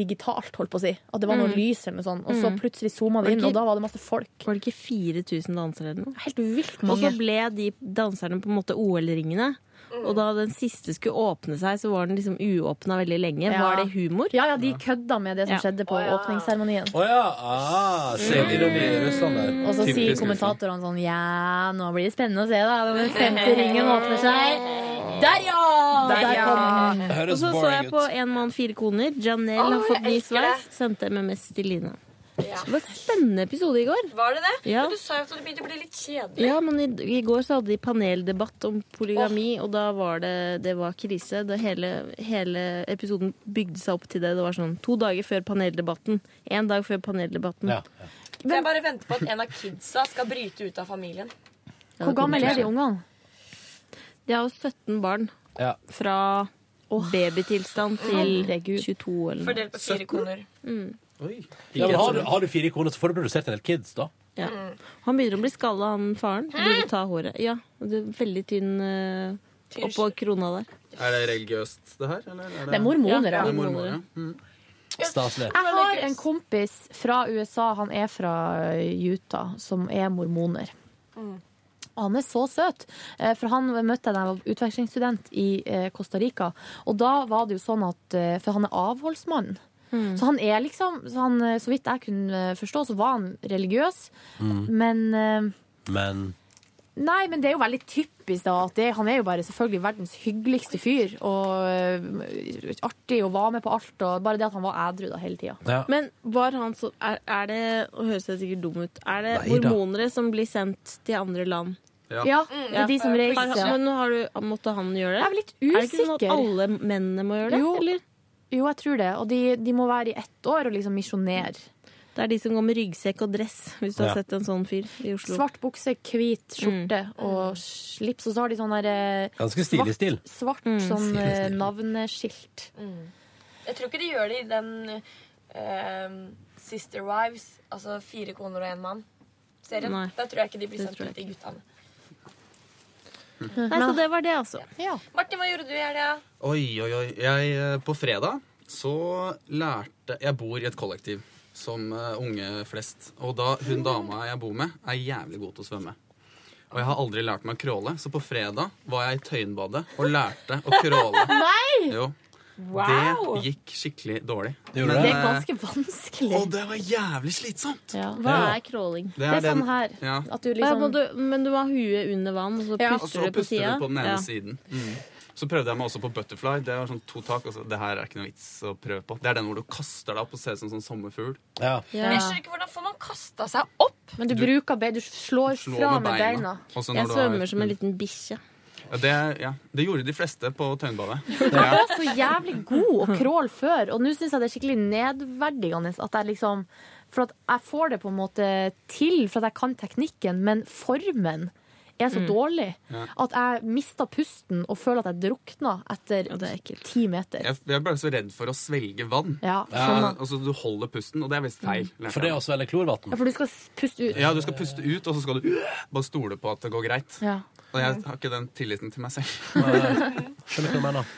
[SPEAKER 5] digitalt, holdt på å si. At det var noe
[SPEAKER 16] Mm.
[SPEAKER 5] lys eller noe sånt. Og så plutselig zooma det inn, og da var det masse folk.
[SPEAKER 16] Var det ikke 4000 dansere eller noe?
[SPEAKER 5] Helt vilt
[SPEAKER 16] Og så
[SPEAKER 5] mange.
[SPEAKER 16] ble de danserne på en måte OL-ringene. Og da den siste skulle åpne seg, så var den liksom uåpna veldig lenge.
[SPEAKER 5] Ja.
[SPEAKER 16] Var det humor?
[SPEAKER 5] Ja, ja, de kødda med det som
[SPEAKER 16] Ja.
[SPEAKER 5] skjedde på åpningsseremonien.
[SPEAKER 2] Å ja! Ah, ser vi noe med russerne sånn der?
[SPEAKER 5] Mm. Og så sier
[SPEAKER 15] Typisk
[SPEAKER 5] kommentatorene sånn Ja, nå blir det spennende å se, da. når Den femte ringen åpner seg. Der, ja! Der, kom den.
[SPEAKER 16] Og
[SPEAKER 2] Høres
[SPEAKER 16] så så
[SPEAKER 2] boring
[SPEAKER 16] jeg på
[SPEAKER 2] ut.
[SPEAKER 16] En mann, fire koner. Janel
[SPEAKER 3] Å,
[SPEAKER 16] har fått
[SPEAKER 3] jeg
[SPEAKER 16] ny
[SPEAKER 3] elsker
[SPEAKER 16] sveis.
[SPEAKER 3] det.
[SPEAKER 16] Sendte MMS til Line.
[SPEAKER 3] Ja.
[SPEAKER 16] Det var en spennende episode i går.
[SPEAKER 3] Var det det?
[SPEAKER 16] Ja.
[SPEAKER 3] Men du sa jo at det begynte å bli litt kjedelig.
[SPEAKER 16] Ja, men i, i går så hadde de paneldebatt om polygami, og da var det, det var krise. Det hele, hele episoden bygde seg opp til det. Det var sånn to dager før paneldebatten. Én dag før paneldebatten.
[SPEAKER 2] Ja.
[SPEAKER 3] Jeg bare venter på at en av kidsa skal bryte ut av familien.
[SPEAKER 5] Hvor gammel er de ungene?
[SPEAKER 16] De har jo 17 barn.
[SPEAKER 2] Ja.
[SPEAKER 16] Fra babytilstand til 22 eller noe.
[SPEAKER 3] Fordelt på fire koner.
[SPEAKER 5] Mm.
[SPEAKER 2] Ja, men har, du, har du fire ikoner, liksom. så får du produsert en del kids, da.
[SPEAKER 16] Ja. Han begynner å bli skalla, han faren. Burde ta håret. Ja, det er veldig tynn eh, oppå krona der.
[SPEAKER 15] Er det religiøst, det her? Eller er
[SPEAKER 5] Det er
[SPEAKER 16] Ja, det
[SPEAKER 5] mormoner, ja.
[SPEAKER 16] er
[SPEAKER 15] Det er mormoner, ja. Mm.
[SPEAKER 2] Staselig.
[SPEAKER 5] Jeg har en kompis fra USA, han er fra Utah, som er mormoner. Og han er så søt, eh, for han møtte jeg da jeg var utvekslingsstudent i eh, Costa Rica. Og da var det jo sånn at eh, For han er avholdsmann. Så han er liksom så, han, eh, så vidt jeg kunne eh, forstå, så var han religiøs.
[SPEAKER 2] Mm.
[SPEAKER 5] Men eh,
[SPEAKER 2] Men
[SPEAKER 5] Nei, men det er jo veldig typisk da at det, han er jo bare selvfølgelig verdens hyggeligste fyr. Og eh, artig og var med på alt. Og bare det at han var ædru da hele tida.
[SPEAKER 2] Ja.
[SPEAKER 16] Men var han så er, er det Å høres det sikkert dum ut. Er det
[SPEAKER 5] Neida.
[SPEAKER 16] mormonere som blir sendt til andre land?
[SPEAKER 5] Ja. Ja, det er de som reiser.
[SPEAKER 16] Har, men nå har du, måtte han gjøre det?
[SPEAKER 5] Jeg er litt
[SPEAKER 16] Er det ikke sånn at
[SPEAKER 5] usikker.
[SPEAKER 16] alle mennene må gjøre det?
[SPEAKER 5] Jo.
[SPEAKER 16] eller?
[SPEAKER 5] Jo, jeg tror det. Og de, de må være i ett år og liksom misjonere.
[SPEAKER 16] Det er de som går med ryggsekk og dress, hvis du
[SPEAKER 5] Ja.
[SPEAKER 16] har sett en sånn fyr i Oslo. Mm.
[SPEAKER 5] Svart bukse, hvit skjorte og slips. Og så har de sånn der eh,
[SPEAKER 2] Ganske stilig
[SPEAKER 5] svart-
[SPEAKER 2] stil.
[SPEAKER 5] Svart
[SPEAKER 2] Mm.
[SPEAKER 5] sånn
[SPEAKER 2] Stilig
[SPEAKER 5] eh,
[SPEAKER 2] stil.
[SPEAKER 5] navneskilt.
[SPEAKER 3] Mm. Jeg tror ikke de gjør det i den eh, Sister Wives, altså fire koner og en mann. Serien.
[SPEAKER 16] Nei,
[SPEAKER 3] Da tror jeg ikke de blir
[SPEAKER 16] det
[SPEAKER 3] sendt
[SPEAKER 16] tror jeg
[SPEAKER 3] ut, de guttene.
[SPEAKER 16] Nei, så det var det, altså.
[SPEAKER 3] Martin, hva gjorde du i helga?
[SPEAKER 15] Oi, oi, oi. Jeg, eh, på fredag så lærte Jeg bor i et kollektiv som eh, unge flest. Og da hun dama jeg bor med, er jævlig god til å svømme. Og jeg har aldri lært meg å crawle, så på fredag var jeg i Tøyenbadet og lærte å
[SPEAKER 16] [LAUGHS]
[SPEAKER 15] crawle.
[SPEAKER 5] [LAUGHS] Nei!
[SPEAKER 15] Jo.
[SPEAKER 5] Wow!
[SPEAKER 15] Det gikk skikkelig dårlig.
[SPEAKER 5] Det
[SPEAKER 15] Men,
[SPEAKER 5] er
[SPEAKER 15] eh,
[SPEAKER 5] ganske vanskelig.
[SPEAKER 15] Og det var jævlig slitsomt.
[SPEAKER 16] Hva
[SPEAKER 15] Ja.
[SPEAKER 16] er crawling?
[SPEAKER 15] Det er Det er sånn den- her, ja. at du liksom-
[SPEAKER 16] Å ja, må du, Men du må ha huet under vann, og så puster,
[SPEAKER 15] Ja, og så
[SPEAKER 16] du på
[SPEAKER 15] puster
[SPEAKER 16] sida?
[SPEAKER 15] du på den ene
[SPEAKER 16] Ja.
[SPEAKER 15] siden. Mm. Så prøvde jeg meg også på butterfly. Det var sånn to tak. Altså, det her er ikke noe vits å prøve på. Det er den hvor du kaster deg opp og ser ut som en sånn sommerfugl.
[SPEAKER 5] Ja.
[SPEAKER 3] Jeg skjønner ikke hvordan får man kasta seg opp?
[SPEAKER 5] Men du,
[SPEAKER 15] Du-
[SPEAKER 5] bruker be, du slår,
[SPEAKER 15] Slår
[SPEAKER 5] fra
[SPEAKER 15] med
[SPEAKER 5] med
[SPEAKER 15] beina.
[SPEAKER 5] beina.
[SPEAKER 15] Og så når Jeg du har- svømmer som en Mm.
[SPEAKER 5] liten bikkje.
[SPEAKER 15] Ja, det, ja. det gjorde de fleste på Tøyenbadet. [LAUGHS]
[SPEAKER 5] Du var så jævlig god å crawl før, og nå syns jeg det er skikkelig nedverdigende at jeg liksom For at jeg får det på en måte til, for at jeg kan teknikken, men formen er så
[SPEAKER 16] Mm.
[SPEAKER 5] dårlig
[SPEAKER 15] Ja.
[SPEAKER 5] at jeg mister pusten og føler at jeg drukna etter ti meter.
[SPEAKER 15] Jeg, jeg ble så redd for å svelge vann.
[SPEAKER 5] Ja, sånn
[SPEAKER 15] Ja,
[SPEAKER 5] skjønner.
[SPEAKER 15] altså, du holder pusten, og det er visst feil.
[SPEAKER 2] For det er å svelge klorvann.
[SPEAKER 5] Ja, for du skal s- puste ut.
[SPEAKER 15] Ja, du skal puste ut, og så skal du bare stole på at det går greit.
[SPEAKER 5] Ja.
[SPEAKER 15] Og jeg har ikke den tilliten til meg selv.
[SPEAKER 5] [LAUGHS]
[SPEAKER 2] Skjønner hva du mener.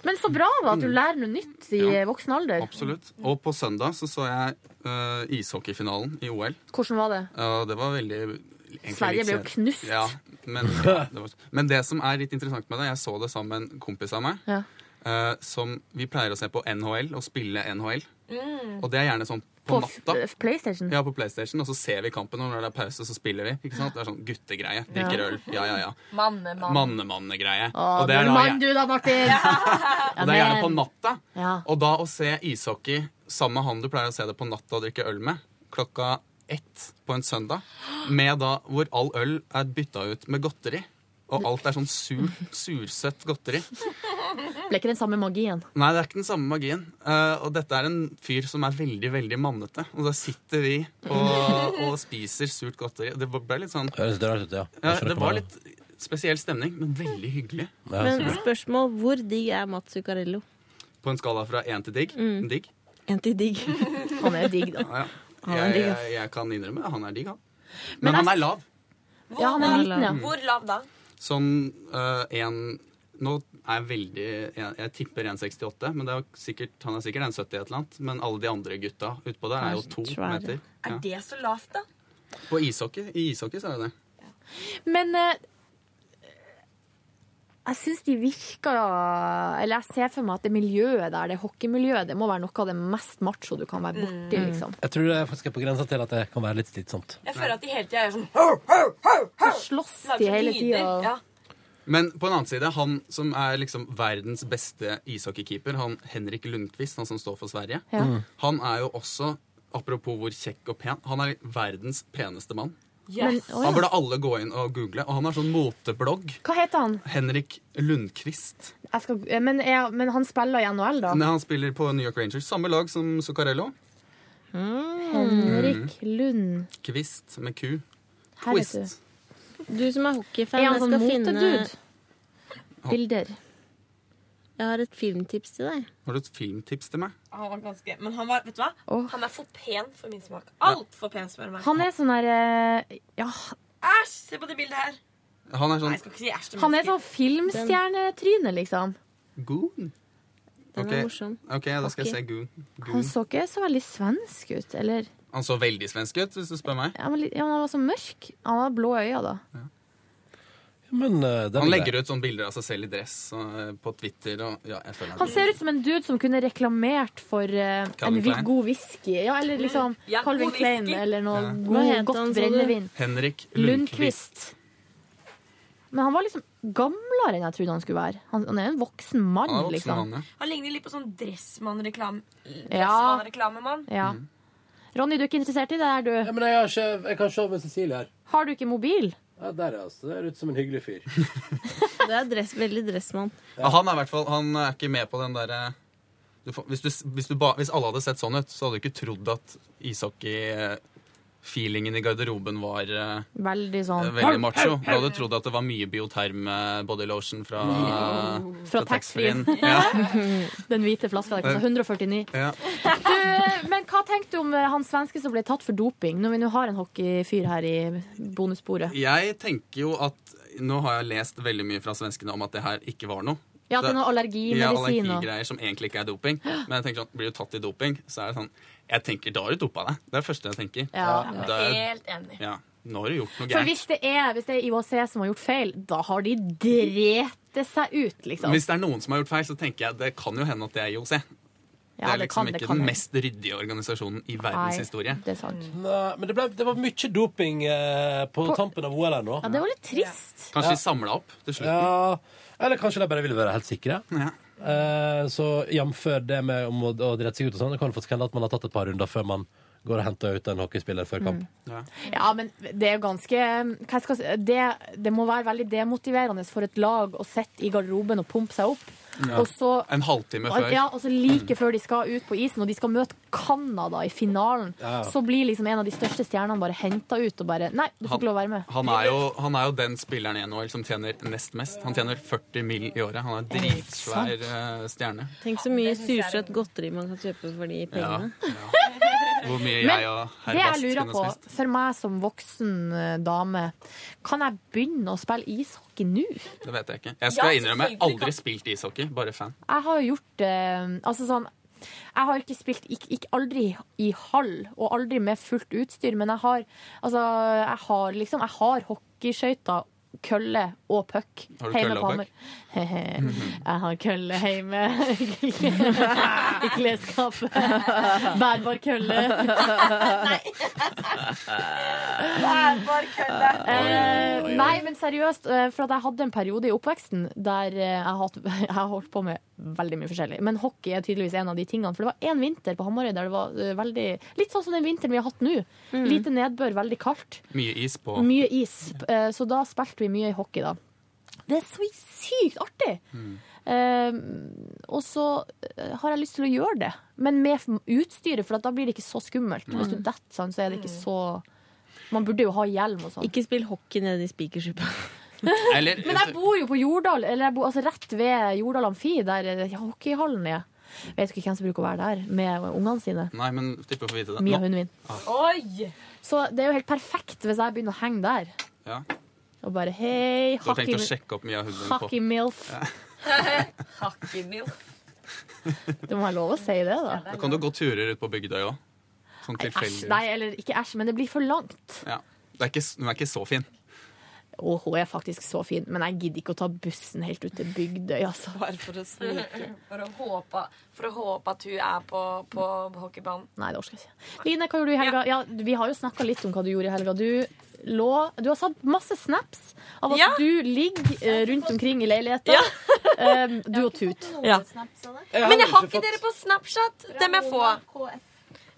[SPEAKER 5] Men så bra da at du lærer noe nytt i
[SPEAKER 15] Mm. Ja.
[SPEAKER 5] voksen alder.
[SPEAKER 15] Absolutt. Og på søndag så, så jeg eh, ishockeyfinalen i OL.
[SPEAKER 5] Hvordan var det?
[SPEAKER 15] Ja, det var veldig egentlig
[SPEAKER 5] Sverige
[SPEAKER 15] litt
[SPEAKER 5] ble jo
[SPEAKER 15] kjedelig.
[SPEAKER 5] knust.
[SPEAKER 15] Ja, men, ja, det var, men det som er litt interessant med det Jeg så det sammen med en kompis av meg.
[SPEAKER 5] Ja.
[SPEAKER 15] eh, som Vi pleier å se på NHL og spille NHL.
[SPEAKER 5] Mm.
[SPEAKER 15] Og det er gjerne sånn på,
[SPEAKER 5] På f- eh,
[SPEAKER 15] natta.
[SPEAKER 5] PlayStation?
[SPEAKER 15] Ja, på PlayStation, og så ser vi kampen, og når det er pause, så spiller vi. Ikke sant? Det er sånn guttegreie. Drikker
[SPEAKER 5] Ja.
[SPEAKER 15] øl. Ja, ja, ja.
[SPEAKER 3] Manne, mann.
[SPEAKER 15] Mannemannegreie.
[SPEAKER 5] Å,
[SPEAKER 15] Og
[SPEAKER 5] du
[SPEAKER 15] det
[SPEAKER 5] er
[SPEAKER 15] er da
[SPEAKER 5] mann
[SPEAKER 15] gjerne-
[SPEAKER 5] du da,
[SPEAKER 15] [LAUGHS]
[SPEAKER 5] Martin!
[SPEAKER 15] og det er gjerne på natta.
[SPEAKER 5] Ja.
[SPEAKER 15] Og da å se ishockey sammen med han du pleier å se det på natta og drikke øl med, klokka ett på en søndag, med da hvor all øl er bytta ut med godteri, og alt er sånn sur, sursøtt godteri.
[SPEAKER 5] Ble ikke den samme magien.
[SPEAKER 15] Nei, det er ikke den samme magien. Eh, og dette er en fyr som er veldig, veldig mannete. Og da sitter vi og, og spiser surt godteri. Det ble litt sånn
[SPEAKER 2] Høres rart ut, ja. Jeg
[SPEAKER 15] Ja,
[SPEAKER 2] skjønner
[SPEAKER 15] det
[SPEAKER 2] hva
[SPEAKER 15] var
[SPEAKER 2] du
[SPEAKER 15] litt spesiell stemning, men veldig hyggelig.
[SPEAKER 16] Men spørsmål hvor digg er Mats Zuccarello?
[SPEAKER 15] På en skala fra én til digg.
[SPEAKER 16] Mm.
[SPEAKER 15] Digg.
[SPEAKER 16] En til digg. Han er digg, da.
[SPEAKER 15] [LAUGHS] Ja, ja.
[SPEAKER 16] Han er
[SPEAKER 15] Jeg,
[SPEAKER 16] digg,
[SPEAKER 15] jeg,
[SPEAKER 16] ass.
[SPEAKER 15] jeg kan innrømme han er digg, han. Men,
[SPEAKER 3] Men
[SPEAKER 15] han
[SPEAKER 3] ass-
[SPEAKER 15] er lav.
[SPEAKER 3] Hvor,
[SPEAKER 5] Ja, han er
[SPEAKER 3] lav-
[SPEAKER 5] liten, ja.
[SPEAKER 3] Hvor lav da?
[SPEAKER 15] Sånn øh, en Nå er jeg veldig Jeg, jeg tipper 1,68, men det er jo sikkert, han er sikkert 1,70 et eller annet. Men alle de andre gutta utpå der er jo to meter.
[SPEAKER 3] Er
[SPEAKER 15] Ja.
[SPEAKER 3] det så lavt, da?
[SPEAKER 15] På ishockey, I ishockey så er det det.
[SPEAKER 5] Men eh, jeg syns de virker Eller jeg ser for meg at det miljøet der, det hockeymiljøet, det må være noe av det mest macho du kan være borti, liksom.
[SPEAKER 2] Jeg tror det er faktisk på grensa til at det kan være litt slitsomt.
[SPEAKER 3] Jeg føler at de hele tida gjør sånn hau, hau, hau, hau.
[SPEAKER 5] Slåss
[SPEAKER 3] Lager
[SPEAKER 5] de
[SPEAKER 3] sånn
[SPEAKER 5] hele
[SPEAKER 3] lyder.
[SPEAKER 5] tiden.
[SPEAKER 3] Ja.
[SPEAKER 15] Men på en annen side, han som er liksom verdens beste ishockeykeeper, han Henrik Lundqvist, han som står for Sverige,
[SPEAKER 2] Ja. Mm.
[SPEAKER 15] han er jo også Apropos hvor kjekk og pen. Han er verdens peneste mann.
[SPEAKER 5] Yes. Men- å, ja.
[SPEAKER 15] Han burde alle gå inn og google. Og han har sånn moteblogg.
[SPEAKER 5] Hva heter han?
[SPEAKER 15] Henrik Lundqvist.
[SPEAKER 5] Jeg skal, eh, men, er, men han spiller i NHL, da?
[SPEAKER 15] Men Han spiller på New York Rangers. Samme lag som Zuccarello.
[SPEAKER 5] Mm. Henrik Lund.
[SPEAKER 15] Kvist med Q.
[SPEAKER 5] Her vet
[SPEAKER 15] Mm. Twist.
[SPEAKER 16] Du som er hockeyfan,
[SPEAKER 5] Er han
[SPEAKER 16] jeg
[SPEAKER 5] sånn
[SPEAKER 16] skal finne
[SPEAKER 5] motedude?
[SPEAKER 16] bilder. Jeg har et filmtips til deg.
[SPEAKER 15] Har du et filmtips til meg?
[SPEAKER 3] Han var ganske Men han var, vet du hva? Han er for pen for min smak. Altfor pen, spør du meg.
[SPEAKER 5] Han er sånn der eh, Ja,
[SPEAKER 3] Æsj! Se på det bildet her.
[SPEAKER 15] Han er
[SPEAKER 3] Nei,
[SPEAKER 15] sånn
[SPEAKER 3] jeg skal ikke si æsj til
[SPEAKER 5] han er
[SPEAKER 3] mennesker.
[SPEAKER 5] sånn filmstjernetryne, liksom.
[SPEAKER 15] Goon.
[SPEAKER 5] Den er
[SPEAKER 15] Ok.
[SPEAKER 5] morsom.
[SPEAKER 15] Ok, da skal jeg
[SPEAKER 5] Ok.
[SPEAKER 15] se Goon.
[SPEAKER 5] Han
[SPEAKER 15] Goon.
[SPEAKER 5] så ikke så veldig svensk ut, eller?
[SPEAKER 15] Han så veldig svensk ut, hvis du spør meg.
[SPEAKER 18] Ja, men, litt- ja, men han var så mørk. Han hadde blå øyne, da.
[SPEAKER 2] Men eh, den
[SPEAKER 15] Han legger ut sånne bilder av seg selv i dress eh, på Twitter. Og, ja, jeg føler
[SPEAKER 5] Han ser ut som en dude som kunne reklamert for eh, en
[SPEAKER 15] Calvin
[SPEAKER 5] vi-
[SPEAKER 15] Klein.
[SPEAKER 5] god whisky. Ja, eller liksom
[SPEAKER 3] Mm. Ja,
[SPEAKER 5] Calvin
[SPEAKER 3] god
[SPEAKER 5] Klein,
[SPEAKER 3] whisky.
[SPEAKER 5] eller noe
[SPEAKER 15] Ja.
[SPEAKER 5] god,
[SPEAKER 16] Hva het han,
[SPEAKER 5] godt
[SPEAKER 16] sa du?
[SPEAKER 5] brennevin.
[SPEAKER 15] Henrik Lundqvist.
[SPEAKER 5] Lundqvist. Men han var liksom gamlere enn jeg trodde han skulle være. Han, han er jo en voksen mann,
[SPEAKER 15] Han er en voksen
[SPEAKER 5] liksom.
[SPEAKER 15] mann,
[SPEAKER 3] Han ligner litt på sånn Dressmann-reklamemann.
[SPEAKER 5] Ja.
[SPEAKER 3] Dressmann
[SPEAKER 5] ja. Ronny, du er ikke interessert i det her, du? Ja,
[SPEAKER 2] men jeg, har ikke, kan se med Cecilie her.
[SPEAKER 5] Har du ikke mobil?
[SPEAKER 2] Ja, der er altså. Det er ut som en hyggelig fyr.
[SPEAKER 16] Det er dress, veldig dressmann.
[SPEAKER 15] Ja, han er i hvert fall Han er ikke med på den derre du får- hvis, du, hvis, du ba, hvis alle hadde sett sånn ut, så hadde du ikke trodd at ishockey-feelingen i garderoben var eh,
[SPEAKER 5] Veldig
[SPEAKER 15] eh,
[SPEAKER 5] sånn
[SPEAKER 15] veldig macho. Da hadde du trodd at det var mye bioterm eh, body lotion fra, eh,
[SPEAKER 5] Fra taxfree-en.
[SPEAKER 15] taxfree-en.
[SPEAKER 5] [LAUGHS]
[SPEAKER 15] Ja.
[SPEAKER 5] Den hvite flaska der
[SPEAKER 15] [LAUGHS]
[SPEAKER 5] kosta 149.
[SPEAKER 15] Ja.
[SPEAKER 5] Du, men hva tenkte du om eh, han svenske som ble tatt for doping, når vi nå har en hockeyfyr her i bonussporet?
[SPEAKER 15] Jeg tenker jo at Nå har jeg lest veldig mye fra svenskene om at det her ikke var noe.
[SPEAKER 5] Ja, at det er noe
[SPEAKER 15] Ja,
[SPEAKER 5] allergimedisin og-
[SPEAKER 15] allergigreier som egentlig ikke er doping. Men jeg tenker sånn, blir du tatt i doping, så er det sånn Jeg tenker da har du dopa deg. Det er det første jeg tenker.
[SPEAKER 5] Ja,
[SPEAKER 15] Da
[SPEAKER 5] jeg er
[SPEAKER 15] er-
[SPEAKER 5] helt enig.
[SPEAKER 15] Ja, nå har du gjort noe
[SPEAKER 5] For
[SPEAKER 15] gærent.
[SPEAKER 5] hvis det, er, hvis det er IOC som har gjort feil, da har de drete seg ut, liksom.
[SPEAKER 15] Hvis det er noen som har gjort feil, så tenker jeg det kan jo hende at det er IOC. det
[SPEAKER 5] det
[SPEAKER 15] er liksom
[SPEAKER 5] kan- det
[SPEAKER 15] ikke
[SPEAKER 5] kan
[SPEAKER 15] den
[SPEAKER 5] hende.
[SPEAKER 15] mest ryddige organisasjonen i verdenshistorie.
[SPEAKER 5] Det er sant.
[SPEAKER 2] Nei, men det, ble, det var mye doping eh, på,
[SPEAKER 5] På-
[SPEAKER 2] tampen av OL her nå.
[SPEAKER 5] Ja, det var litt trist.
[SPEAKER 15] Kanskje
[SPEAKER 2] Ja.
[SPEAKER 15] de samla opp til slutt.
[SPEAKER 2] Ja, eller kanskje de bare ville være helt sikre. Eh, så jamfør det med om å, å drette seg ut og sånn, det kan faktisk hende at man har tatt et par runder før man går og henter ut en hockeyspiller før kamp.
[SPEAKER 5] Mm. Ja, men det er jo ganske hva jeg skal si, det, det må være veldig demotiverende for et lag å sitte i garderoben og pumpe seg opp. Og så
[SPEAKER 15] en halvtime før.
[SPEAKER 5] Ja, og så like før de skal ut på isen, og de skal møte Canada i finalen,
[SPEAKER 15] Ja.
[SPEAKER 5] så blir liksom en av de største stjernene bare henta ut og bare Nei, du får ikke lov å være med.
[SPEAKER 15] Han er, jo, han er jo den spilleren i NHL som tjener nest mest. Han tjener 40 mill. i året. Han er en dritsvær eh, stjerne.
[SPEAKER 16] Tenk så mye sursøt godteri man kan kjøpe for de pengene.
[SPEAKER 15] Hvor mye
[SPEAKER 5] Men
[SPEAKER 15] jeg og herr
[SPEAKER 5] Det jeg
[SPEAKER 15] Bast
[SPEAKER 5] lurer
[SPEAKER 15] kunne
[SPEAKER 5] på,
[SPEAKER 15] spist.
[SPEAKER 5] for meg som voksen eh, dame, kan jeg begynne å spille ishockey nå?
[SPEAKER 15] Det vet jeg ikke. Jeg skal
[SPEAKER 5] Ja,
[SPEAKER 15] innrømme,
[SPEAKER 5] selvfølgelig
[SPEAKER 15] aldri spilt ishockey, bare fan.
[SPEAKER 5] Jeg har jo gjort eh, Altså sånn jeg har ikke spilt ikke, ikke aldri i hall og aldri med fullt utstyr, men jeg har altså, jeg har liksom Jeg har hockeyskøyter, kølle og puck
[SPEAKER 3] Har du kølle og puck?
[SPEAKER 5] Hamar. [LAUGHS] jeg har kølle
[SPEAKER 3] [LAUGHS]
[SPEAKER 5] hjemme [LAUGHS] i [LAUGHS] klesskapet. Bærbar
[SPEAKER 16] [LAUGHS]
[SPEAKER 5] kølle. [LAUGHS]
[SPEAKER 3] Bærbar kølle.
[SPEAKER 5] Eh, nei, men seriøst, eh, for at jeg hadde en periode i oppveksten der eh, jeg, hatt- [LAUGHS] jeg har holdt på med veldig mye forskjellig. Men hockey er tydeligvis en av de tingene. For det var én vinter på Hamarøy der det var eh, veldig Litt sånn som den vinteren vi har hatt nå. Lite nedbør, veldig kaldt.
[SPEAKER 15] Mye is på
[SPEAKER 5] Mye is. Eh, så da spilte vi mye hockey, da. Det er så sykt artig! Eh, og så eh, har jeg lyst til å gjøre det, men med f- utstyret, for at da blir det ikke så skummelt. Hvis du
[SPEAKER 16] Mm.
[SPEAKER 5] detter, sånn, så er det ikke så Man burde jo ha hjelm og sånn.
[SPEAKER 16] Ikke spill hockey nede i Spikersuppa.
[SPEAKER 15] [LAUGHS] Eller
[SPEAKER 5] Men jeg bor jo på Jordal, eller jeg bor, altså rett ved Jordal Amfi, der eh, hockeyhallen er. Vet ikke hvem som bruker å være der med ungene sine.
[SPEAKER 15] Nei, men tipper jeg får vite det.
[SPEAKER 5] Mia
[SPEAKER 15] Nå. Ah.
[SPEAKER 5] hunden min. Så det er jo helt perfekt hvis jeg begynner å henge der.
[SPEAKER 15] Ja.
[SPEAKER 5] Og bare hei,
[SPEAKER 15] Du har tenkt å
[SPEAKER 5] hockey-
[SPEAKER 15] sjekke opp Mia Hunden på
[SPEAKER 5] Hockey milf.
[SPEAKER 3] Hakkemilf.
[SPEAKER 5] [LAUGHS] Det må være lov å si det, da.
[SPEAKER 15] Da kan du gå turer ut på Bygdøy òg. Sånn
[SPEAKER 5] Æsj. Nei,
[SPEAKER 15] tilfeldig.
[SPEAKER 5] eller ikke æsj, men det blir for langt.
[SPEAKER 15] Ja. Det er ikke, s- hun er ikke så fin.
[SPEAKER 5] Og hun er faktisk så fin, men jeg gidder ikke å ta bussen helt ut til Bygdøy, altså.
[SPEAKER 3] For å håpe, for å håpe at hun er på, på hockeybanen.
[SPEAKER 5] Nei, det orker jeg ikke. Line, hva gjorde du i helga? Ja. vi har jo snakka litt om hva du gjorde i helga. Du lå Du har satt masse snaps av at
[SPEAKER 3] Ja.
[SPEAKER 5] du ligger eh, rundt omkring i leiligheta. [LAUGHS] Em, du og Tut.
[SPEAKER 3] Men jeg har ikke dere på Snapchat! Det må jeg få.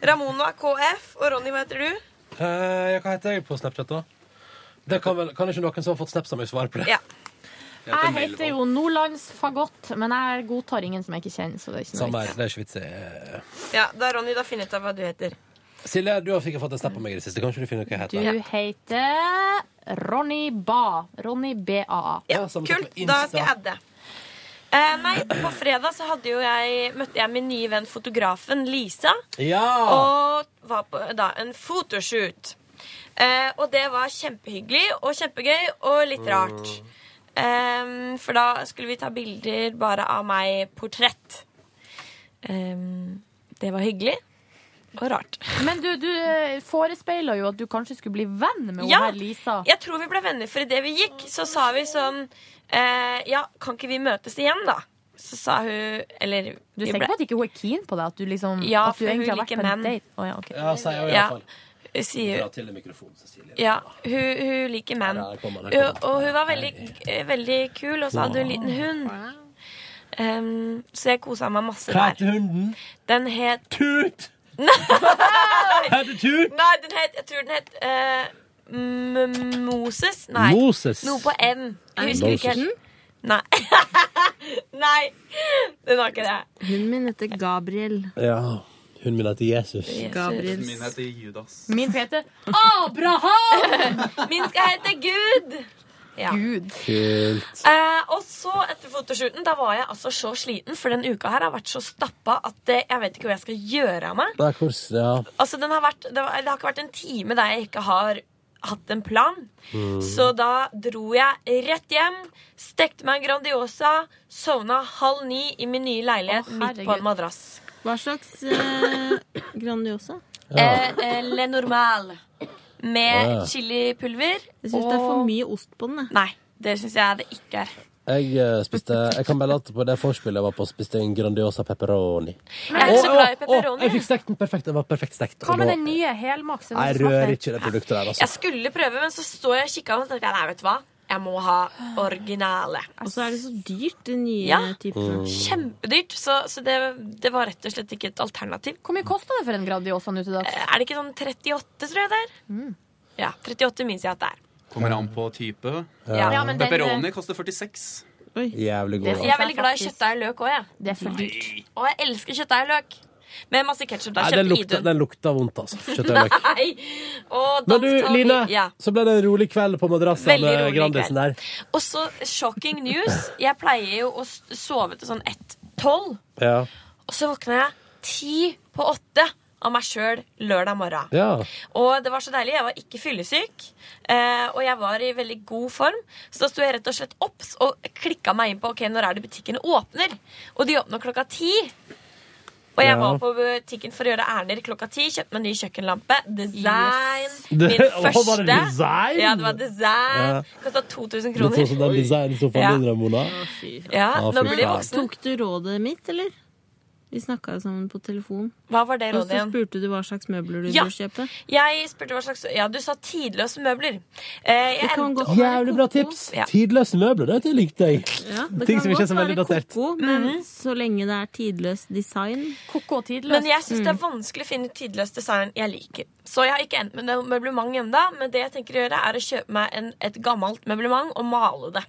[SPEAKER 3] Ramona KF. Og Ronny, hva heter du?
[SPEAKER 2] Eh, hva heter jeg på Snapchat, da? Det kan, vel, kan ikke noen som har fått snaps av meg, svare på det? [LAUGHS]
[SPEAKER 3] Ja.
[SPEAKER 5] Jeg heter jo Nordlands Fagott, men jeg godtar ingen som jeg ikke kjenner. Så det er ikke
[SPEAKER 2] Samme
[SPEAKER 5] noe
[SPEAKER 2] her.
[SPEAKER 5] vits.
[SPEAKER 2] Det er ikke vits i. eh.
[SPEAKER 3] Ja, Da Ronny, da finner jeg ut av hva du heter.
[SPEAKER 2] Silje, du har sikkert fått en snap av meg i det siste. Kanskje du finner ut hva jeg
[SPEAKER 5] Du
[SPEAKER 2] heter?
[SPEAKER 5] heter Ronny Ba. Ronny BAA.
[SPEAKER 2] Ja, samme sak på
[SPEAKER 3] Kult. Da skal jeg
[SPEAKER 2] Insta.
[SPEAKER 3] adde. Eh, nei, på fredag så hadde jo jeg, møtte jeg min nye venn fotografen Lisa.
[SPEAKER 2] Ja!
[SPEAKER 3] Og var på da, en photoshoot. Eh, og det var kjempehyggelig og kjempegøy og litt rart.
[SPEAKER 2] Mm.
[SPEAKER 3] Eh, for da skulle vi ta bilder bare av meg portrett. Eh, det var hyggelig. og rart.
[SPEAKER 5] Men du, du eh, forespeila jo at du kanskje skulle bli venn med
[SPEAKER 3] Ja.
[SPEAKER 5] hun her Lisa.
[SPEAKER 3] Jeg tror vi ble venner, for idet vi gikk, så sa vi sånn eh, Ja, kan ikke vi møtes igjen, da? Så sa hun Eller
[SPEAKER 5] Du er sikker på at ikke hun er keen på deg? At du, liksom,
[SPEAKER 3] Ja,
[SPEAKER 5] at du
[SPEAKER 3] for hun
[SPEAKER 5] egentlig har vært
[SPEAKER 3] liker
[SPEAKER 5] på en
[SPEAKER 3] menn.
[SPEAKER 5] date? Å, ja, ok.
[SPEAKER 2] Ja, sier hun i
[SPEAKER 3] Ja.
[SPEAKER 2] hvert fall.
[SPEAKER 3] Hun sier-
[SPEAKER 2] Dra til i mikrofonen, Cecilie.
[SPEAKER 3] Ja, hun, hun liker menn.
[SPEAKER 2] Ja, der kom han, der
[SPEAKER 3] Hun-
[SPEAKER 2] kom han.
[SPEAKER 3] Og hun var veldig, eh, veldig kul, og så hadde hun en liten hund. Em, så jeg kosa meg masse der.
[SPEAKER 2] hunden?
[SPEAKER 3] Den het
[SPEAKER 2] Tut!
[SPEAKER 3] Nei,
[SPEAKER 2] Heter Tut?
[SPEAKER 3] Nei, den het, jeg tror den het eh, M- Moses? Nei.
[SPEAKER 2] Moses.
[SPEAKER 3] Noe på M. Jeg husker ikke
[SPEAKER 16] Moses.
[SPEAKER 3] helt. Nei. [LAUGHS] Nei, den var ikke det.
[SPEAKER 16] Hunden min heter Gabriel.
[SPEAKER 2] Ja. Hunden min heter Jesus.
[SPEAKER 16] Gabriels.
[SPEAKER 15] Min heter Judas.
[SPEAKER 5] Min skal hete Abraham!
[SPEAKER 3] Min skal hete Gud. Ja.
[SPEAKER 2] Kult.
[SPEAKER 3] Eh, og så etter fotoshooten, da var jeg altså så sliten, for den uka her har vært så stappa at eh, jeg vet ikke hva jeg skal gjøre av meg.
[SPEAKER 2] Det er kors, ja.
[SPEAKER 3] Altså, den har vært, det, var, det har ikke vært en time der jeg ikke har hatt en plan.
[SPEAKER 2] Mm.
[SPEAKER 3] Så da dro jeg rett hjem, stekte meg en Grandiosa, sovna halv ni i min nye leilighet midt på
[SPEAKER 16] herregud.
[SPEAKER 3] en madrass.
[SPEAKER 16] Hva slags eh, Grandiosa?
[SPEAKER 3] Eh, eh, Le Normal med
[SPEAKER 2] Ah, ja.
[SPEAKER 3] chilipulver.
[SPEAKER 16] Jeg syns det er for mye ost på den.
[SPEAKER 3] Nei, det syns jeg det ikke er.
[SPEAKER 2] Jeg eh, spiste Jeg kan melde at på det vorspielet jeg var på, spiste jeg en Grandiosa pepperoni.
[SPEAKER 3] Jeg er ikke så glad i pepperoni.
[SPEAKER 2] Jeg fikk stekt den perfekt. Den var perfekt stekt.
[SPEAKER 5] Hva
[SPEAKER 2] og
[SPEAKER 5] med
[SPEAKER 2] da-
[SPEAKER 5] den nye helmaksen?
[SPEAKER 2] Jeg rører ikke det produktet der, altså.
[SPEAKER 3] Jeg skulle prøve, men så står jeg og kikker og så tenkte jeg, nei, vet du hva? Jeg må ha originale.
[SPEAKER 16] Og så er det så dyrt, den nye
[SPEAKER 3] Ja.
[SPEAKER 2] Mm.
[SPEAKER 16] typen.
[SPEAKER 3] Kjempedyrt. Så, så det, det var rett og slett ikke et alternativ.
[SPEAKER 5] Hvor mye kosta det for en Grandiosa nå til dags? Mm.
[SPEAKER 3] Er det ikke sånn 38, tror jeg det er? Ja, 38 minnes jeg at det er.
[SPEAKER 15] Kommer an på type.
[SPEAKER 3] Ja. Ja, men den-
[SPEAKER 15] Pepperoni
[SPEAKER 5] eh,
[SPEAKER 15] koster 46.
[SPEAKER 2] Jævlig
[SPEAKER 3] Det jeg er veldig glad i kjøttdeig og løk òg, jeg.
[SPEAKER 5] Det er for dyrt.
[SPEAKER 3] Og jeg elsker kjøttdeig og løk. Med masse ketsjup. Da
[SPEAKER 2] Nei, den
[SPEAKER 3] kjøpte
[SPEAKER 2] lukta,
[SPEAKER 3] Idun.
[SPEAKER 2] den lukta vondt,
[SPEAKER 3] [LAUGHS]
[SPEAKER 2] altså. Kjøtt og løk.
[SPEAKER 3] Nei! Og
[SPEAKER 2] Men du,
[SPEAKER 3] dansk tall-
[SPEAKER 2] Line,
[SPEAKER 3] Ja.
[SPEAKER 2] så ble det en rolig kveld på madrassen
[SPEAKER 3] Veldig
[SPEAKER 2] med
[SPEAKER 3] rolig
[SPEAKER 2] Grandisen der.
[SPEAKER 3] kveld. Og så shocking news. Jeg pleier jo å s- sove til sånn 1-12,
[SPEAKER 2] Ja.
[SPEAKER 3] og så våkner jeg ti på åtte av meg sjøl lørdag morgen.
[SPEAKER 2] ja.
[SPEAKER 3] Og det var så deilig. Jeg var ikke fyllesyk, eh, og jeg var i veldig god form. Så da sto jeg rett og slett opp og klikka meg inn på ok, når er det butikkene åpner. Og de åpner klokka ti. Og jeg
[SPEAKER 2] Ja.
[SPEAKER 3] var på butikken for å gjøre ærender klokka ti. Kjøpte meg en ny kjøkkenlampe. Design.
[SPEAKER 2] [LAUGHS] Det-
[SPEAKER 3] Min
[SPEAKER 2] Å,
[SPEAKER 3] første.
[SPEAKER 2] var det design?
[SPEAKER 3] Ja, det var design.
[SPEAKER 2] Ja.
[SPEAKER 3] Kosta 2000
[SPEAKER 2] Litt sånn
[SPEAKER 3] kroner.
[SPEAKER 2] som den designsofaen
[SPEAKER 3] Ja.
[SPEAKER 2] din, Ramona.
[SPEAKER 3] Ja,
[SPEAKER 2] Å,
[SPEAKER 3] nå
[SPEAKER 2] fy
[SPEAKER 3] blir de
[SPEAKER 2] faen.
[SPEAKER 3] voksne.
[SPEAKER 16] Tok du rådet mitt, eller? Vi snakka jo sammen på telefon.
[SPEAKER 3] Hva var det
[SPEAKER 16] Og
[SPEAKER 3] rådet
[SPEAKER 16] så
[SPEAKER 3] igjen?
[SPEAKER 16] spurte du hva slags møbler du
[SPEAKER 3] Ja.
[SPEAKER 16] burde kjøpe.
[SPEAKER 3] Jeg spurte hva slags Ja, du sa tidløse møbler. Eh, jeg
[SPEAKER 16] Det kan
[SPEAKER 3] endte
[SPEAKER 16] godt
[SPEAKER 3] opp-
[SPEAKER 2] Jævlig bra tips! Tidløse møbler, det likte jeg.
[SPEAKER 16] Ja, det
[SPEAKER 2] Ting
[SPEAKER 16] kan
[SPEAKER 2] som ikke er så
[SPEAKER 16] godt
[SPEAKER 2] veldig
[SPEAKER 16] være
[SPEAKER 2] datert.
[SPEAKER 16] Koko, men
[SPEAKER 3] Mhm.
[SPEAKER 16] så lenge det er tidløst design
[SPEAKER 5] Koko og tidløst.
[SPEAKER 3] Men jeg syns det er
[SPEAKER 16] Mm.
[SPEAKER 3] vanskelig å finne tidløst design jeg liker. Så jeg har ikke endt med noe møblement ennå, men det jeg tenker å gjøre, er å kjøpe meg en, et gammelt møblement og male det.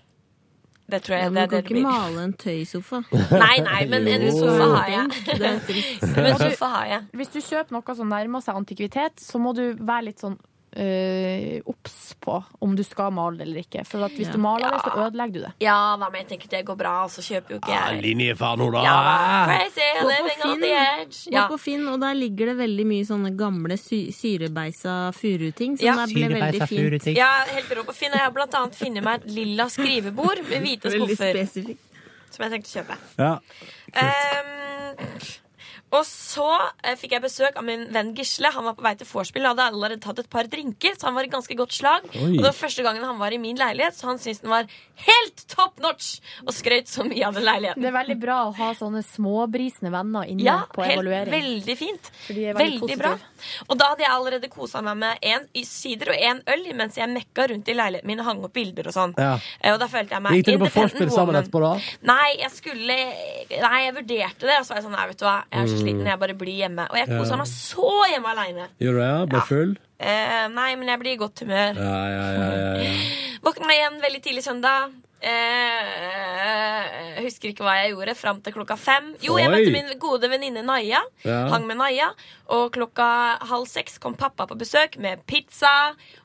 [SPEAKER 3] Det tror jeg
[SPEAKER 16] Men
[SPEAKER 3] det
[SPEAKER 16] du
[SPEAKER 3] er
[SPEAKER 16] kan
[SPEAKER 3] det det
[SPEAKER 16] ikke
[SPEAKER 3] blir.
[SPEAKER 16] male en tøysofa.
[SPEAKER 3] Nei, nei, men en
[SPEAKER 16] Jo.
[SPEAKER 3] sofa har jeg.
[SPEAKER 16] Det er trist.
[SPEAKER 3] [LAUGHS] Men en sofa har jeg.
[SPEAKER 5] Hvis du kjøper noe som nærmer seg antikvitet, så må du være litt sånn eh, obs på om du skal male det eller ikke. For at hvis
[SPEAKER 3] Ja.
[SPEAKER 5] du maler det, så
[SPEAKER 3] Ja.
[SPEAKER 5] ødelegger du det.
[SPEAKER 3] Ja, hva med jeg tenker det går bra, og så kjøper jo ikke
[SPEAKER 2] Ja,
[SPEAKER 3] jeg
[SPEAKER 2] Linjefaen, hun, da!
[SPEAKER 3] Ja, crazy,
[SPEAKER 16] Gå på
[SPEAKER 3] living on the
[SPEAKER 16] Finn.
[SPEAKER 3] edge.
[SPEAKER 16] Gå
[SPEAKER 3] Ja.
[SPEAKER 16] på Finn, og der ligger det veldig mye sånne gamle sy syrebeisa furuting. Som
[SPEAKER 3] Ja.
[SPEAKER 16] Sånn det ble veldig
[SPEAKER 3] Jeg
[SPEAKER 16] fint.
[SPEAKER 3] er helt rå på Finn, og jeg har blant annet funnet meg et lilla skrivebord med hvite
[SPEAKER 16] [LAUGHS] Veldig
[SPEAKER 3] skuffer.
[SPEAKER 16] spesifikt.
[SPEAKER 3] Som jeg tenkte å kjøpe.
[SPEAKER 2] Ja.
[SPEAKER 3] Ehm, og så eh, fikk jeg besøk av min venn Gisle. Han var på vei til vorspiel og hadde allerede tatt et par drinker, så han var i ganske godt slag.
[SPEAKER 12] Oi.
[SPEAKER 3] Og det var første gangen han var i min leilighet, så han syntes den var helt top notch! Og skrøt så mye av den leiligheten.
[SPEAKER 5] Det er veldig bra å ha sånne småbrisende venner inne
[SPEAKER 3] Ja,
[SPEAKER 5] på
[SPEAKER 3] helt,
[SPEAKER 5] evaluering.
[SPEAKER 3] veldig fint.
[SPEAKER 5] de er
[SPEAKER 3] Veldig,
[SPEAKER 5] veldig
[SPEAKER 3] bra.
[SPEAKER 5] positive.
[SPEAKER 3] Og da hadde jeg allerede kosa meg med én sider og én øl mens jeg mekka rundt i leiligheten min og hang opp bilder og sånn.
[SPEAKER 2] Ja.
[SPEAKER 3] Eh, Og da følte jeg meg
[SPEAKER 2] Gikk dere på
[SPEAKER 3] independent
[SPEAKER 2] vorspiel sammen
[SPEAKER 3] woman.
[SPEAKER 2] etterpå, da?
[SPEAKER 3] Nei, jeg skulle Nei, jeg vurderte det, og så var jeg sånn Nei, vet du hva, jeg er så
[SPEAKER 2] Mm.
[SPEAKER 3] sliten, jeg bare blir hjemme. Og jeg
[SPEAKER 2] Ja.
[SPEAKER 3] kosa meg så hjemme aleine.
[SPEAKER 2] Gjorde du det? Ble full?
[SPEAKER 3] Eh, nei, men jeg blir i godt humør.
[SPEAKER 2] Ja, ja, ja. ja, ja.
[SPEAKER 3] Våkna igjen veldig tidlig søndag. Eh, husker ikke hva jeg gjorde fram til klokka fem. Jo, jeg
[SPEAKER 12] Oi.
[SPEAKER 3] møtte min gode venninne Naya.
[SPEAKER 12] Ja.
[SPEAKER 3] Hang med Naya. Og klokka halv seks kom pappa på besøk med pizza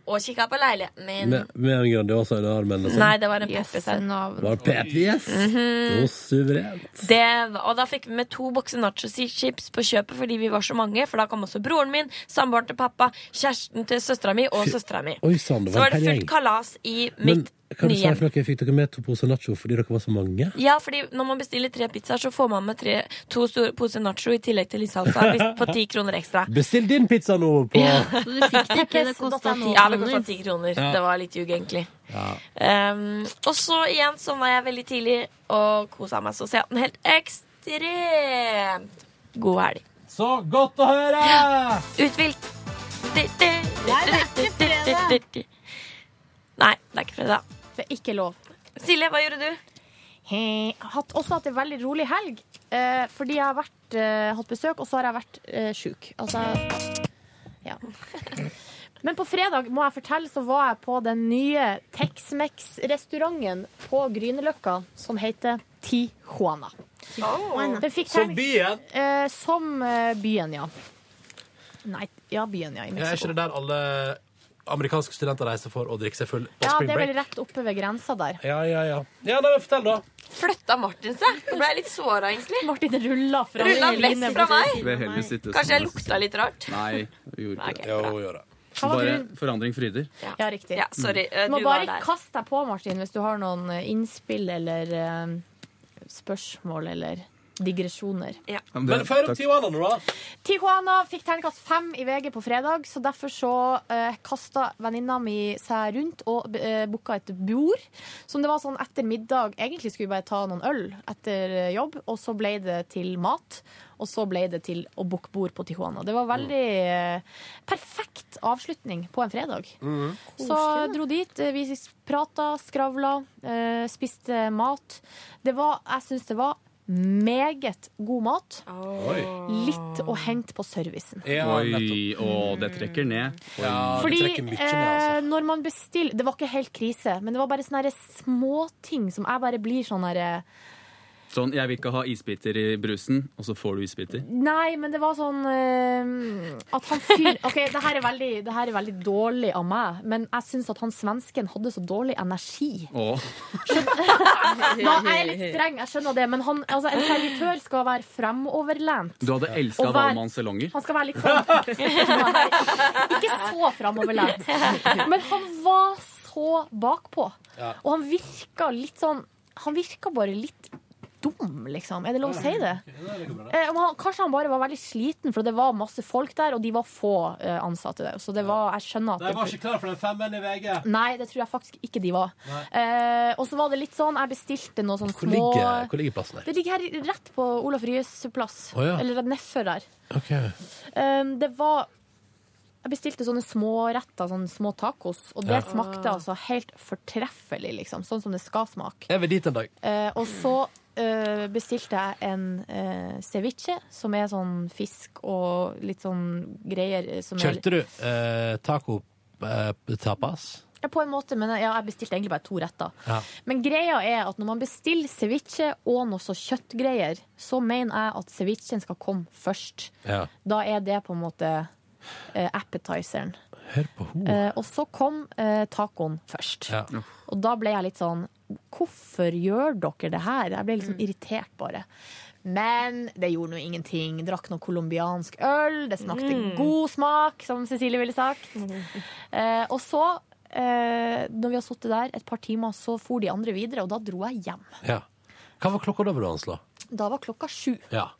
[SPEAKER 3] og kikka på leiligheten min.
[SPEAKER 2] Med, med en Grandiosa under armen? Liksom.
[SPEAKER 3] Nei, det var en peppersaus.
[SPEAKER 2] Var det Pepi, yes?
[SPEAKER 3] Mhm.
[SPEAKER 2] Jo, suverent.
[SPEAKER 3] Det var- Og da fikk vi med to bokser nachochips på kjøpet fordi vi var så mange. For da kom også broren min, samboeren til pappa, kjæresten til søstera mi og søstera mi.
[SPEAKER 2] Oi sann, det
[SPEAKER 3] Så
[SPEAKER 2] var
[SPEAKER 3] var
[SPEAKER 2] en
[SPEAKER 3] det
[SPEAKER 2] hel
[SPEAKER 3] fullt
[SPEAKER 2] gjeng.
[SPEAKER 3] kalas i
[SPEAKER 2] Men
[SPEAKER 3] mitt
[SPEAKER 2] Hva du
[SPEAKER 3] Nye
[SPEAKER 2] sa
[SPEAKER 3] hjem.
[SPEAKER 2] for noe? Fikk dere med to poser nacho fordi dere var så mange?
[SPEAKER 3] Ja, fordi når man bestiller tre pizzaer, så får man med tre, to store poser nacho i tillegg til litt salsa hvis- på ti kroner ekstra.
[SPEAKER 2] Bestill din pizza nå på
[SPEAKER 3] Ja.
[SPEAKER 16] Så du fikk det ikke? Det kosta ti
[SPEAKER 3] Ja, det
[SPEAKER 16] kroner.
[SPEAKER 3] kostet ti kroner.
[SPEAKER 2] Mm. Ja.
[SPEAKER 3] Det var litt ljug, egentlig.
[SPEAKER 2] Ja.
[SPEAKER 3] Um, og så igjen så var jeg veldig tidlig og kosa meg så sent. En helt ekstremt god helg.
[SPEAKER 2] Så godt å høre!
[SPEAKER 3] Uthvilt. Nei, det er ikke fredag. [LAUGHS] Nei, det er ikke fredag.
[SPEAKER 5] Det er ikke lov.
[SPEAKER 3] Silje, hva gjorde du?
[SPEAKER 5] He, hatt, også hatt en veldig rolig helg. Eh, fordi jeg har vært, eh, hatt besøk, og så har jeg vært eh, sjuk. Altså Ja. Men på fredag må jeg fortelle, så var jeg på den nye Tex-Mex-restauranten på Grünerløkka som heter Tijuana. Den fikk
[SPEAKER 2] Som
[SPEAKER 5] terning-
[SPEAKER 2] byen?
[SPEAKER 5] Eh, som eh, byen, ja. Nei, ja, byen, ja. I
[SPEAKER 2] Er ikke
[SPEAKER 5] Mexico.
[SPEAKER 2] det der alle amerikanske studenter reiser for å drikke seg full på
[SPEAKER 5] Ja,
[SPEAKER 2] spring
[SPEAKER 5] det er vel
[SPEAKER 2] break?
[SPEAKER 5] rett oppe ved grensa der.
[SPEAKER 2] Ja, ja, ja. ja nei, men fortell, da.
[SPEAKER 3] Flytta Martin seg? Nå ble jeg litt såra, egentlig.
[SPEAKER 5] Martin rulla fra
[SPEAKER 3] Rulla
[SPEAKER 5] meg.
[SPEAKER 3] vekk fra meg.
[SPEAKER 15] Ved Helges sitte- sånn.
[SPEAKER 3] Kanskje jeg lukta litt rart?
[SPEAKER 5] [LAUGHS]
[SPEAKER 15] Nei, vi gjorde ikke det.
[SPEAKER 2] Jo, gjør det.
[SPEAKER 5] Hva var
[SPEAKER 15] Bare
[SPEAKER 5] grunnen?
[SPEAKER 15] forandring fryder.
[SPEAKER 5] Ja, riktig.
[SPEAKER 15] Mm.
[SPEAKER 3] Ja, sorry, eh,
[SPEAKER 5] Du må
[SPEAKER 3] du var
[SPEAKER 5] bare
[SPEAKER 3] der.
[SPEAKER 5] kaste deg på, Martin, hvis du har noen eh, innspill eller eh, spørsmål eller digresjoner.
[SPEAKER 2] Men før om Tijuana nå, da.
[SPEAKER 5] Tijuana fikk terningkast fem i VG på fredag, så derfor så eh, kasta venninna mi seg rundt og eh, booka et bord. Som det var sånn etter middag Egentlig skulle vi bare ta noen øl etter eh, jobb, og så ble det til mat. Og så ble det til å booke bord på Tijuana. Det var veldig eh, perfekt avslutning på en fredag. Så
[SPEAKER 16] Koselig, da.
[SPEAKER 5] dro dit. eh, Vi prata, skravla, eh, spiste mat. Det var Jeg syns det var meget god mat.
[SPEAKER 15] Oi.
[SPEAKER 5] Litt å hente på servicen.
[SPEAKER 15] Oi, å, det trekker ned. Oi.
[SPEAKER 5] Fordi eh, når man bestiller Det var ikke helt krise, men det var bare sånne her småting som jeg bare blir sånn herre
[SPEAKER 15] Sånn, jeg vil ikke ha isbiter i brusen, og så får du isbiter.
[SPEAKER 5] Nei, men det var sånn eh, at han fyr [LAUGHS] OK, det her, er veldig, det her er veldig dårlig av meg, men jeg syns at han svensken hadde så dårlig energi.
[SPEAKER 15] Å.
[SPEAKER 5] Nå, jeg er litt streng, jeg skjønner det, men han, altså, en servitør skal være fremoverlent.
[SPEAKER 15] Du hadde elska
[SPEAKER 5] Og hver-
[SPEAKER 15] Valmanns salonger.
[SPEAKER 5] Han skal være
[SPEAKER 15] [LAUGHS]
[SPEAKER 5] litt sånn Ikke så fremoverlent. Men han var så bakpå.
[SPEAKER 15] Ja.
[SPEAKER 5] Og han virka litt sånn Han virka bare litt dum, liksom. Er det lov å si det? Eh, men han, kanskje han bare var veldig sliten, for det var masse folk der, og de var få eh, ansatte der. Så det var, jeg skjønner at
[SPEAKER 2] De var ikke klar for den femmeren i VG.
[SPEAKER 5] Nei, det tror jeg faktisk ikke de var. Eh, og så var det litt sånn, jeg bestilte noe sånn
[SPEAKER 2] Hvor
[SPEAKER 5] små
[SPEAKER 2] ligger, hvor ligger plassen der?
[SPEAKER 5] Det ligger her rett på Olaf Ryes plass.
[SPEAKER 2] Å, ja.
[SPEAKER 5] Eller rett nedfor der.
[SPEAKER 2] Ok.
[SPEAKER 5] Um, det var Jeg bestilte sånne små retter, sånne små tacos, og det
[SPEAKER 2] Ja.
[SPEAKER 5] smakte altså helt fortreffelig, liksom. Sånn som det skal smake.
[SPEAKER 2] Jeg vil dit en dag.
[SPEAKER 5] Eh, og så eh, bestilte jeg en eh, ceviche, som er sånn fisk og litt sånn greier eh, som er-
[SPEAKER 2] Kjørte du eh, taco eh, tapas?
[SPEAKER 5] Ja, på en måte, men ja, jeg bestilte egentlig bare to retter.
[SPEAKER 2] Ja.
[SPEAKER 5] Men greia er at når man bestiller ceviche og noe så kjøttgreier, så mener jeg at cevichen skal komme først.
[SPEAKER 2] Ja.
[SPEAKER 5] Da er det på en måte eh, appetizeren.
[SPEAKER 2] Hør på ho.
[SPEAKER 5] Eh, og så kom eh, tacoen først.
[SPEAKER 2] Ja.
[SPEAKER 5] Og da ble jeg litt sånn Hvorfor gjør dere det her? Jeg ble litt sånn irritert, bare. Men det gjorde nå ingenting. Drakk noe colombiansk øl. Det smakte
[SPEAKER 16] Mm.
[SPEAKER 5] god smak, som Cecilie ville sagt. Eh, og så, eh, når vi har sittet der et par timer, så for de andre videre, og da dro jeg hjem.
[SPEAKER 2] Ja. Hva var klokka da, vil du anslå?
[SPEAKER 5] Da var klokka sju.
[SPEAKER 2] Ja.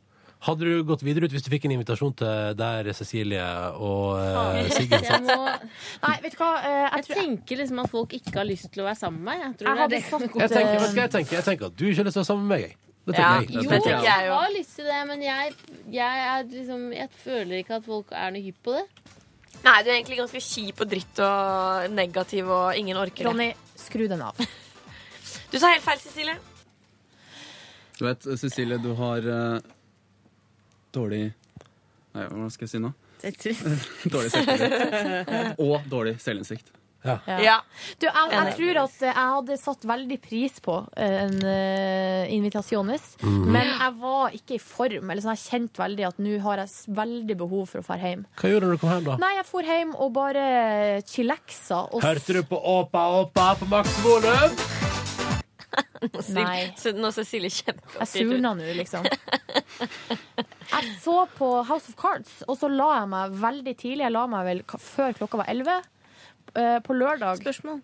[SPEAKER 2] Hadde du gått videre ut hvis du fikk en invitasjon til der Cecilie og eh, [LAUGHS] Siggen
[SPEAKER 16] Jeg,
[SPEAKER 2] satt?
[SPEAKER 16] må,
[SPEAKER 5] Nei, vet du hva? Jeg,
[SPEAKER 16] Eh, tenker liksom at folk ikke har lyst til å være sammen med meg. Jeg, tror
[SPEAKER 5] Jeg
[SPEAKER 16] det
[SPEAKER 5] hadde
[SPEAKER 16] er det.
[SPEAKER 2] Jeg tenker, vet du hva jeg tenker? Jeg tenker at du ikke har lyst til å være sammen med meg. jeg. Det
[SPEAKER 16] Ja,
[SPEAKER 2] tenker
[SPEAKER 16] jo,
[SPEAKER 2] jeg.
[SPEAKER 16] jeg, har lyst til det, men jeg, jeg, er liksom, jeg føler ikke at folk er noe hypp på det.
[SPEAKER 3] Nei, du er egentlig ganske kjip og dritt og negativ og ingen orker det.
[SPEAKER 5] Ronny, skru den av.
[SPEAKER 3] Du sa helt feil, Cecilie.
[SPEAKER 15] Du vet, Cecilie, du har eh, dårlig Nei, hva skal jeg si nå? [LAUGHS] dårlig
[SPEAKER 5] [LAUGHS]
[SPEAKER 15] selvtillit. Og dårlig selvinnsikt.
[SPEAKER 5] Ja. Du, jeg, jeg tror at jeg hadde satt veldig pris på eh, en uh, invitasjones,
[SPEAKER 2] Mhm.
[SPEAKER 5] men jeg var ikke i form. Eller sånn, jeg kjente veldig at nå har jeg s- veldig behov for å dra hjem.
[SPEAKER 2] Hva gjorde du når du kom hjem, da?
[SPEAKER 5] Nei, altså- jeg dro hjem og bare chillaxa. Og
[SPEAKER 2] Hørte du på Åpa Åpa på maksvolum?
[SPEAKER 5] Nei.
[SPEAKER 3] Så Nå ser Silje kjempeoppgitt
[SPEAKER 5] Jeg surna nå,
[SPEAKER 3] [LAUGHS]
[SPEAKER 5] liksom. Jeg så på House of Cards, og så la jeg meg veldig tidlig. Jeg la meg vel k- før klokka var elleve. eh, på lørdag Mm?
[SPEAKER 16] Spørsmål.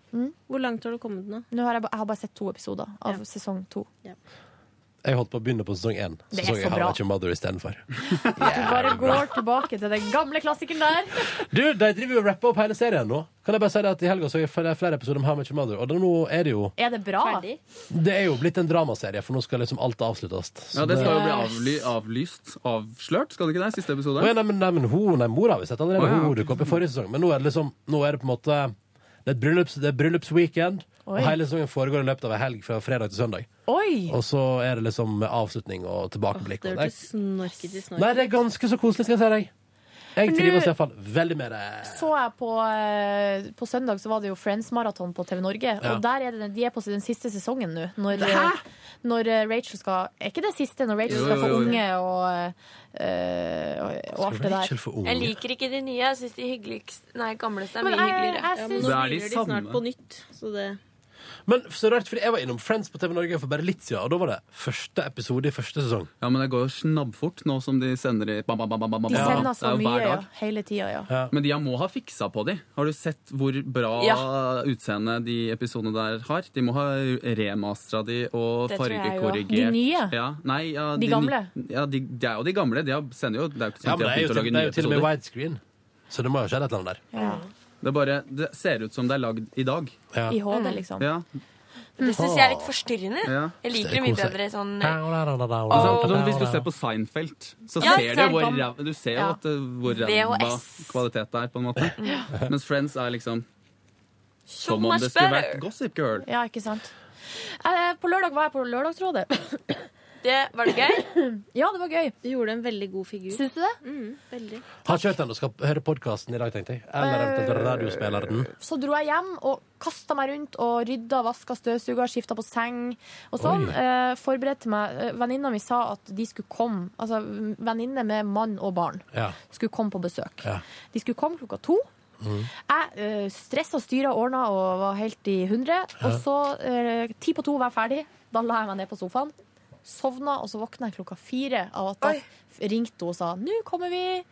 [SPEAKER 16] Hvor langt har du kommet nå?
[SPEAKER 5] Nå har jeg, ba- jeg har bare sett to episoder av sesong to.
[SPEAKER 2] Jeg holdt på å begynne på sesong én.
[SPEAKER 5] Det er
[SPEAKER 2] Sesong
[SPEAKER 5] så
[SPEAKER 2] én har
[SPEAKER 5] bra.
[SPEAKER 2] jeg ikke Mother istedenfor.
[SPEAKER 5] Du bare går tilbake til den gamle klassikeren der.
[SPEAKER 2] Du, de driver jo og rapper opp hele serien nå. Kan jeg bare si det at I helga så jeg flere, flere episoder om How Much Mother, og da nå er det jo
[SPEAKER 5] Er det bra?
[SPEAKER 2] Det er jo blitt en dramaserie, for nå skal liksom alt avsluttes. Så
[SPEAKER 15] Ja, det skal jo bli avly, avlyst. Avslørt, skal det ikke det? Siste episode?
[SPEAKER 2] Å ja, nei, men, nei, men hun, nei, mora har vi sett allerede.
[SPEAKER 15] Å, ja.
[SPEAKER 2] Hun dukket opp i forrige sesong. Men nå er det liksom Nå er det på en måte Det er et bryllups, det er bryllupsweekend,
[SPEAKER 5] Oi.
[SPEAKER 2] og hele sesongen foregår i løpet av ei helg fra fredag til søndag.
[SPEAKER 5] Oi!
[SPEAKER 2] Og så er det liksom avslutning og tilbakeblikk. og det er-
[SPEAKER 16] snorkete
[SPEAKER 2] Nei, det er ganske så koselig, skal jeg si deg. Jeg
[SPEAKER 5] Men
[SPEAKER 2] trives
[SPEAKER 5] du-
[SPEAKER 2] iallfall veldig med det.
[SPEAKER 5] Så jeg på, eh, på søndag så var det jo Friends-maraton på TV Norge.
[SPEAKER 2] Ja.
[SPEAKER 5] Og der er det, den- de er på den siste sesongen nå. Når, når eh, Rachel skal Er ikke det siste? Når Rachel
[SPEAKER 2] Jo,
[SPEAKER 5] skal
[SPEAKER 2] jo,
[SPEAKER 5] få
[SPEAKER 2] jo, jo.
[SPEAKER 5] unge og, eh, og, og alt det der.
[SPEAKER 2] Rachel få unge?
[SPEAKER 3] Jeg liker ikke de nye. Jeg syns de hyggeligste Nei, gamleste er
[SPEAKER 5] Men
[SPEAKER 3] mye
[SPEAKER 5] jeg-
[SPEAKER 3] hyggeligere.
[SPEAKER 5] jeg
[SPEAKER 2] Det
[SPEAKER 16] Nå
[SPEAKER 2] er de
[SPEAKER 16] begynner de snart
[SPEAKER 2] samme.
[SPEAKER 16] på nytt, så det
[SPEAKER 2] Men så rart, fordi jeg var innom Friends på TV Norge for bare litt siden, og da var det første episode i første sesong.
[SPEAKER 15] Ja, men det går jo snabbfort nå som de sender i bam, bam, bam, bam, bam, bam.
[SPEAKER 5] De sender
[SPEAKER 15] Det
[SPEAKER 5] så
[SPEAKER 15] er jo
[SPEAKER 5] mye
[SPEAKER 15] hver
[SPEAKER 5] ja,
[SPEAKER 15] dag.
[SPEAKER 5] hele tida, ja.
[SPEAKER 15] Men de må ha fiksa på de. Har du sett hvor bra
[SPEAKER 5] Ja.
[SPEAKER 15] utseende de episodene der har? De må ha remastra de og
[SPEAKER 5] Det tror jeg jo.
[SPEAKER 15] fargekorrigert.
[SPEAKER 5] De nye?
[SPEAKER 15] Ja, nei, ja,
[SPEAKER 5] De
[SPEAKER 15] ny-
[SPEAKER 5] gamle?
[SPEAKER 15] Ja, de, det er jo de gamle. De har, sender jo, det er jo ikke sånn
[SPEAKER 2] Ja,
[SPEAKER 15] at
[SPEAKER 2] men
[SPEAKER 15] de
[SPEAKER 2] det
[SPEAKER 15] har
[SPEAKER 2] er
[SPEAKER 15] begynt å
[SPEAKER 2] jo til,
[SPEAKER 15] lage
[SPEAKER 2] det er
[SPEAKER 15] nye
[SPEAKER 2] jo til og med
[SPEAKER 15] episoder.
[SPEAKER 2] widescreen, så det må jo ha skjedd et eller annet der.
[SPEAKER 5] Mm.
[SPEAKER 15] Det, er bare, det ser ut som det er lagd i dag.
[SPEAKER 5] I HD, liksom.
[SPEAKER 15] Ja.
[SPEAKER 3] Det syns jeg er litt forstyrrende.
[SPEAKER 15] Ja.
[SPEAKER 3] Jeg liker det mye bedre sånn
[SPEAKER 15] Men sant, altså, Hvis du ser på Seinfeld, så
[SPEAKER 3] Ja,
[SPEAKER 15] ser du jo hvor,
[SPEAKER 3] Seinfeld.
[SPEAKER 15] ræv- du ser jo
[SPEAKER 3] Ja.
[SPEAKER 15] at, uh, hvor ræva
[SPEAKER 3] VHS.
[SPEAKER 15] kvalitet det er, på en måte. Mens Friends er liksom
[SPEAKER 5] So
[SPEAKER 15] Som om
[SPEAKER 5] much
[SPEAKER 15] det skulle
[SPEAKER 5] better.
[SPEAKER 15] vært Gossip Girl.
[SPEAKER 5] Ja, ikke sant. Eh, På lørdag var jeg på Lørdagsrådet.
[SPEAKER 3] [COUGHS] Det Var det gøy?
[SPEAKER 5] [COUGHS] Ja, det var gøy.
[SPEAKER 16] Du gjorde en veldig god figur. Mm,
[SPEAKER 5] Syns du det?
[SPEAKER 16] veldig.
[SPEAKER 2] Har kjørt den og skal høre podkasten i dag, tenkte jeg. Eller
[SPEAKER 5] Eh,
[SPEAKER 2] eventuelt radiospilleren.
[SPEAKER 5] Så dro jeg hjem og kasta meg rundt og rydda, vaska støvsuga, skifta på seng og sånn.
[SPEAKER 2] Oi.
[SPEAKER 5] Eh, forberedte meg. Eh, Venninna mi sa at de skulle komme, altså m- venninne med mann og barn,
[SPEAKER 2] Ja.
[SPEAKER 5] skulle komme på besøk.
[SPEAKER 2] Ja. Mm.
[SPEAKER 5] De skulle komme klokka to. Jeg uh, stressa, styra, ordna og var helt i hundre. Og
[SPEAKER 2] Ja.
[SPEAKER 5] så, eh, ti på to var jeg ferdig. Da la jeg meg ned på sofaen. Sovna, og så våkna jeg klokka fire av at da f- ringte hun og sa 'nå kommer vi'.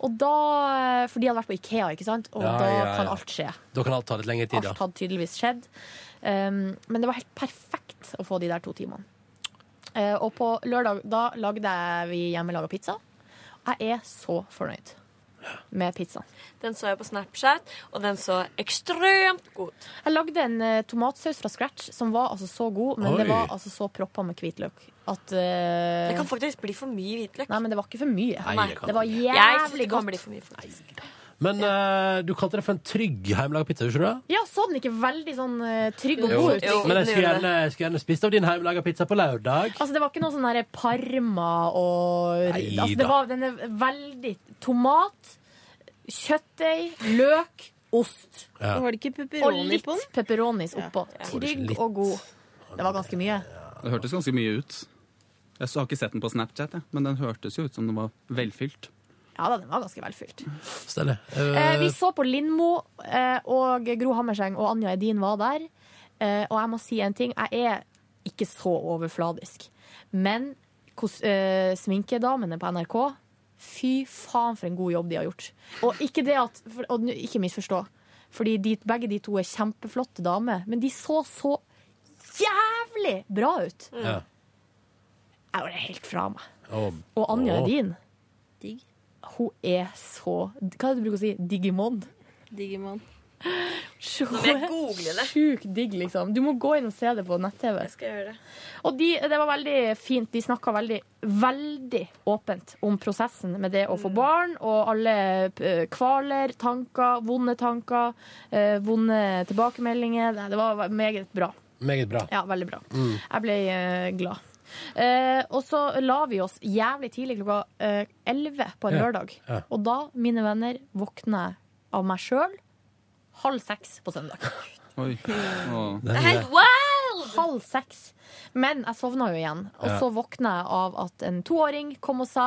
[SPEAKER 5] Og da, For de hadde vært på Ikea, ikke sant? og
[SPEAKER 2] Ja,
[SPEAKER 5] da
[SPEAKER 2] ja,
[SPEAKER 5] kan
[SPEAKER 2] ja.
[SPEAKER 5] alt skje.
[SPEAKER 2] Da kan alt ta litt lengre tid, ja.
[SPEAKER 5] Alt hadde tydeligvis skjedd. Um, men det var helt perfekt å få de der to timene. Eh, og på lørdag da lagde jeg vi hjemmelaga pizza. Jeg er så fornøyd med pizzaen.
[SPEAKER 3] Den så jeg på Snapchat, og den så ekstremt god.
[SPEAKER 5] Jeg lagde en eh, tomatsaus fra scratch som var altså så god, men
[SPEAKER 3] Oi.
[SPEAKER 5] det var altså så proppa med hvitløk at eh,
[SPEAKER 3] Det kan faktisk bli for mye hvitløk.
[SPEAKER 5] Nei, men det var ikke for mye.
[SPEAKER 2] Nei, det kan
[SPEAKER 5] det var
[SPEAKER 2] ikke.
[SPEAKER 5] jævlig
[SPEAKER 3] Jeg synes det kan
[SPEAKER 5] godt.
[SPEAKER 3] bli for mye for meg.
[SPEAKER 2] Men eh, du kalte det for en trygg hjemmelaga pizza, gjorde du ikke det?
[SPEAKER 5] Ja, så den ikke veldig sånn eh, trygg og
[SPEAKER 2] Jo.
[SPEAKER 5] god ut?
[SPEAKER 2] Men jeg skulle gjerne, jeg skulle gjerne spist av din hjemmelaga pizza på lørdag.
[SPEAKER 5] Altså, det var ikke noe sånn der parma og
[SPEAKER 2] Neida.
[SPEAKER 5] altså, det var, Den er veldig Tomat, kjøttdeig, løk, ost.
[SPEAKER 2] Ja. Og var
[SPEAKER 16] det ikke
[SPEAKER 5] Og
[SPEAKER 16] pepperoni
[SPEAKER 5] litt
[SPEAKER 16] på den?
[SPEAKER 5] pepperonis
[SPEAKER 15] Var
[SPEAKER 5] oppå.
[SPEAKER 15] det ikke
[SPEAKER 5] Trygg
[SPEAKER 15] litt?
[SPEAKER 5] og god. Det var ganske mye.
[SPEAKER 15] Det hørtes ganske mye ut. Jeg har ikke sett den på Snapchat, jeg, men den hørtes jo ut som den var velfylt.
[SPEAKER 5] Ja da, den var ganske velfylt.
[SPEAKER 2] Stelle.
[SPEAKER 5] Eh, vi så på Lindmo, eh, og Gro Hammerseng og Anja Edin var der. Eh, og jeg må si en ting. Jeg er ikke så overfladisk. Men kos, eh, sminkedamene på NRK Fy faen, for en god jobb de har gjort. Og ikke det at for, og, nå- Ikke misforstå, Fordi de, begge de to er kjempeflotte damer. Men de så så jævlig bra ut!
[SPEAKER 2] Mm. Ja.
[SPEAKER 5] Jeg var helt fra meg.
[SPEAKER 2] Og,
[SPEAKER 5] Og Anja
[SPEAKER 2] Åh.
[SPEAKER 5] Edin Hun er så Hva er det du bruker å si? Digimon?
[SPEAKER 16] Digimon.
[SPEAKER 3] Nå
[SPEAKER 5] [LAUGHS]
[SPEAKER 3] vil jeg google det.
[SPEAKER 5] Sjukt digg, liksom. Du må gå inn og se det på nett-TV.
[SPEAKER 3] Jeg skal gjøre det.
[SPEAKER 5] Og de, det var veldig fint. De snakka veldig, veldig åpent om prosessen med det å
[SPEAKER 3] Mm.
[SPEAKER 5] få barn, og alle eh, kvaler, tanker, vonde tanker, eh, vonde tilbakemeldinger. Det- Det var meget bra.
[SPEAKER 2] Meget bra.
[SPEAKER 5] Ja, veldig bra.
[SPEAKER 2] Mm.
[SPEAKER 5] Jeg ble eh, glad. Eh, og så la vi oss jævlig tidlig klokka eh, 11 på en
[SPEAKER 2] Ja.
[SPEAKER 5] lørdag.
[SPEAKER 2] Ja.
[SPEAKER 5] Og da, mine venner, våkna jeg av meg sjøl halv seks på søndag.
[SPEAKER 15] Oi. Åh. [LAUGHS]
[SPEAKER 5] Halv seks. Men jeg sovna jo igjen. Og
[SPEAKER 15] Ja.
[SPEAKER 5] så våkna jeg av at en toåring kom og sa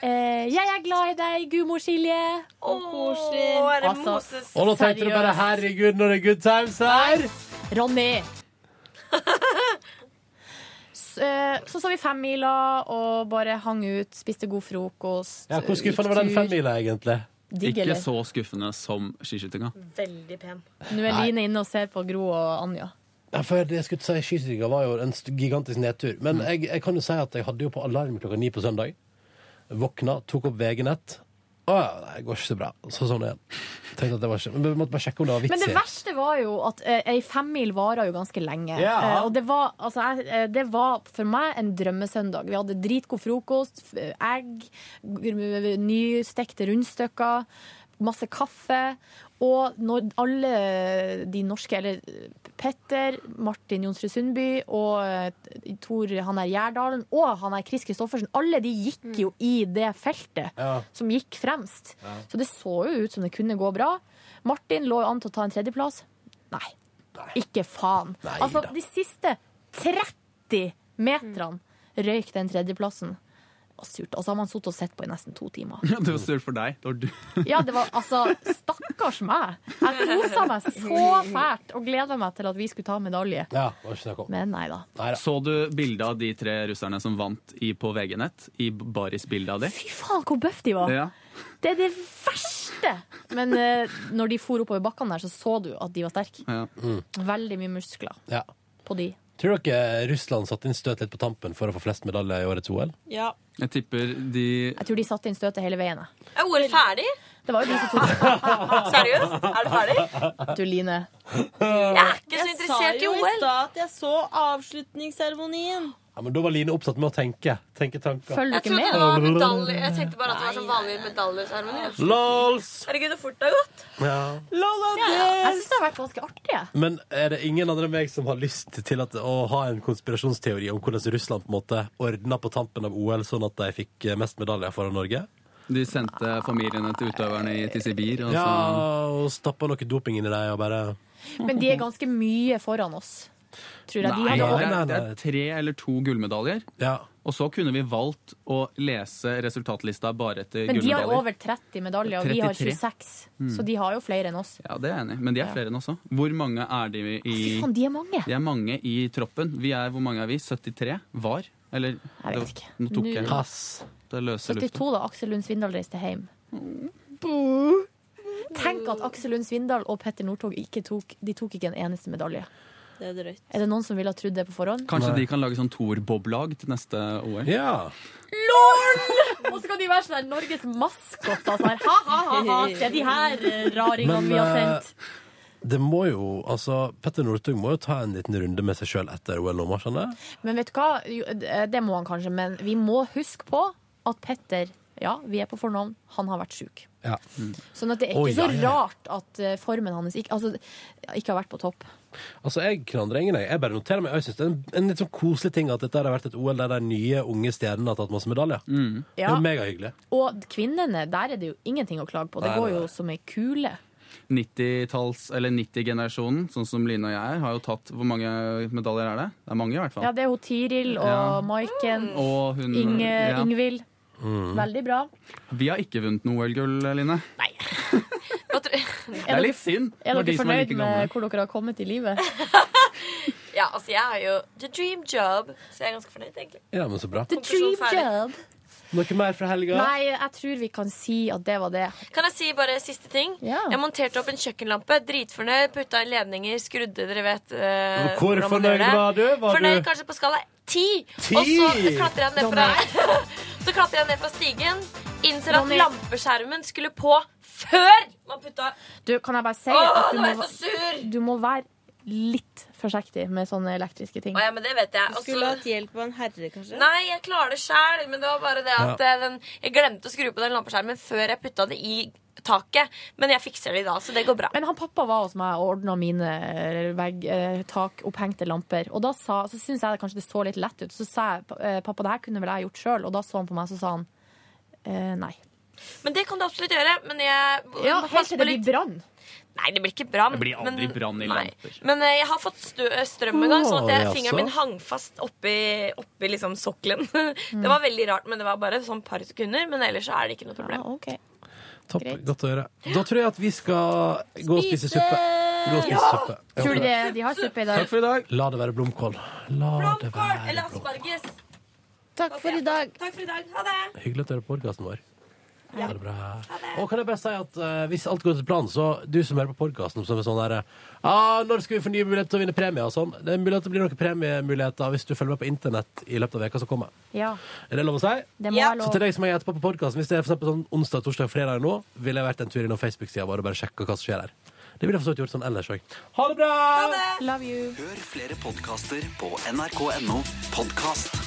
[SPEAKER 5] eh, 'Jeg er glad i deg, gudmor Silje'.
[SPEAKER 3] Å, er det
[SPEAKER 5] Altså,
[SPEAKER 3] Moses?
[SPEAKER 2] Og nå tenkte du bare 'herregud, når det er good times her'.
[SPEAKER 5] Ronny! S- eh, Så så vi femmila og bare hang ut, spiste god frokost.
[SPEAKER 2] Ja, Hvor
[SPEAKER 5] gikk
[SPEAKER 2] skuffende var den
[SPEAKER 5] tur.
[SPEAKER 2] femmila, egentlig?
[SPEAKER 5] Digg,
[SPEAKER 15] Ikke
[SPEAKER 5] eller?
[SPEAKER 15] så skuffende som skiskytinga.
[SPEAKER 5] Veldig pen. Nå er Line inne og ser på Gro og Anja.
[SPEAKER 2] Ja, for det jeg skulle si, Skiskytinga var jo en st- gigantisk nedtur. Men jeg, jeg kan jo si at jeg hadde jo på alarm klokka ni på søndag. Våkna, tok opp VG-nett. Å ja, nei, det går ikke så bra. Så sånn igjen. Tenkte at det var ikke Men vi måtte bare sjekke om det var vits
[SPEAKER 5] Men det
[SPEAKER 2] i.
[SPEAKER 5] verste var jo at eh, ei femmil varer jo ganske lenge.
[SPEAKER 2] Ja.
[SPEAKER 5] Eh, og det var, altså, jeg, eh, det var for meg en drømmesøndag. Vi hadde dritgod frokost, f- egg, gr- nystekte rundstykker, masse kaffe. Og når alle de norske, eller Petter, Martin Jonsrud Sundby og eh, Tor han her Gjerdalen og han her Chris Christoffersen, alle de gikk jo i det feltet
[SPEAKER 19] Ja.
[SPEAKER 5] som gikk fremst.
[SPEAKER 19] Ja.
[SPEAKER 5] Så det så jo ut som det kunne gå bra. Martin lå jo an til å ta en tredjeplass. Nei. Ikke faen. altså, de siste 30 meterne røyk den tredjeplassen. Det var Surt. Altså, har man sittet og sett på i nesten to timer.
[SPEAKER 15] Ja, [LAUGHS] det var surt for deg. Det var du.
[SPEAKER 5] Ja, det var altså Stakkars meg! Jeg kosa meg så fælt og gleda meg til at vi skulle ta medalje.
[SPEAKER 2] Ja, det var ikke snakk om.
[SPEAKER 5] Men nei da.
[SPEAKER 15] Så du bildet av de tre russerne som vant i, på VG-nett? I Baris-bildet av de?
[SPEAKER 5] Fy faen, hvor bøff de var!
[SPEAKER 15] Ja.
[SPEAKER 5] Det er det verste! Men eh, når de for oppover bakkene der, så så du at de var sterke.
[SPEAKER 15] Ja.
[SPEAKER 5] Veldig mye muskler
[SPEAKER 2] Mm. Ja.
[SPEAKER 5] på de.
[SPEAKER 2] Tror dere Russland satte inn støt litt på tampen for å få flest medaljer i årets OL?
[SPEAKER 5] Ja.
[SPEAKER 15] Jeg tipper de
[SPEAKER 2] [LAUGHS]
[SPEAKER 5] Jeg tror de satte inn støtet hele veien. jeg.
[SPEAKER 3] Er OL ferdig?
[SPEAKER 5] Det var jo de som tok
[SPEAKER 3] Seriøst? Er det ferdig?
[SPEAKER 5] Du, Line.
[SPEAKER 3] Jeg er ikke så
[SPEAKER 16] Jeg
[SPEAKER 3] interessert i
[SPEAKER 16] sa jo i
[SPEAKER 3] OL.
[SPEAKER 16] stad at jeg så avslutningsseremonien.
[SPEAKER 2] Ja, men da var Line opptatt med å tenke. Tenke tanker.
[SPEAKER 16] Følger
[SPEAKER 3] Jeg trodde det var medaljer. Jeg tenkte bare at det var sånn vanlig medaljeseremoni.
[SPEAKER 2] Lols!
[SPEAKER 3] Herregud, så fort det har gått.
[SPEAKER 2] Ja.
[SPEAKER 3] Ja,
[SPEAKER 5] Jeg syns det har vært ganske artig. jeg.
[SPEAKER 2] Men er det ingen andre enn meg som har lyst til at, å ha en konspirasjonsteori om hvordan Russland på en måte ordna på tampen av OL sånn at de fikk eh, mest medaljer foran Norge?
[SPEAKER 15] De sendte familiene til utøverne i- til Sibir. Og så,
[SPEAKER 2] Ja, og stappa noe doping inn i deg og bare
[SPEAKER 5] Men de er ganske mye foran oss, tror jeg. De
[SPEAKER 15] Nei,
[SPEAKER 5] hadde
[SPEAKER 15] det er,
[SPEAKER 5] over-
[SPEAKER 15] det er tre eller to gullmedaljer. Og så kunne vi valgt å lese resultatlista bare etter
[SPEAKER 5] Men de har
[SPEAKER 15] gullmedaljer.
[SPEAKER 5] over 30 medaljer, og vi har
[SPEAKER 15] 33.
[SPEAKER 5] 26.
[SPEAKER 15] Mm.
[SPEAKER 5] Så de har jo flere enn oss.
[SPEAKER 15] Ja, det er jeg enig i. Men de er
[SPEAKER 5] Ja.
[SPEAKER 15] flere enn oss også. Hvor mange er de i
[SPEAKER 5] Fy faen, de er mange!
[SPEAKER 15] Det er mange i troppen. Vi er, hvor mange er vi? 73? Var? Eller Jeg vet ikke. Nå tok
[SPEAKER 5] Nå-
[SPEAKER 15] jeg Det er løse
[SPEAKER 5] 72
[SPEAKER 15] luften.
[SPEAKER 5] da Aksel Lund Svindal reiste hjem. Tenk at Aksel Lund Svindal og Petter Northug ikke tok, de tok ikke en eneste medalje.
[SPEAKER 16] Det er drøyt.
[SPEAKER 5] Er det noen som ville ha trodd det på forhånd?
[SPEAKER 15] Kanskje de kan lage sånn Thor-boblag til neste OL?
[SPEAKER 2] Ja.
[SPEAKER 5] LOL! Og så kan de være sånn der Norges maskot. Altså her. Ha, ha, ha, ha. Se de her eh, raringene
[SPEAKER 2] Men
[SPEAKER 5] vi har
[SPEAKER 2] eh,
[SPEAKER 5] sendt.
[SPEAKER 2] det må jo Altså, Petter Northug må jo ta en liten runde med seg sjøl etter OL nå, må han ikke det?
[SPEAKER 5] Men vet du hva? Jo, eh, Det må han kanskje, men vi må huske på at Petter ja, vi er på fornavn. Han har vært sjuk.
[SPEAKER 2] Ja.
[SPEAKER 5] Sånn at det er
[SPEAKER 2] Å,
[SPEAKER 5] ikke
[SPEAKER 2] ja, ja,
[SPEAKER 5] så
[SPEAKER 2] ja.
[SPEAKER 5] rart at eh, formen hans ikke, altså, ikke har vært på topp.
[SPEAKER 2] Altså, Jeg klandrer ingen. Jeg Jeg bare noterer meg. Jeg synes det er en, en litt sånn koselig ting at dette her har vært et OL der de nye, unge stjernene har tatt masse medaljer. Det
[SPEAKER 5] Ja.
[SPEAKER 2] er megahyggelig.
[SPEAKER 5] Og kvinnene, der er det jo ingenting å klage på. Det
[SPEAKER 15] Nei,
[SPEAKER 5] går
[SPEAKER 15] nei,
[SPEAKER 5] jo
[SPEAKER 15] nei.
[SPEAKER 5] som ei kule.
[SPEAKER 15] 90-talls- eller 90-generasjonen, sånn som Line og jeg er, har jo tatt Hvor mange medaljer er det? Det er mange, i hvert fall.
[SPEAKER 5] Ja, det er hun Tiril og
[SPEAKER 15] Ja. Mm.
[SPEAKER 5] Maiken.
[SPEAKER 15] Og hun
[SPEAKER 5] Inge,
[SPEAKER 15] ja. Mm.
[SPEAKER 5] Ingvild.
[SPEAKER 2] Mm.
[SPEAKER 5] Veldig bra.
[SPEAKER 15] Vi har ikke vunnet noe OL-gull, Line. Nei. det
[SPEAKER 5] Er
[SPEAKER 15] er
[SPEAKER 5] dere-
[SPEAKER 15] litt synd.
[SPEAKER 5] Er
[SPEAKER 15] når de
[SPEAKER 5] dere
[SPEAKER 15] som er
[SPEAKER 5] fornøyd
[SPEAKER 15] like gamle.
[SPEAKER 5] med hvor dere har kommet i livet?
[SPEAKER 3] Ja, altså, jeg har jo the dream job, så jeg er ganske fornøyd, egentlig.
[SPEAKER 2] Ja, men så bra.
[SPEAKER 5] The dream
[SPEAKER 3] Konklusjon ferdig.
[SPEAKER 5] job.
[SPEAKER 2] Noe mer fra helga?
[SPEAKER 5] Nei, jeg tror vi kan si at det var det.
[SPEAKER 3] Kan jeg si bare siste ting?
[SPEAKER 5] Ja.
[SPEAKER 3] Jeg monterte opp en kjøkkenlampe. Dritfornøyd. Putta inn ledninger, skrudde, dere vet. eh,
[SPEAKER 2] Hvor
[SPEAKER 3] hvordan man
[SPEAKER 2] fornøyd
[SPEAKER 3] gjør det.
[SPEAKER 2] var du? Var
[SPEAKER 3] fornøyd
[SPEAKER 2] du-
[SPEAKER 3] kanskje på skala ti.
[SPEAKER 2] Ti?
[SPEAKER 3] Og så klatra jeg ned fra [LAUGHS] Så klatra jeg ned fra stigen. Innser at lampeskjermen skulle på før man putta
[SPEAKER 5] Du, kan jeg bare si
[SPEAKER 3] Åh,
[SPEAKER 5] at du
[SPEAKER 3] nå
[SPEAKER 5] må,
[SPEAKER 3] er jeg så sur!
[SPEAKER 5] du må være litt forsiktig med sånne elektriske ting.
[SPEAKER 3] Å ja, men det vet jeg.
[SPEAKER 16] Du skulle hatt hjelp av en herre, kanskje?
[SPEAKER 3] Nei, jeg klarer det sjæl, men det var bare det at
[SPEAKER 5] Ja.
[SPEAKER 3] eh, den, jeg glemte å skru på den lampeskjermen før jeg putta det i taket. Men jeg fikser det i dag, så det går bra.
[SPEAKER 5] Men han pappa var hos meg og ordna mine eh, vegg, eh, tak, opphengte lamper. Og da sa, så syntes jeg det kanskje det så litt lett ut. Så sa jeg eh, pappa, det her kunne vel jeg gjort sjøl? Og da så han på meg, så sa han eh, nei.
[SPEAKER 3] Men det kan du absolutt gjøre. Men jeg
[SPEAKER 5] Ja,
[SPEAKER 3] pass
[SPEAKER 5] helt til
[SPEAKER 3] på
[SPEAKER 5] det
[SPEAKER 3] litt-
[SPEAKER 5] blir brann.
[SPEAKER 3] Nei, det blir ikke brann.
[SPEAKER 15] Det blir aldri
[SPEAKER 3] men-
[SPEAKER 15] brann i
[SPEAKER 3] nei.
[SPEAKER 15] lamper.
[SPEAKER 3] Men eh, jeg har fått stø strøm en gang,
[SPEAKER 15] Å,
[SPEAKER 3] sånn at jeg,
[SPEAKER 15] jaså.
[SPEAKER 3] fingeren min hang fast oppi, oppi liksom sokkelen. [LAUGHS] det var veldig rart, men det var bare sånn par sekunder. Men ellers så er det ikke noe problem.
[SPEAKER 2] Topp. Godt å høre. Da tror jeg at vi skal gå og spise suppe. Gå og spise
[SPEAKER 3] Ja!
[SPEAKER 2] suppe. Ja.
[SPEAKER 5] Tror du det, de har suppe i dag?
[SPEAKER 2] for i dag. La det være blomkål. La det være
[SPEAKER 3] Eller asparges.
[SPEAKER 16] Takk for i dag.
[SPEAKER 3] Takk for i dag. Ha det.
[SPEAKER 2] Hyggelig at du hører på podkasten vår. Ha det bra. Og kan jeg bare si at eh, hvis alt går til planen, så du som hører på podkasten som er sånn der eh, ah, Når skal vi få nye muligheter til å vinne premie og sånn? Det er mulig at det blir noen premiemuligheter hvis du følger med på internett i løpet av veka som kommer.
[SPEAKER 4] Ja.
[SPEAKER 2] Er det lov å si?
[SPEAKER 4] Det må være lov.
[SPEAKER 2] Så til deg som er etterpå på podcasten hvis det er for eksempel sånn onsdag, torsdag, fredag nå, ville jeg vært en tur innom Facebook-sida vår og bare sjekka hva som skjer der. Det ville jeg forstått gjort sånn ellers òg. Ha det bra!
[SPEAKER 5] Love you.
[SPEAKER 11] Hør flere podkaster på nrk.no podkast.